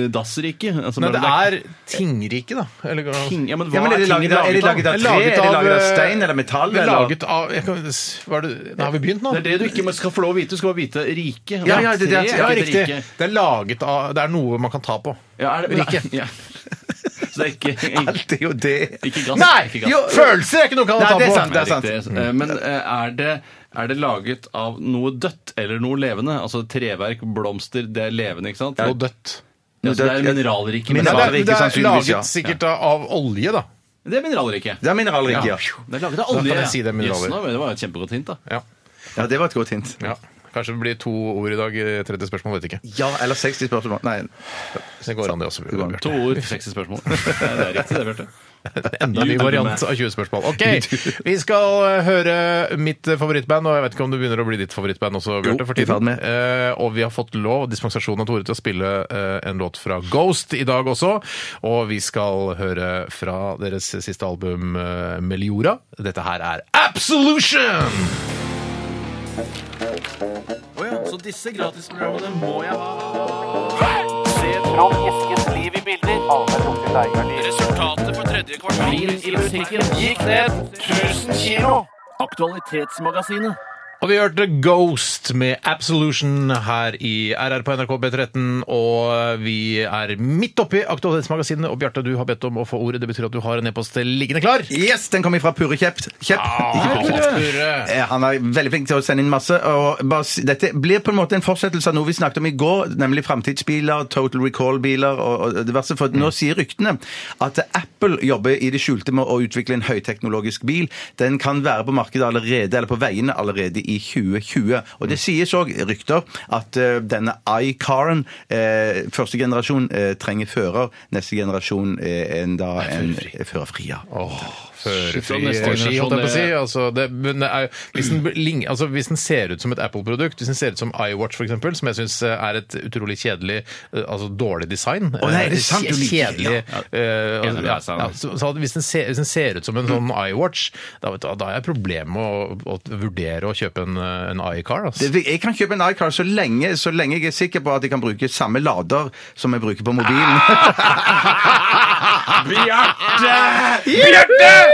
Speaker 6: eh, dassriket. Altså,
Speaker 4: Nei,
Speaker 6: bare
Speaker 4: det
Speaker 6: det
Speaker 4: er tingrike, da. Eller,
Speaker 6: ting- Ja, men hva
Speaker 5: Ja, men er
Speaker 6: er
Speaker 5: det laget
Speaker 6: tinget
Speaker 5: av, er det laget
Speaker 6: laget av?
Speaker 4: Det
Speaker 5: av
Speaker 4: er
Speaker 5: tre?
Speaker 4: laget
Speaker 5: Er det laget av
Speaker 4: av, eh,
Speaker 5: stein eller metall?
Speaker 4: Det er
Speaker 5: eller?
Speaker 4: laget av jeg kan, hva er det, Har vi begynt nå?
Speaker 6: Det er det du ikke skal få lov å vite. Du skal bare vite riket.
Speaker 5: Ja, ja, det- det-
Speaker 6: Tre er
Speaker 4: ja,
Speaker 6: ikke et
Speaker 4: riktig.
Speaker 6: rike.
Speaker 4: Det er laget av Det er noe man kan ta på.
Speaker 6: Ja, er det,
Speaker 4: Riket.
Speaker 6: Ja. Så det er ikke,
Speaker 5: Alt er jo det.
Speaker 6: ikke gass. ikke gass.
Speaker 4: Jo, følelser er Mm. ikke noe man
Speaker 5: Nei,
Speaker 4: kan
Speaker 5: det er
Speaker 4: ta
Speaker 5: sant,
Speaker 4: på!
Speaker 5: det er sant.
Speaker 6: Riktig. Eh, Men eh, er det, er det laget av noe dødt eller noe levende? Altså treverk, blomster, det er levende, ikke sant?
Speaker 4: Og dødt.
Speaker 6: Ja, så det er
Speaker 5: Noe dødt, ja.
Speaker 6: mineralriket.
Speaker 4: Men det
Speaker 5: Mineral-
Speaker 6: mineralriket.
Speaker 4: er, det er
Speaker 5: sannsynligvis, ja.
Speaker 4: laget sikkert av, av olje, da.
Speaker 6: Det er mineralriket.
Speaker 5: Det er mineralrike, ja.
Speaker 6: Det er laget av
Speaker 4: Da
Speaker 6: olje.
Speaker 4: kan jeg si det er mineraler.
Speaker 6: Yes, nå, men det var et kjempegodt hint, da.
Speaker 4: Ja.
Speaker 5: Ja, det var et godt hint.
Speaker 4: ja. Kanskje det blir to ord i dag. eh, 30 spørsmål, vet ikke.
Speaker 5: Ja, eller 60 spørsmål. Nei.
Speaker 4: Så det går an, det også.
Speaker 5: går an.
Speaker 4: Bjørte.
Speaker 6: To ord, 60 spørsmål. Ja, det er riktig, det, Bjarte.
Speaker 4: Enda en ny
Speaker 6: Lur
Speaker 4: variant
Speaker 6: meg.
Speaker 4: av 20 spørsmål. Ok, Vi skal eh, høre mitt eh, favorittband, og jeg vet ikke om det begynner å bli ditt favorittband også, Bjarte, for
Speaker 5: i ferd
Speaker 4: tiden.
Speaker 5: med.
Speaker 4: Eh, og vi har fått lov og dispensasjon av Tore til å spille eh, en låt fra Ghost i dag også. Og vi skal høre fra deres siste album, eh, Meliora. Dette her er Absolution!
Speaker 9: Så disse gratisprogrammene må jeg ha. Se Trond Eskens liv i bilder. Resultatet for tredje kvartal i musikken gikk ned 1000 kilo. Aktualitetsmagasinet.
Speaker 4: Og vi hørte Ghost med Absolution her i RR på NRK B13, og vi er midt oppi Aktualitetsmagasinet, og Bjarte, du har bedt om å få ordet. Det betyr at du har en e-post liggende klar.
Speaker 5: Yes, den kommer fra Purre Kjepp. Kjepp.
Speaker 4: Ah,
Speaker 5: Ikke Purre. Eh, Han er veldig flink til å sende inn masse. Og bare, si- dette blir på en måte en fortsettelse av noe vi snakket om i går, nemlig framtidsbiler, Total Recall-biler og, og diverse. For nå sier ryktene at Apple jobber i det skjulte med å utvikle en høyteknologisk bil. Den kan være på markedet allerede, eller på veiene allerede i 2020. Og det sies òg rykter at eh, denne iCaren, eh, første generasjon, eh, trenger fører. Neste generasjon eh, en da en førerfri. Ja.
Speaker 4: Åh, Førerfri
Speaker 6: Fra neste
Speaker 4: regi,
Speaker 5: sånn
Speaker 4: holdt jeg på å si.
Speaker 6: generasjon,
Speaker 4: Altså, det, men det er, hvis, den, lign- altså, hvis den ser ut som et Apple-produkt, hvis den ser ut som iWatch f.eks., som jeg syns er et utrolig kjedelig, eh, altså dårlig design
Speaker 5: nei,
Speaker 4: eh,
Speaker 5: det er sant,
Speaker 4: kje-
Speaker 5: du liker-
Speaker 4: Kjedelig eh,
Speaker 6: Enig med
Speaker 4: ja,
Speaker 6: deg, Steinar.
Speaker 4: ja, så, så hvis, den ser, hvis den ser ut som en sånn
Speaker 5: Mm.
Speaker 4: iWatch, da, vet du, da har jeg problemer med å, å vurdere å kjøpe en, eh, en iCar. Altså.
Speaker 5: Det- Jeg kan kjøpe en iCar så lenge, så lenge jeg er sikker på at jeg kan bruke samme lader som jeg bruker på
Speaker 6: Ah,
Speaker 5: mobilen.
Speaker 6: Bjarte!
Speaker 5: Bjarte!
Speaker 4: Ah!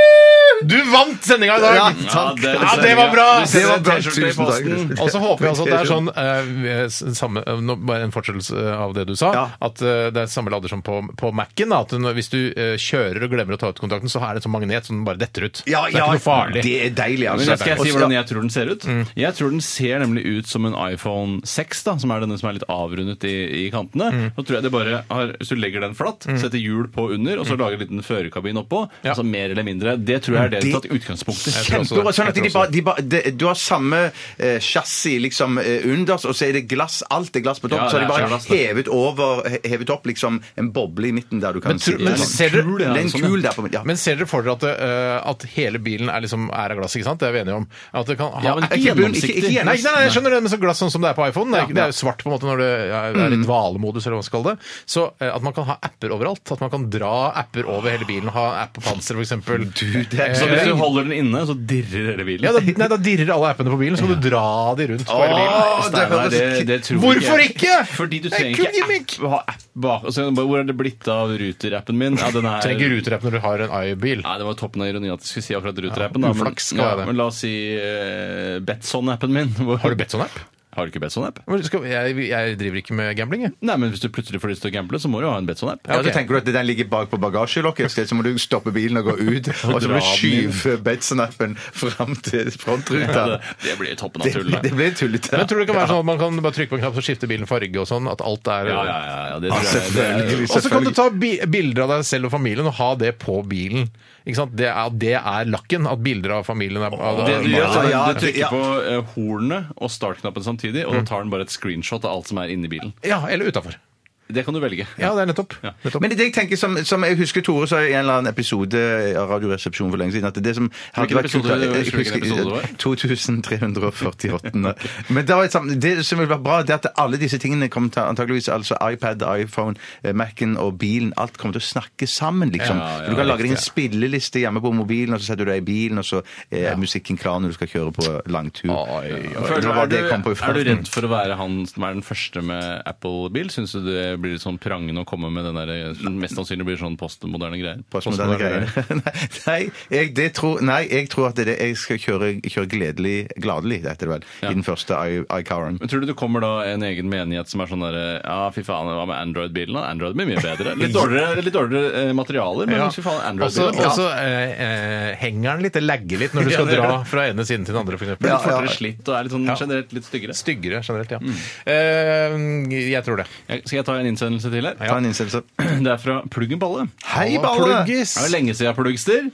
Speaker 4: Du vant sendinga i dag!
Speaker 5: Ja,
Speaker 6: Ja, det,
Speaker 4: Ja, det var bra!
Speaker 6: Du
Speaker 5: Det
Speaker 6: sender
Speaker 5: var bra.
Speaker 6: en T-skjorte i
Speaker 5: Tusen takk.
Speaker 6: posten.
Speaker 4: Og så håper vi altså at det er sånn eh, s- samme, eh, nå Bare en fortsettelse eh, av det du sa.
Speaker 5: Ja.
Speaker 4: At eh, det er samme lader som på, på Mac-en. da, At når- hvis du eh, kjører og glemmer å ta ut kontakten, så er det en sånn magnet som den bare detter ut.
Speaker 5: Ja,
Speaker 4: det er
Speaker 5: ja,
Speaker 4: ikke noe farlig.
Speaker 5: Det er deilig,
Speaker 6: Men
Speaker 5: altså.
Speaker 6: jeg skal jeg si hvordan jeg tror den ser ut?
Speaker 4: Mm.
Speaker 6: Jeg tror den ser nemlig ut som en iPhone 6, da, som er denne som er litt avrundet i, i kantene.
Speaker 4: Mm.
Speaker 6: Så tror jeg det bare har, Hvis du legger den flatt, setter hjul på under, og så lager en liten førerkabin oppå,
Speaker 4: Mm. Ja.
Speaker 6: altså mer eller mindre, det tror jeg er det de har tatt utgangspunktet.
Speaker 4: Jeg tror også
Speaker 5: Kjempebra. Sånn at
Speaker 4: Jeg
Speaker 5: de
Speaker 4: tror
Speaker 5: bare, de bare, de, du har samme eh, chassis liksom eh, underst, og så er det glass. Alt er glass på topp.
Speaker 6: Ja,
Speaker 5: så har
Speaker 6: det
Speaker 5: de
Speaker 6: er
Speaker 5: bare
Speaker 6: glass, det.
Speaker 5: hevet over he- Hevet opp liksom en boble i midten der du kan
Speaker 4: Men tror-
Speaker 5: sitte.
Speaker 4: men
Speaker 5: sånn.
Speaker 4: ser du-
Speaker 5: Det er en
Speaker 6: sånn,
Speaker 5: kul der på midten. Ja.
Speaker 4: Men ser dere for dere at, det, eh, at hele bilen er, liksom, er av glass? ikke sant? Det er vi enige om. At det kan ha,
Speaker 6: Ja, men
Speaker 4: er
Speaker 6: ikke
Speaker 4: ikke bunn-
Speaker 6: gjennomsiktig.
Speaker 4: ikke- ikke gjennoms- Nei, nei, nei, jeg skjønner det, men så glass sånn som det er på iPhone. Det er,
Speaker 6: Ja. Mm.
Speaker 4: det er jo svart på en måte når det er, det er i dvalemodus, eller hva man skal kalle det. Så eh, at man kan ha apper overalt. At man kan dra apper over hele bilen. Ha app på panseret, Eh, f.eks.
Speaker 5: det er ikke
Speaker 6: Så hvis du holder den inne, så dirrer hele bilen.
Speaker 4: Ja, da, nei, da dirrer alle appene på bilen, så må du dra de rundt på hele bilen.
Speaker 5: Åh, det
Speaker 6: Steinar,
Speaker 5: høres
Speaker 6: det, det tror
Speaker 4: Hvorfor
Speaker 6: jeg.
Speaker 4: ikke?
Speaker 6: Fordi du
Speaker 4: Det er
Speaker 6: trenger
Speaker 4: kul
Speaker 6: ikke
Speaker 4: gimmick.
Speaker 6: app, ha app bak. Altså, bare, hvor er det blitt av Ruter-appen min? Ja, den er...
Speaker 4: Du trenger ikke ruterapp når du har en i-bil.
Speaker 6: Nei, det var toppen av ironi at jeg skulle si akkurat Ruter-appen.
Speaker 4: Ja,
Speaker 6: da, men-
Speaker 4: uflaks skal være det.
Speaker 6: men la oss si eh, Betson-appen min. Hvor-
Speaker 4: Har du bedt sånn app?
Speaker 6: Har du ikke Betson-app?
Speaker 4: Hvor skal- Jeg, jeg driver ikke med gambling, jeg.
Speaker 6: Nei, men hvis du plutselig får lyst til å gamble, så må du ha en Betson-app.
Speaker 5: Ja,
Speaker 4: ok.
Speaker 5: Så tenker du at den ligger bak på bagasjelokket et sted, så må du stoppe bilen og gå ut, og så må du skyve Betson-appen fram til frontruta.
Speaker 6: Det, det blir toppen av
Speaker 5: Det,
Speaker 6: tullet.
Speaker 5: det blir tullete.
Speaker 4: Men tror du det kan være sånn at man kan bare trykke på en knapp, så skifter bilen farge og sånn? At alt er
Speaker 6: Ja, ja, ja, ja, det tror jeg. det er-
Speaker 5: Ah, Selvfølgelig.
Speaker 4: Og så kan du
Speaker 5: selvfølgelig.
Speaker 4: ta bi bilder av deg selv og familien og ha det på bilen. Ikke sant? Det, er, det er lakken. At bilder av familien er av,
Speaker 6: Det du gjør, så er
Speaker 5: Ja,
Speaker 6: det-
Speaker 5: ja,
Speaker 6: du trykker
Speaker 5: ja.
Speaker 6: på eh, hornet og startknappen samtidig, og da tar den bare et screenshot av alt som er inni bilen.
Speaker 4: Ja, eller utafor.
Speaker 6: Det kan du velge.
Speaker 4: Ja, det er nettopp. nettopp.
Speaker 5: Men det jeg tenker som, som jeg husker Tore sa i en eller annen episode av Radioresepsjonen for lenge siden at det som hadde
Speaker 6: Hvilken
Speaker 5: vært kult
Speaker 6: episode-
Speaker 5: jeg
Speaker 6: husker du hvilken episode det var?
Speaker 5: 2348. Men det, var et, sam- det som ville vært bra, det er at alle disse tingene kom til antakeligvis altså iPad, iPhone, eh, Mac-en og bilen alt kommer til å snakke sammen, liksom.
Speaker 6: Ja, ja,
Speaker 5: du kan lage deg
Speaker 6: riktig, ja.
Speaker 5: en spilleliste hjemme på mobilen, og så setter du deg i bilen, og så er musikken klar når du skal kjøre på langtur.
Speaker 6: Føler,
Speaker 5: Det var
Speaker 6: er, du,
Speaker 5: det jeg kom på i
Speaker 6: er du
Speaker 5: farten.
Speaker 6: redd for å være han som er den første med Apple-bil? Syns du det blir litt sånn prangende å komme med den der som Mest sannsynlig blir sånn postmoderne greier.
Speaker 5: postmoderne greier. nei, jeg, det tror, nei, jeg tror at det, jeg skal kjøre, kjøre gledelig, gladelig, det heter det vel, i den første i- iCaren.
Speaker 6: Men Tror du det kommer da en egen menighet som er sånn derre Ja, fy faen, hva med Android-bilen? da? Android blir mye bedre. Litt dårligere, litt dårligere eh, materialer, men
Speaker 4: Ja.
Speaker 6: fy faen,
Speaker 4: Og så
Speaker 6: Android-bilen.
Speaker 4: og så, eh, eh, henger den litt, det lagger litt når du skal
Speaker 6: Ja, det gjør
Speaker 4: dra
Speaker 6: det.
Speaker 4: fra ene siden til den andre, f.eks.
Speaker 6: Blir litt fortere slitt og er litt sånn
Speaker 4: Ja.
Speaker 6: generelt litt styggere.
Speaker 4: Styggere generelt, ja.
Speaker 6: Mm.
Speaker 4: Eh, jeg tror det.
Speaker 6: Jeg- Skal jeg ta en innsendelse til her?
Speaker 5: Ta en innstillelse.
Speaker 6: Det er fra Pluggen Balle.
Speaker 5: Hei,
Speaker 4: Å,
Speaker 5: Balle!
Speaker 4: Pluggis!
Speaker 6: Det er jo lenge siden jeg pluggster.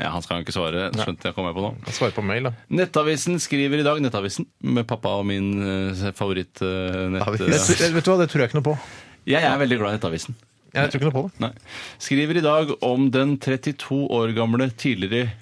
Speaker 6: Ja, han skal jo ikke svare, skjønte jeg kom jeg på nå.
Speaker 4: Svar på mail, da.
Speaker 6: Nettavisen skriver i dag Nettavisen med pappa og min eh, favorittnett...
Speaker 4: Det, vet du hva, det tror jeg ikke noe på.
Speaker 6: Jeg er veldig glad i Nettavisen.
Speaker 4: Jeg tror ikke noe på det.
Speaker 6: Nei. Skriver i dag om den 32 år gamle tidligere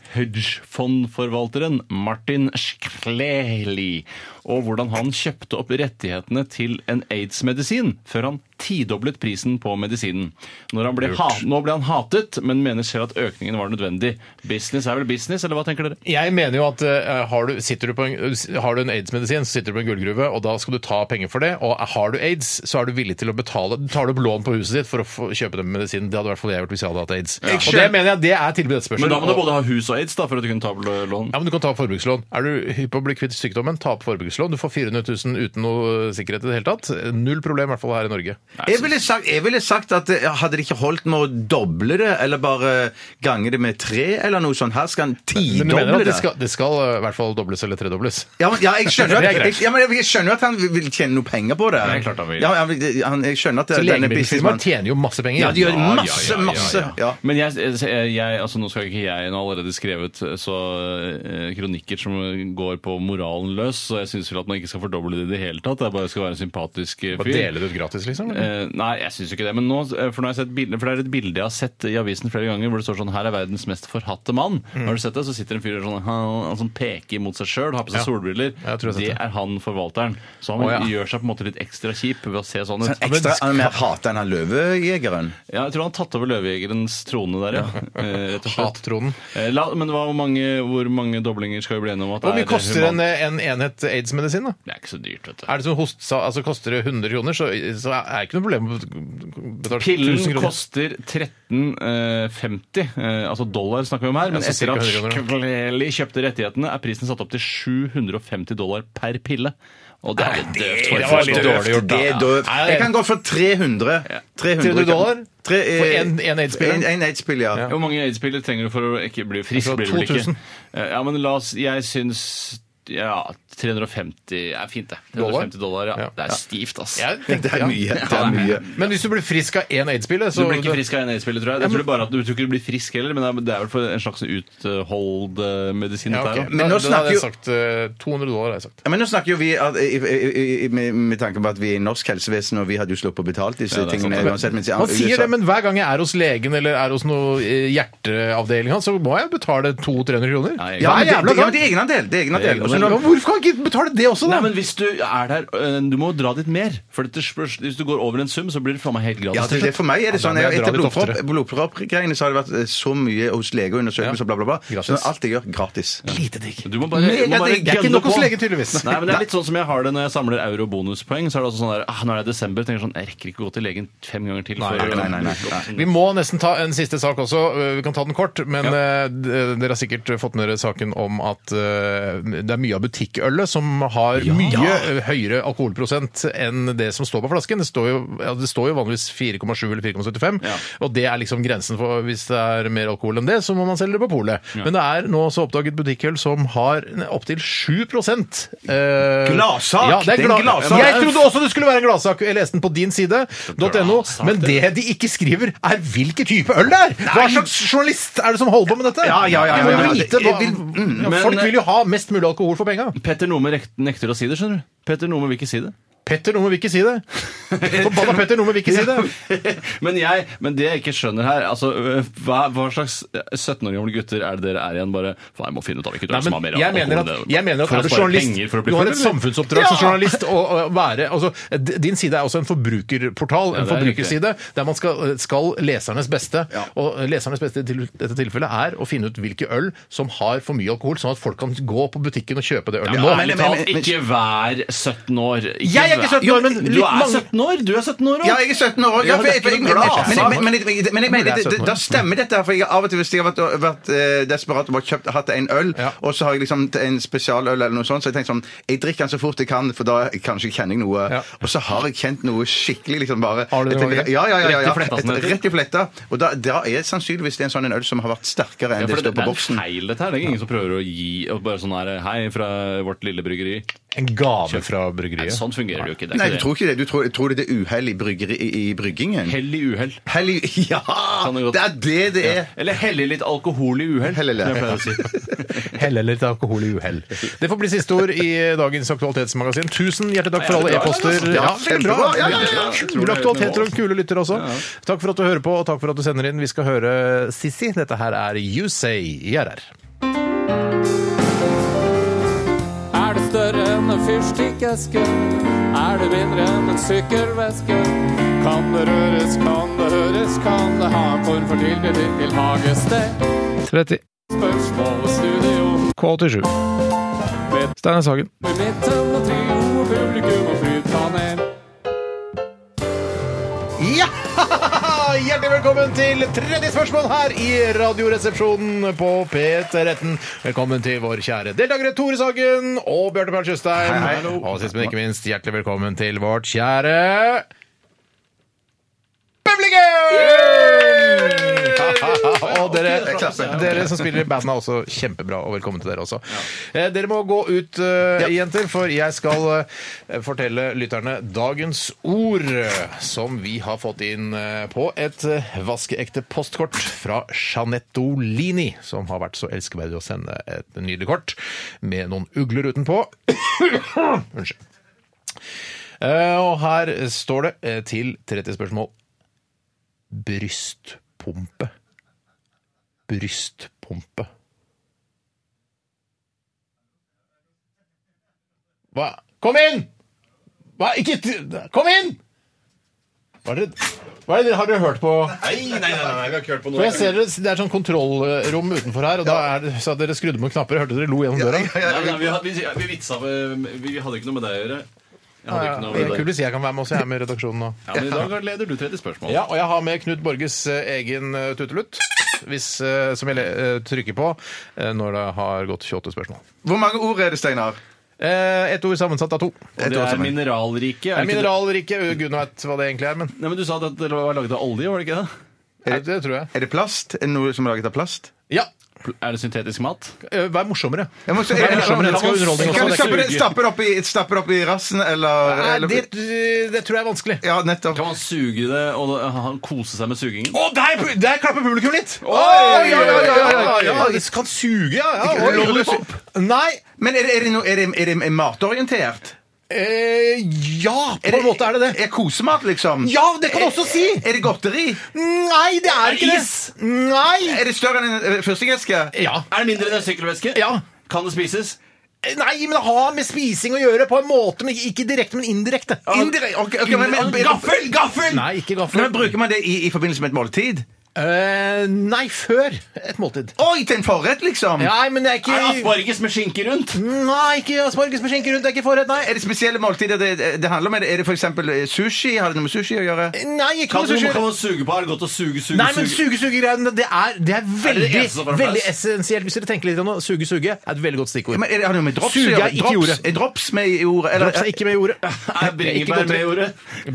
Speaker 6: hedgefondforvalteren Martin Shkreli, og hvordan han kjøpte opp rettighetene til en aids-medisin før han tidoblet prisen på medisinen. Når han ble ha Nå ble han hatet, men mener selv at økningen var nødvendig. Business er vel business, eller hva tenker dere?
Speaker 4: Jeg mener jo at eh, har du, sitter du på en, har du en aids-medisin, så sitter du på en gullgruve, og da skal du ta penger for det. Og har du aids, så er du villig til å betale Tar du opp lån på huset ditt for å få, kjøpe den medisinen. Det hadde i hvert fall jeg gjort hvis jeg hadde hatt aids. Og det mener jeg det er tilbudet etterspørsel.
Speaker 6: Men da må du både ha hus og aids da, for at du kunne ta opp lån.
Speaker 4: Ja, men Du kan ta opp forbrukslån. Er du hypp på å bli kvitt sykdommen, ta opp forbrukslån. Du får 400 000 uten noe sikkerhet i det hele tatt. Null problem, i hvert fall her i Norge.
Speaker 5: Jeg ville, sagt, jeg ville sagt at eh, hadde det ikke holdt med å doble det, eller bare gange det med tre, eller noe sånt, her skal han
Speaker 4: Men du mener at
Speaker 5: tidoble
Speaker 4: det
Speaker 5: det.
Speaker 4: skal, det skal eh, i hvert fall dobles eller tredobles?
Speaker 5: Ja, men, ja, jeg, skjønner at,
Speaker 4: Det er greit.
Speaker 5: jeg, ja, men jeg jeg skjønner at han vil tjene noe penger på det.
Speaker 6: Det er klart han vil.
Speaker 5: Ja, han, vil- han, jeg skjønner at
Speaker 4: Så
Speaker 5: denne
Speaker 4: Legemiddelfirmaet
Speaker 5: businessmannen
Speaker 4: tjener jo masse penger.
Speaker 5: Ja, de gjør
Speaker 6: ja, ja,
Speaker 5: masse,
Speaker 6: ja,
Speaker 5: masse.
Speaker 6: ja.
Speaker 5: Ja.
Speaker 6: Men jeg, jeg, jeg, altså nå skal ikke jeg Nå har allerede skrevet eh, så eh, kronikker som går på moralen løs, så jeg syns vel at man ikke skal fordoble det i det hele tatt. Det er bare skal være en sympatisk eh,
Speaker 4: Bare
Speaker 6: fyr.
Speaker 4: deler det ut gratis, liksom? eller?
Speaker 6: Eh, nei, jeg syns jo ikke det. Men nå, eh, for nå har jeg sett bilder, for det er et bilde jeg har sett i avisen flere ganger hvor det står sånn 'Her er verdens mest forhatte mann'.
Speaker 4: Mm.
Speaker 6: Har du sett det? Så sitter en fyr der sånn, han, han som peker mot seg sjøl, har på seg
Speaker 4: Ja.
Speaker 6: solbriller.
Speaker 4: jeg tror jeg har sett
Speaker 6: det
Speaker 4: det.
Speaker 6: er han forvalteren. Så han
Speaker 4: Å, ja.
Speaker 6: gjør seg på en måte litt ekstra kjip ved å se sånn ut.
Speaker 5: Sånn ekstra, han er mer hata enn han løvejegeren.
Speaker 6: Ja, jeg tror han har tatt over løvejegerens trone der, ja. Eh, Rett og slett.
Speaker 4: Hattronen.
Speaker 6: Eh, La, men hva, hvor, mange, hvor mange doblinger skal vi bli enige om at
Speaker 4: Hvor mye
Speaker 6: er
Speaker 4: koster en,
Speaker 6: humant?
Speaker 4: en enhet aids hostmedisin, da?
Speaker 6: Det er ikke så dyrt, vet du.
Speaker 4: Er det som host, sa- altså Koster det 100 kroner, så, så er det ikke noe problem å betale 1000
Speaker 6: Pillen
Speaker 4: kroner.
Speaker 6: koster 13,50, eh, altså dollar snakker vi om her. Men
Speaker 4: Ja, så cirka
Speaker 6: etter at
Speaker 4: 100 kroner,
Speaker 6: Shkreli kjøpte rettighetene, er prisen satt opp til 750 dollar per pille. Og det er litt døvt. for
Speaker 4: det
Speaker 6: et
Speaker 4: var litt
Speaker 6: forslag.
Speaker 4: dårlig gjort, da.
Speaker 5: Det er døvt.
Speaker 4: Ja.
Speaker 5: Jeg kan gå for 300.
Speaker 4: 300 dollar?
Speaker 5: Tre, eh,
Speaker 4: For en- en AIDS-piller?
Speaker 5: En, en AIDS-pille, ja.
Speaker 6: Hvor mange aids-piller trenger du for å ikke bli frisk?
Speaker 4: Altså,
Speaker 6: blir du vel ikke?
Speaker 4: 2000.
Speaker 6: Eh, Ja, men la oss Jeg syns ja, 350 er fint, det.
Speaker 4: Dollar?
Speaker 6: 350 dollar, ja.
Speaker 4: Ja.
Speaker 6: Det er stivt, ass.
Speaker 4: Jeg
Speaker 5: Det
Speaker 4: tenkte,
Speaker 5: er
Speaker 4: ja.
Speaker 5: mye. Det er mye.
Speaker 4: Men hvis du blir frisk av én aids-pille,
Speaker 6: Du
Speaker 4: så
Speaker 6: blir ikke frisk av en aids-piller, tror jeg. Jeg tror bare at du tror ikke du blir frisk heller, men det er- det er vel for en slags eh, uthold-medisin.
Speaker 4: Ja, ok.
Speaker 6: Okay.
Speaker 5: Men
Speaker 4: da, da
Speaker 5: nå snakker
Speaker 4: hadde
Speaker 5: jo-
Speaker 4: jeg sagt eh, 200 dollar. Har jeg sagt.
Speaker 5: Ja, Men nå snakker jo vi at, i, i, i, med, med tanke på at vi er i norsk helsevesen, og vi hadde jo sluppet å betale disse
Speaker 6: Ja, det er
Speaker 5: tingene
Speaker 6: sant.
Speaker 5: uansett. mens i
Speaker 4: Man sier
Speaker 5: USA-
Speaker 4: det, men hver gang jeg er hos legen eller er hos noe eh, hjerteavdeling, hans, så må jeg betale 200-300 kroner.
Speaker 6: Ja, jeg-
Speaker 5: ja,
Speaker 4: Hver
Speaker 5: men det,
Speaker 4: jævla
Speaker 5: det, ja, men
Speaker 4: gang.
Speaker 5: det er egenandel. Det er egenandel. Og så
Speaker 4: Men
Speaker 5: når-
Speaker 4: Hvorfor kan jeg ikke betale det også, da?
Speaker 6: Nei, men hvis du er der eh, Du må dra dit mer. For dette spørs, hvis du går over en sum, så blir det faen meg helt gratis.
Speaker 5: Ja,
Speaker 6: til
Speaker 5: det, det,
Speaker 6: slutt.
Speaker 5: for meg er det
Speaker 4: Ja, da
Speaker 5: sånn
Speaker 4: må
Speaker 5: jeg,
Speaker 4: jeg dra litt
Speaker 5: Etter blodpropp-
Speaker 4: oftere.
Speaker 5: blodproppgreiene så har det vært eh, så mye hos lege og undersøkelser,
Speaker 4: Ja.
Speaker 5: bla, bla, bla.
Speaker 4: Gratis.
Speaker 5: Så alt jeg gjør, gratis.
Speaker 4: Lite digg.
Speaker 6: Du må bare,
Speaker 4: Mega
Speaker 6: må bare
Speaker 4: digg. Det er ikke
Speaker 6: gønne
Speaker 4: nok hos
Speaker 6: på.
Speaker 4: lege, tydeligvis.
Speaker 6: Nei, men Det er litt sånn som jeg har det når jeg samler euro-bonuspoeng. Så er det også sånn der, ah, Nå er det desember. tenker jeg sånn, Jeg rekker ikke å gå til legen fem ganger til. for-
Speaker 5: Nei, nei, nei. nei.
Speaker 4: Vi må nesten ta en siste sak også. Eh, Vi kan ta den kort, men eh, d- dere har sikkert fått med dere saken om at eh, det er mye av butikkølet som har mye eh, høyere alkoholprosent enn det som står på flasken. Det står jo, ja, det står jo vanligvis 4,7 eller 4,75, og det er liksom grensen for hvis det er mer alkohol enn det, så må man selge det på polet. Men det er nå så oppdaget butikkøl som har opptil 7 eh,
Speaker 5: Gladsak!
Speaker 4: Ja, det er
Speaker 5: Det er en
Speaker 4: gla-
Speaker 5: gladsak.
Speaker 4: Jeg trodde også det skulle være en gladsak. Jeg leste den på din side, .no. Men det de ikke skriver, er hvilken type øl det er! Hva slags journalist er det som holder på med dette?
Speaker 5: Ja, ja, ja,
Speaker 4: Jeg må
Speaker 5: ja, ja.
Speaker 4: vite
Speaker 5: Jeg
Speaker 4: hva-
Speaker 5: vil- mm. eh,
Speaker 4: Ja,
Speaker 6: men-
Speaker 4: Folk vil jo ha mest mulig alkohol for penga.
Speaker 6: Petter Nome rekt- nekter å si det, skjønner du. Petter Nome vil ikke si det.
Speaker 4: Petter Numme vil ikke si det. Forbanna Petter Numme vil ikke si det.
Speaker 6: men, jeg, men det jeg ikke skjønner her altså, øh, hva, hva slags 17 år gamle gutter er det dere er igjen? Bare, faen, jeg må finne ut av hvilket
Speaker 4: Nei,
Speaker 6: øl som har
Speaker 4: men
Speaker 6: mer
Speaker 4: jeg mener at,
Speaker 6: enn det.
Speaker 4: jeg mener at
Speaker 6: For å
Speaker 4: er du
Speaker 6: spare
Speaker 4: journalist
Speaker 6: penger for å bli
Speaker 4: Du har
Speaker 6: full,
Speaker 4: et
Speaker 6: eller?
Speaker 4: samfunnsoppdrag som journalist å å være altså, d- Din side er også en forbrukerportal, en
Speaker 6: det er
Speaker 4: forbrukerside, der man skal, skal lesernes beste. Og lesernes beste i til- dette tilfellet er å finne ut hvilke øl som har for mye alkohol, sånn at folk kan gå på butikken og kjøpe det ølet.
Speaker 6: Ja,
Speaker 4: nå.
Speaker 6: ærlig
Speaker 5: men-
Speaker 6: talt,
Speaker 5: men-
Speaker 6: ikke vær 17 år.
Speaker 4: Jeg er ikke 17 år,
Speaker 6: vær-
Speaker 4: men
Speaker 6: Du
Speaker 4: litt
Speaker 6: er
Speaker 4: mange-
Speaker 6: 17 år! Du er 17 år òg!
Speaker 5: Ja, jeg er 17 år. Ja,
Speaker 6: Ja,
Speaker 5: for
Speaker 6: det er
Speaker 5: jeg- for jeg-
Speaker 6: ikke
Speaker 5: men-
Speaker 6: noe glad,
Speaker 5: men-
Speaker 6: altså.
Speaker 5: men- men- men- men jeg mener,
Speaker 4: Det er
Speaker 5: det- det-
Speaker 4: 17 år.
Speaker 5: Da stemmer dette, her, for jeg har av og til hvis jeg har vært, vært eh, desperat og bare kjøpt, hatt en øl,
Speaker 4: Ja.
Speaker 5: og så har jeg liksom en spesialøl eller noe sånt, så jeg tenkte sånn Jeg drikker den så fort jeg kan, for da kanskje kjenner jeg noe.
Speaker 4: Ja.
Speaker 5: Og så har jeg kjent noe skikkelig, liksom bare
Speaker 4: Har du det, Norge?
Speaker 5: Ja, ja, ja. ja, ja.
Speaker 6: Rett i fletta, som det
Speaker 5: Et-
Speaker 6: heter.
Speaker 5: Rett i fletta. Og da, da er sannsynligvis det en sånn en øl som har vært sterkere enn
Speaker 6: Ja,
Speaker 5: det
Speaker 6: for
Speaker 5: står
Speaker 6: det, det
Speaker 5: på
Speaker 6: er en
Speaker 5: boksen.
Speaker 6: feil, dette her. Det er ingen som prøver å gi og bare sånn her Hei, fra vårt lille bryggeri.
Speaker 4: En gave fra
Speaker 6: Nei,
Speaker 4: bryggeriet.
Speaker 6: sånn fungerer det jo ikke. Det
Speaker 5: Nei,
Speaker 6: er
Speaker 5: du
Speaker 6: ikke det.
Speaker 5: tror ikke det. Du tror, tror det er uhell i, bryggeri- i, i bryggingen?
Speaker 6: Hell i uhell.
Speaker 5: Hell i Ja!
Speaker 6: Sånn er det godt.
Speaker 5: Det er det det er.
Speaker 6: Eller helle i litt alkohol i uhell.
Speaker 5: Hell eller-
Speaker 6: som jeg pleier å si.
Speaker 4: Hell eller til alkohol i uhell. Det får bli siste ord i dagens Aktualitetsmagasin. Tusen hjertelig takk for alle e-poster. Ja, veldig bra.
Speaker 5: Ja, ja, ja.
Speaker 4: Kule aktualiteter og kule lyttere også. Takk for at du hører på, og takk for at du sender inn. Vi skal høre Sissy. Dette her er You Say i RR.
Speaker 10: Er det større enn en fyrstikkeske? Er det mindre enn en sykkelveske? Kan det røres, kan det høres, kan det ha en form for tilknytning til hagested?
Speaker 4: 30.
Speaker 10: Spørsmål og studio
Speaker 4: K87. Steinar Sagen.
Speaker 10: med midten og trio og publikum og flypanel.
Speaker 4: Ja! Hjertelig velkommen til tredje spørsmål her i Radioresepsjonen på P13. Velkommen til vår kjære deltakere Tore Sagen og Bjarte Paul Tjøstheim. Og sist, men ikke minst, hjertelig velkommen til vårt kjære Publikum! og dere, dere som spiller i bandet er også kjempebra, og velkommen til dere også. Eh, Dere må gå ut, eh, jenter, for jeg skal eh, fortelle lytterne dagens ord, eh, som vi har fått inn eh, på et eh, vaskeekte postkort fra Janettolini, som har vært så elskeverdig å sende et nydelig kort med noen ugler utenpå. Unnskyld. Eh, Og her står det eh, til 30 spørsmål. Brystpumpe. Brystpumpe. Hva? Kom inn! Hva? Ikke t- Kom inn! Hva er det, hva er det, har dere hørt på?
Speaker 6: Nei, nei, nei, nei, vi har ikke hørt på
Speaker 4: For jeg ser dere, Det er sånn kontrollrom utenfor her, og da er det, så at dere skrudde på knapper. Jeg hørte dere lo gjennom døra.
Speaker 6: Nei, nei, vi, hadde, vi, vi vitsa med Vi hadde ikke noe med deg å gjøre. Jeg hadde ikke
Speaker 4: Det er
Speaker 6: noe med
Speaker 4: kult
Speaker 6: deg.
Speaker 4: hvis jeg kan være med også. Jeg er med i redaksjonen nå.
Speaker 6: Ja, men I dag leder du 30 spørsmål.
Speaker 4: Ja, og jeg har med Knut Borges eh, egen eh, tutelutt, hvis, eh, som jeg le- eh, trykker på eh, når det har gått 28 spørsmål.
Speaker 5: Hvor mange ord er det, Steinar?
Speaker 4: Eh, Ett ord sammensatt av to.
Speaker 5: Et
Speaker 6: Det
Speaker 5: år
Speaker 6: er
Speaker 5: sammen.
Speaker 6: mineralrike.
Speaker 4: Det er
Speaker 6: Er det ikke det?
Speaker 4: mineralrike. uh, Gud vet hva det egentlig er, men
Speaker 6: Nei, men Du sa at det var laget av olje, var det ikke det?
Speaker 4: det, det tror jeg.
Speaker 5: Er det plast? Er det noe som er laget av plast?
Speaker 4: Ja.
Speaker 6: Pl- Er det syntetisk mat?
Speaker 4: eh, Vær morsommere.
Speaker 5: Jeg må, så,
Speaker 4: Det er morsommere, det skal være underholdning også, det
Speaker 5: Kan du
Speaker 4: er ikke
Speaker 5: stappe det,
Speaker 4: suge.
Speaker 5: stappe det opp i, stappe det opp i rassen, eller,
Speaker 4: Nei,
Speaker 5: eller
Speaker 4: det, det tror jeg er vanskelig.
Speaker 5: Ja, nettopp.
Speaker 6: Kan man suge det og da- han kose seg med sugingen?
Speaker 4: Å, der, der klapper publikum litt! Oi,
Speaker 5: oi, oi, oi, oi, oi.
Speaker 4: Ja, det kan suge, ja. ja oi.
Speaker 5: Lollipop?
Speaker 4: Nei
Speaker 5: Men er det, er det, noe, er det, er det matorientert?
Speaker 4: eh, Ja, på en måte er det det.
Speaker 5: Er kosemat, liksom?
Speaker 4: Ja, det kan du også si!
Speaker 5: Er det godteri?
Speaker 4: Nei, det er ikke det. Nei.
Speaker 5: Er det større enn en eh, fyrstikkeske?
Speaker 4: Ja.
Speaker 6: Er det mindre enn en sykkelveske?
Speaker 4: Ja.
Speaker 6: Kan det spises?
Speaker 4: Nei, men det har med spising å gjøre på en måte, men ikke direkte, men indirekte.
Speaker 5: Indirekte ok, ok, men- men-
Speaker 6: Gaffel! Gaffel!
Speaker 4: Nei, ikke
Speaker 5: Nei,
Speaker 4: gaffel.
Speaker 5: men Bruker man det i, i forbindelse med et måltid?
Speaker 4: Eh, nei, før et måltid.
Speaker 5: Oi, til en forrett, liksom!
Speaker 4: Nei, altså, men det er
Speaker 6: Er det
Speaker 4: ikke
Speaker 6: asparges med skinke rundt?
Speaker 4: Nei, ikke asparges med skinke rundt. Det er ikke forrett, nei.
Speaker 5: Er det spesielle måltider det, det handler om? Er det, er det for eksempel eh, sushi? Har det noe med sushi å gjøre?
Speaker 4: Nei, ikke
Speaker 6: Kan,
Speaker 4: noe sushi.
Speaker 6: kan man suge på? Er det godt å suge, suge,
Speaker 4: Nei, men
Speaker 6: suge?
Speaker 4: suge-suge-greiene, det er, det er veldig,
Speaker 6: eneste som får en
Speaker 4: veldig
Speaker 6: plass?
Speaker 4: essensielt. Hvis dere tenker litt om det, suge-suge er et veldig godt stikkord.
Speaker 5: Men er det, har det noe med drops
Speaker 4: Suger
Speaker 5: å gjøre?
Speaker 4: er ikke i
Speaker 5: Drops,
Speaker 4: ordet.
Speaker 5: er drops med i ordet? Eller,
Speaker 4: Drops er altså ikke med i ordet.
Speaker 6: Er bringebær med i ordet?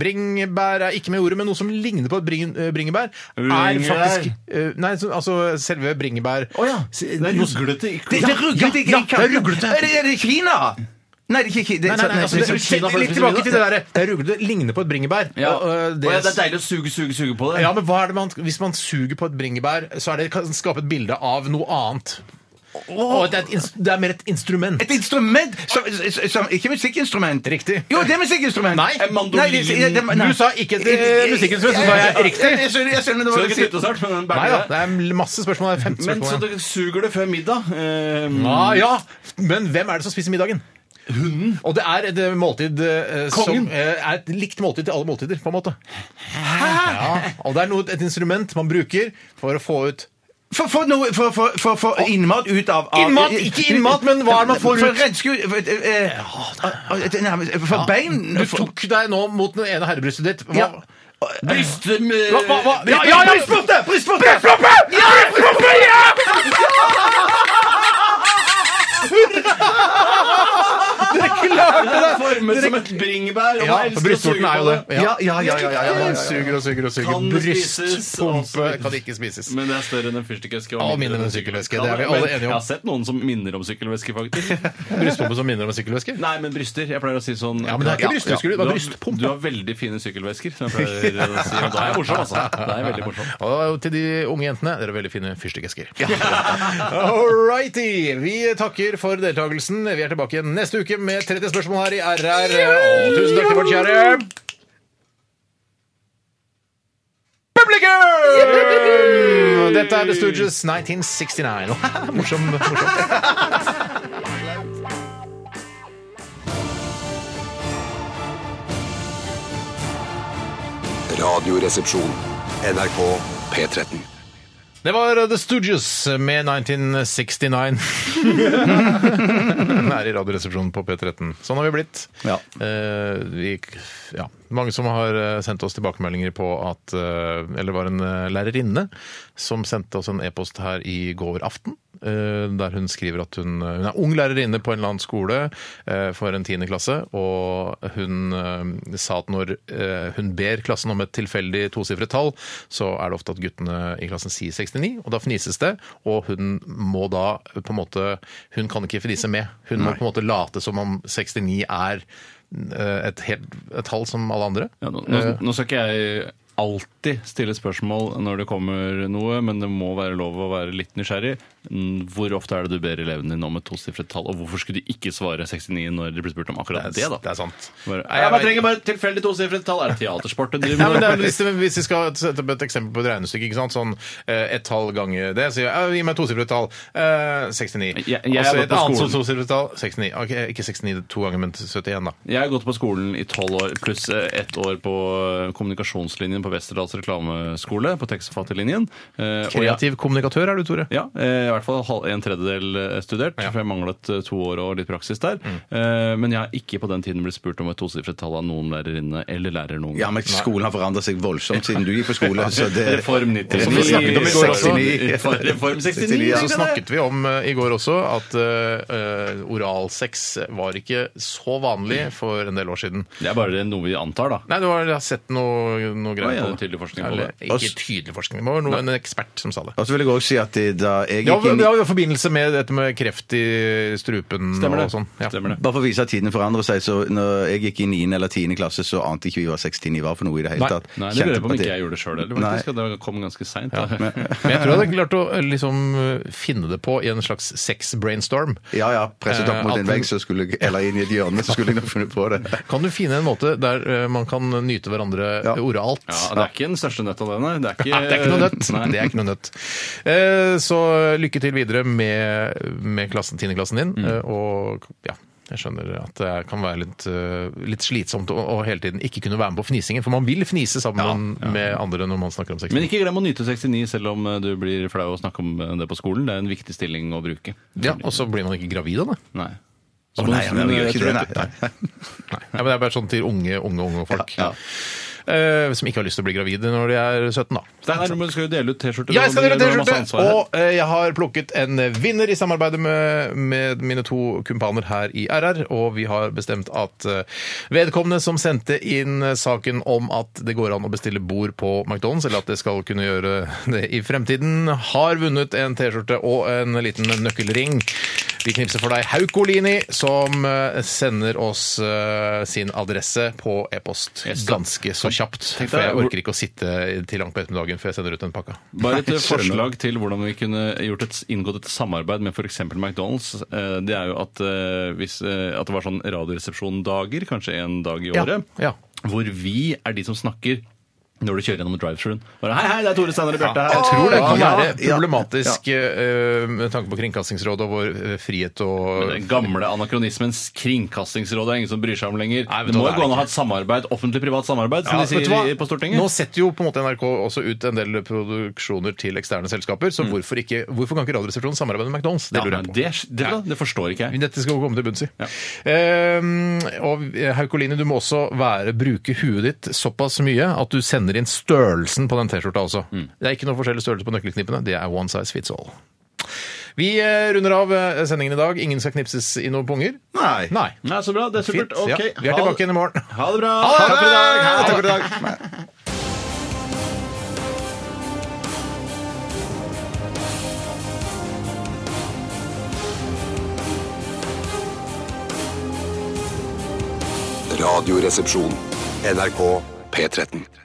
Speaker 4: Bringebær er ikke med i ordet, men noe som ligner på bring, eh, bringebær, er
Speaker 6: Bringebær.
Speaker 4: faktisk eh, Nei, så, altså selve bringebær
Speaker 6: Å ja.
Speaker 4: S-
Speaker 6: Det er ruglete.
Speaker 5: Det, det er ruglete!
Speaker 4: Ja, ja, det er ruglete.
Speaker 5: Er det, er det Kina? Nei, det er sånn- ikke Ki- det,
Speaker 4: Nei, nei, nei, altså, det,
Speaker 6: spiser Kina,
Speaker 4: litt- litt
Speaker 6: spiser
Speaker 4: tilbake
Speaker 6: Kina.
Speaker 4: til det derre Det er ruglete, det ligner på et bringebær.
Speaker 6: Ja.
Speaker 4: Og, eh,
Speaker 6: Å ja, det er deilig å suge, suge, suge på det.
Speaker 4: ja, men hva er det man, Hvis man suger på et bringebær, så er det, kan skape et bilde av noe annet. Og det, er et, ins- det er mer et instrument.
Speaker 5: Et instrument som, som, som Ikke musikkinstrument.
Speaker 4: Riktig.
Speaker 5: Jo, det er musikkinstrument.
Speaker 4: Nei.
Speaker 5: En mandolin. Nei, det- det- det- nei.
Speaker 4: Du sa ikke et, eh, musikkinstrument, så sa jeg riktig.
Speaker 5: Jeg, jeg, skjønner- eh, jeg skjønner det var
Speaker 6: Skal dere slutte snart? med den
Speaker 4: Nei da,
Speaker 6: bæren der?
Speaker 4: det er masse spørsmål. Det er 15
Speaker 6: Men så
Speaker 4: spørsmål. igjen.
Speaker 6: dere suger det før middag? Eh,
Speaker 4: Ah, ja, men hvem er det som spiser middagen? Hunden. Og det er et eh, måltid eh, som
Speaker 6: Kongen.
Speaker 4: eh, er et likt måltid til alle måltider, på en måte. Ja, og det er noe, et instrument man bruker for å få ut
Speaker 5: For, for, noe, for, for, for, for innmat ut av, av
Speaker 4: Innmat, ikke innmat, men hva er det man får ut?
Speaker 5: For renske ut for, eh, eh, nærmest- for bein
Speaker 4: Du
Speaker 5: for-
Speaker 4: tok deg nå mot den ene herrebrystet ditt. Hva?
Speaker 5: Ja.
Speaker 6: Bryst...
Speaker 4: Hva, hva, hva? Ja, ja, ja!
Speaker 5: Brystvorte! Brystvorte! Ja! Brystvorte! Ja!
Speaker 4: Dere klarte
Speaker 6: Det
Speaker 4: det!
Speaker 6: er formet som et bringebær. og
Speaker 4: Ja,
Speaker 6: man elsker å
Speaker 4: brystvorten
Speaker 6: suge
Speaker 4: er jo
Speaker 6: på
Speaker 4: det.
Speaker 5: Ja, ja, ja, ja, ja, ja, ja, ja.
Speaker 4: Suger og suger og suger.
Speaker 6: Kan det spises?
Speaker 4: Brystpumpe kan ikke spises.
Speaker 6: Men det er større enn en fyrstikkeske.
Speaker 4: Ja, mindre enn en sykkelveske, det er vi
Speaker 6: Ja, men
Speaker 4: alle enige om.
Speaker 6: Jeg har sett noen som minner om sykkelveske, faktisk.
Speaker 4: Brystpumpe som minner om en sykkelveske?
Speaker 6: Nei, men bryster. Jeg pleier å si sånn
Speaker 4: Ja, men det er ikke
Speaker 6: Ja,
Speaker 4: bryster, skulle du- det var
Speaker 6: Du har-
Speaker 4: brystpumpe.
Speaker 6: Du har veldig fine sykkelvesker, som jeg pleier å si. Og da er jeg morsom, altså. Da er jeg veldig morsom.
Speaker 4: Og til de unge jentene dere er veldig fine fyrstikkesker. All righty! Vi takker for deltakelsen. Vi er tilbake igjen neste uke med 30 spørsmål her i RR. Og tusen takk til vårt kjære publikum! Dette er The Stooges 1969. morsom, morsom.
Speaker 1: Radioresepsjon. NRK P13.
Speaker 4: Det var The Stooges med 1969. Den er i Radioresepsjonen på P13. Sånn har vi blitt.
Speaker 6: Ja.
Speaker 4: Eh, vi, ja. Mange som har eh, sendt oss tilbakemeldinger på at eh, Eller var en eh, lærerinne som sendte oss en e-post her i går aften. eh, der hun skriver at hun, eh, hun er ung lærerinne på en eller annen skole eh, for en tiende klasse. Og hun eh, sa at når eh, hun ber klassen om et tilfeldig tosifret tall, så er det ofte at guttene i klassen sier 69, og da fnises det. Og hun må da på en måte Hun kan ikke fnise med. Hun må på en måte late som om 69 er eh, et, helt, et tall som alle andre.
Speaker 6: Ja, nå, nå, nå skal ikke jeg alltid stille spørsmål når det kommer noe, men det må være lov å være litt nysgjerrig. Mm, Hvor ofte er det du ber elevene dine om et tosifret tall, og hvorfor skulle de ikke svare 69 når de blir spurt om akkurat det, da?
Speaker 4: Det er sant.
Speaker 6: Bare, Nei, jeg bare trenger bare et tilfeldig tosifret tall. Er det teatersport du
Speaker 4: Nei,
Speaker 6: driver
Speaker 4: men
Speaker 6: med?
Speaker 4: det er, hvis, hvis vi skal sette opp et eksempel på et regnestykke, ikke sant? sånn eh, ett tall ganger det, så ja, gi meg et tosifret tall. Eh, 69.
Speaker 6: Jeg- jeg
Speaker 4: altså
Speaker 6: er
Speaker 4: et
Speaker 6: på
Speaker 4: annet
Speaker 6: skolen.
Speaker 4: sånt tosifret tall. 69. Ok, ikke 69 to ganger, men 71, da.
Speaker 6: Jeg har gått på skolen i tolv år, pluss eh, ett år på eh, kommunikasjonslinjen på Westerdals reklameskole, på tekstforfatterlinjen. Eh, og jeg-
Speaker 4: Kreativ kommunikatør er du, Tore.
Speaker 6: Ja, eh, i hvert fall halv- en tredjedel eh, studert,
Speaker 4: Ja.
Speaker 6: for jeg manglet eh, to år og litt praksis der. Eh, Men jeg har ikke på den tiden blitt spurt om et tosifret tall av noen lærerinne eller lærer noen
Speaker 5: Ja,
Speaker 6: gang.
Speaker 5: men skolen har forandra seg voldsomt siden du gikk på skole. Så det,
Speaker 6: Reform 90.
Speaker 5: Som vi snakket om i går også.
Speaker 6: 69. Reform 69.
Speaker 5: Ja,
Speaker 4: Så
Speaker 6: tenkte jeg det.
Speaker 4: snakket vi om eh, i går også at uh, oralsex var ikke så vanlig for en del år siden.
Speaker 6: Det er bare noe vi antar, da.
Speaker 4: Nei, du har, jeg har sett noe, noe
Speaker 6: Å, ja,
Speaker 4: greier på det.
Speaker 6: tydelig forskning på det.
Speaker 4: Eller, Ikke tydelig forskning, det var noe, en ekspert som sa det.
Speaker 5: og så vil jeg også si at det- da jeg
Speaker 4: Ja,
Speaker 5: gikk
Speaker 4: men
Speaker 5: inn
Speaker 4: det
Speaker 5: i
Speaker 4: var jo i forbindelse med dette med kreft i strupen
Speaker 6: Stemmer det.
Speaker 4: og sånn. Ja.
Speaker 6: Stemmer det.
Speaker 5: bare for å vise at tiden forandrer seg, så når jeg gikk i 9. eller 10. klasse, så ante ikke vi hva 69 var for noe i det hele
Speaker 4: Nei.
Speaker 5: tatt.
Speaker 6: Nei, det lurer jeg på om
Speaker 5: Kjente
Speaker 6: ikke jeg gjorde det sjøl heller.
Speaker 5: Nei.
Speaker 6: faktisk, at Det kom ganske seint. Ja.
Speaker 4: Men jeg tror jeg hadde klart å eh, liksom, eh, finne det på i en slags sex-brainstorm.
Speaker 5: Ja, ja, presset opp
Speaker 4: Eh,
Speaker 5: mot
Speaker 4: at
Speaker 5: en
Speaker 4: hun-
Speaker 5: vegg, så skulle jeg, eller inn i et hjørne, så skulle jeg nok funnet på det.
Speaker 4: Kan du finne en måte der eh, man kan nyte hverandre
Speaker 5: Ja.
Speaker 4: oralt?
Speaker 6: Ja, det er ikke den største nøtta, det, nei. Det er ikke,
Speaker 4: Nei, det er ikke noe nøtt.
Speaker 6: Nei.
Speaker 4: Det er ikke noe nøtt. Eh, Så lykke til videre med, med klassen, tiendeklassen
Speaker 6: Mm.
Speaker 4: din. eh, Og ja, jeg skjønner at det kan være litt, eh, litt slitsomt å, å hele tiden ikke kunne være med på fnisingen. For man vil fnise sammen med andre når man snakker om sex.
Speaker 6: Men ikke glem å nyte 69 selv om eh, du blir flau å snakke om eh, det på skolen. Det er en viktig stilling å bruke.
Speaker 4: Ja, og så blir man ikke gravid av det.
Speaker 6: Nei.
Speaker 5: Å
Speaker 4: Sånn
Speaker 5: nei, nei, vi gjør ikke det, nei. nei.
Speaker 4: Nei, men det er bare sånn til unge, unge, unge folk.
Speaker 5: Ja,
Speaker 4: Eh, som ikke har lyst til å bli gravide når de er 17, da.
Speaker 6: Steinar, du skal jo dele ut T-skjorter.
Speaker 4: Jeg skal
Speaker 6: og
Speaker 4: dele
Speaker 6: du har masse
Speaker 4: T-skjorte,
Speaker 6: ansvar her.
Speaker 4: og eh, jeg har plukket en eh, vinner i samarbeidet med, med mine to kumpaner her i RR. Og vi har bestemt at eh, vedkommende som sendte inn eh, saken om at det går an å bestille bord på McDonald's, eller at det skal kunne gjøre det i fremtiden, har vunnet en T-skjorte og en liten nøkkelring. Vi knipser for deg Haukolini, som eh, sender oss eh, sin adresse på e-post
Speaker 6: Yes.
Speaker 4: ganske så kjapt.
Speaker 6: Tenk deg-
Speaker 4: For jeg orker ikke å sitte til langt på ettermiddagen før jeg sender ut den pakka.
Speaker 6: Bare et
Speaker 5: Nei,
Speaker 6: eh,
Speaker 5: skjønner.
Speaker 6: forslag til hvordan vi kunne gjort et, inngått et samarbeid med f.eks. McDonald's. eh, Det er jo at, eh, hvis, eh, at det var sånn Radioresepsjon-dager, kanskje en dag i
Speaker 4: Ja,
Speaker 6: året,
Speaker 4: ja.
Speaker 6: hvor vi er de som snakker når du kjører gjennom drive-thruen. Bare, Hei, hei, det er Tore Steinar og Bjarte her.
Speaker 4: Jeg tror det kan
Speaker 5: Ja,
Speaker 4: være
Speaker 5: ja.
Speaker 4: problematisk eh, med tanke på Kringkastingsrådet og vår eh, frihet og
Speaker 6: Den gamle anakronismens kringkastingsråd er ingen som bryr seg om lenger.
Speaker 4: Nei, vet
Speaker 6: det
Speaker 4: du
Speaker 6: må
Speaker 4: hva, det
Speaker 6: jo
Speaker 4: er
Speaker 6: gå an
Speaker 4: ikke.
Speaker 6: å ha et samarbeid, offentlig-privat samarbeid, som
Speaker 4: Ja,
Speaker 6: de
Speaker 4: vet du hva?
Speaker 6: sier i- på Stortinget.
Speaker 4: Nå setter jo på en måte NRK også ut en del produksjoner til eksterne selskaper, så hvorfor, ikke, hvorfor kan ikke Radioresepsjonen samarbeide med McDonald's? Det
Speaker 6: Mm. ja,
Speaker 4: lurer jeg
Speaker 6: nei,
Speaker 4: på.
Speaker 6: det, det, det forstår ikke
Speaker 4: Men
Speaker 6: jeg.
Speaker 4: Dette skal vi komme til bunns i. Ehm, og Haukoline, du må også være, bruke huet ditt såpass mye at du sender inn størrelsen på den T-skjorta også.
Speaker 6: Mm.
Speaker 4: Det er ikke noe forskjellig størrelse på nøkkelknippene. Det er one size fits all. Vi eh, runder av eh, sendingen i dag. Ingen skal knipses i noen punger.
Speaker 5: Nei.
Speaker 4: Nei.
Speaker 6: Nei, så bra. Det er supert.
Speaker 4: Fint. Ja.
Speaker 6: Ok,
Speaker 4: Vi er
Speaker 6: ha det-
Speaker 4: tilbake igjen i morgen.
Speaker 6: Ha det bra.
Speaker 5: Takk for i dag. Ha det, Takk for i dag.
Speaker 1: Radioresepsjon. NRK P13.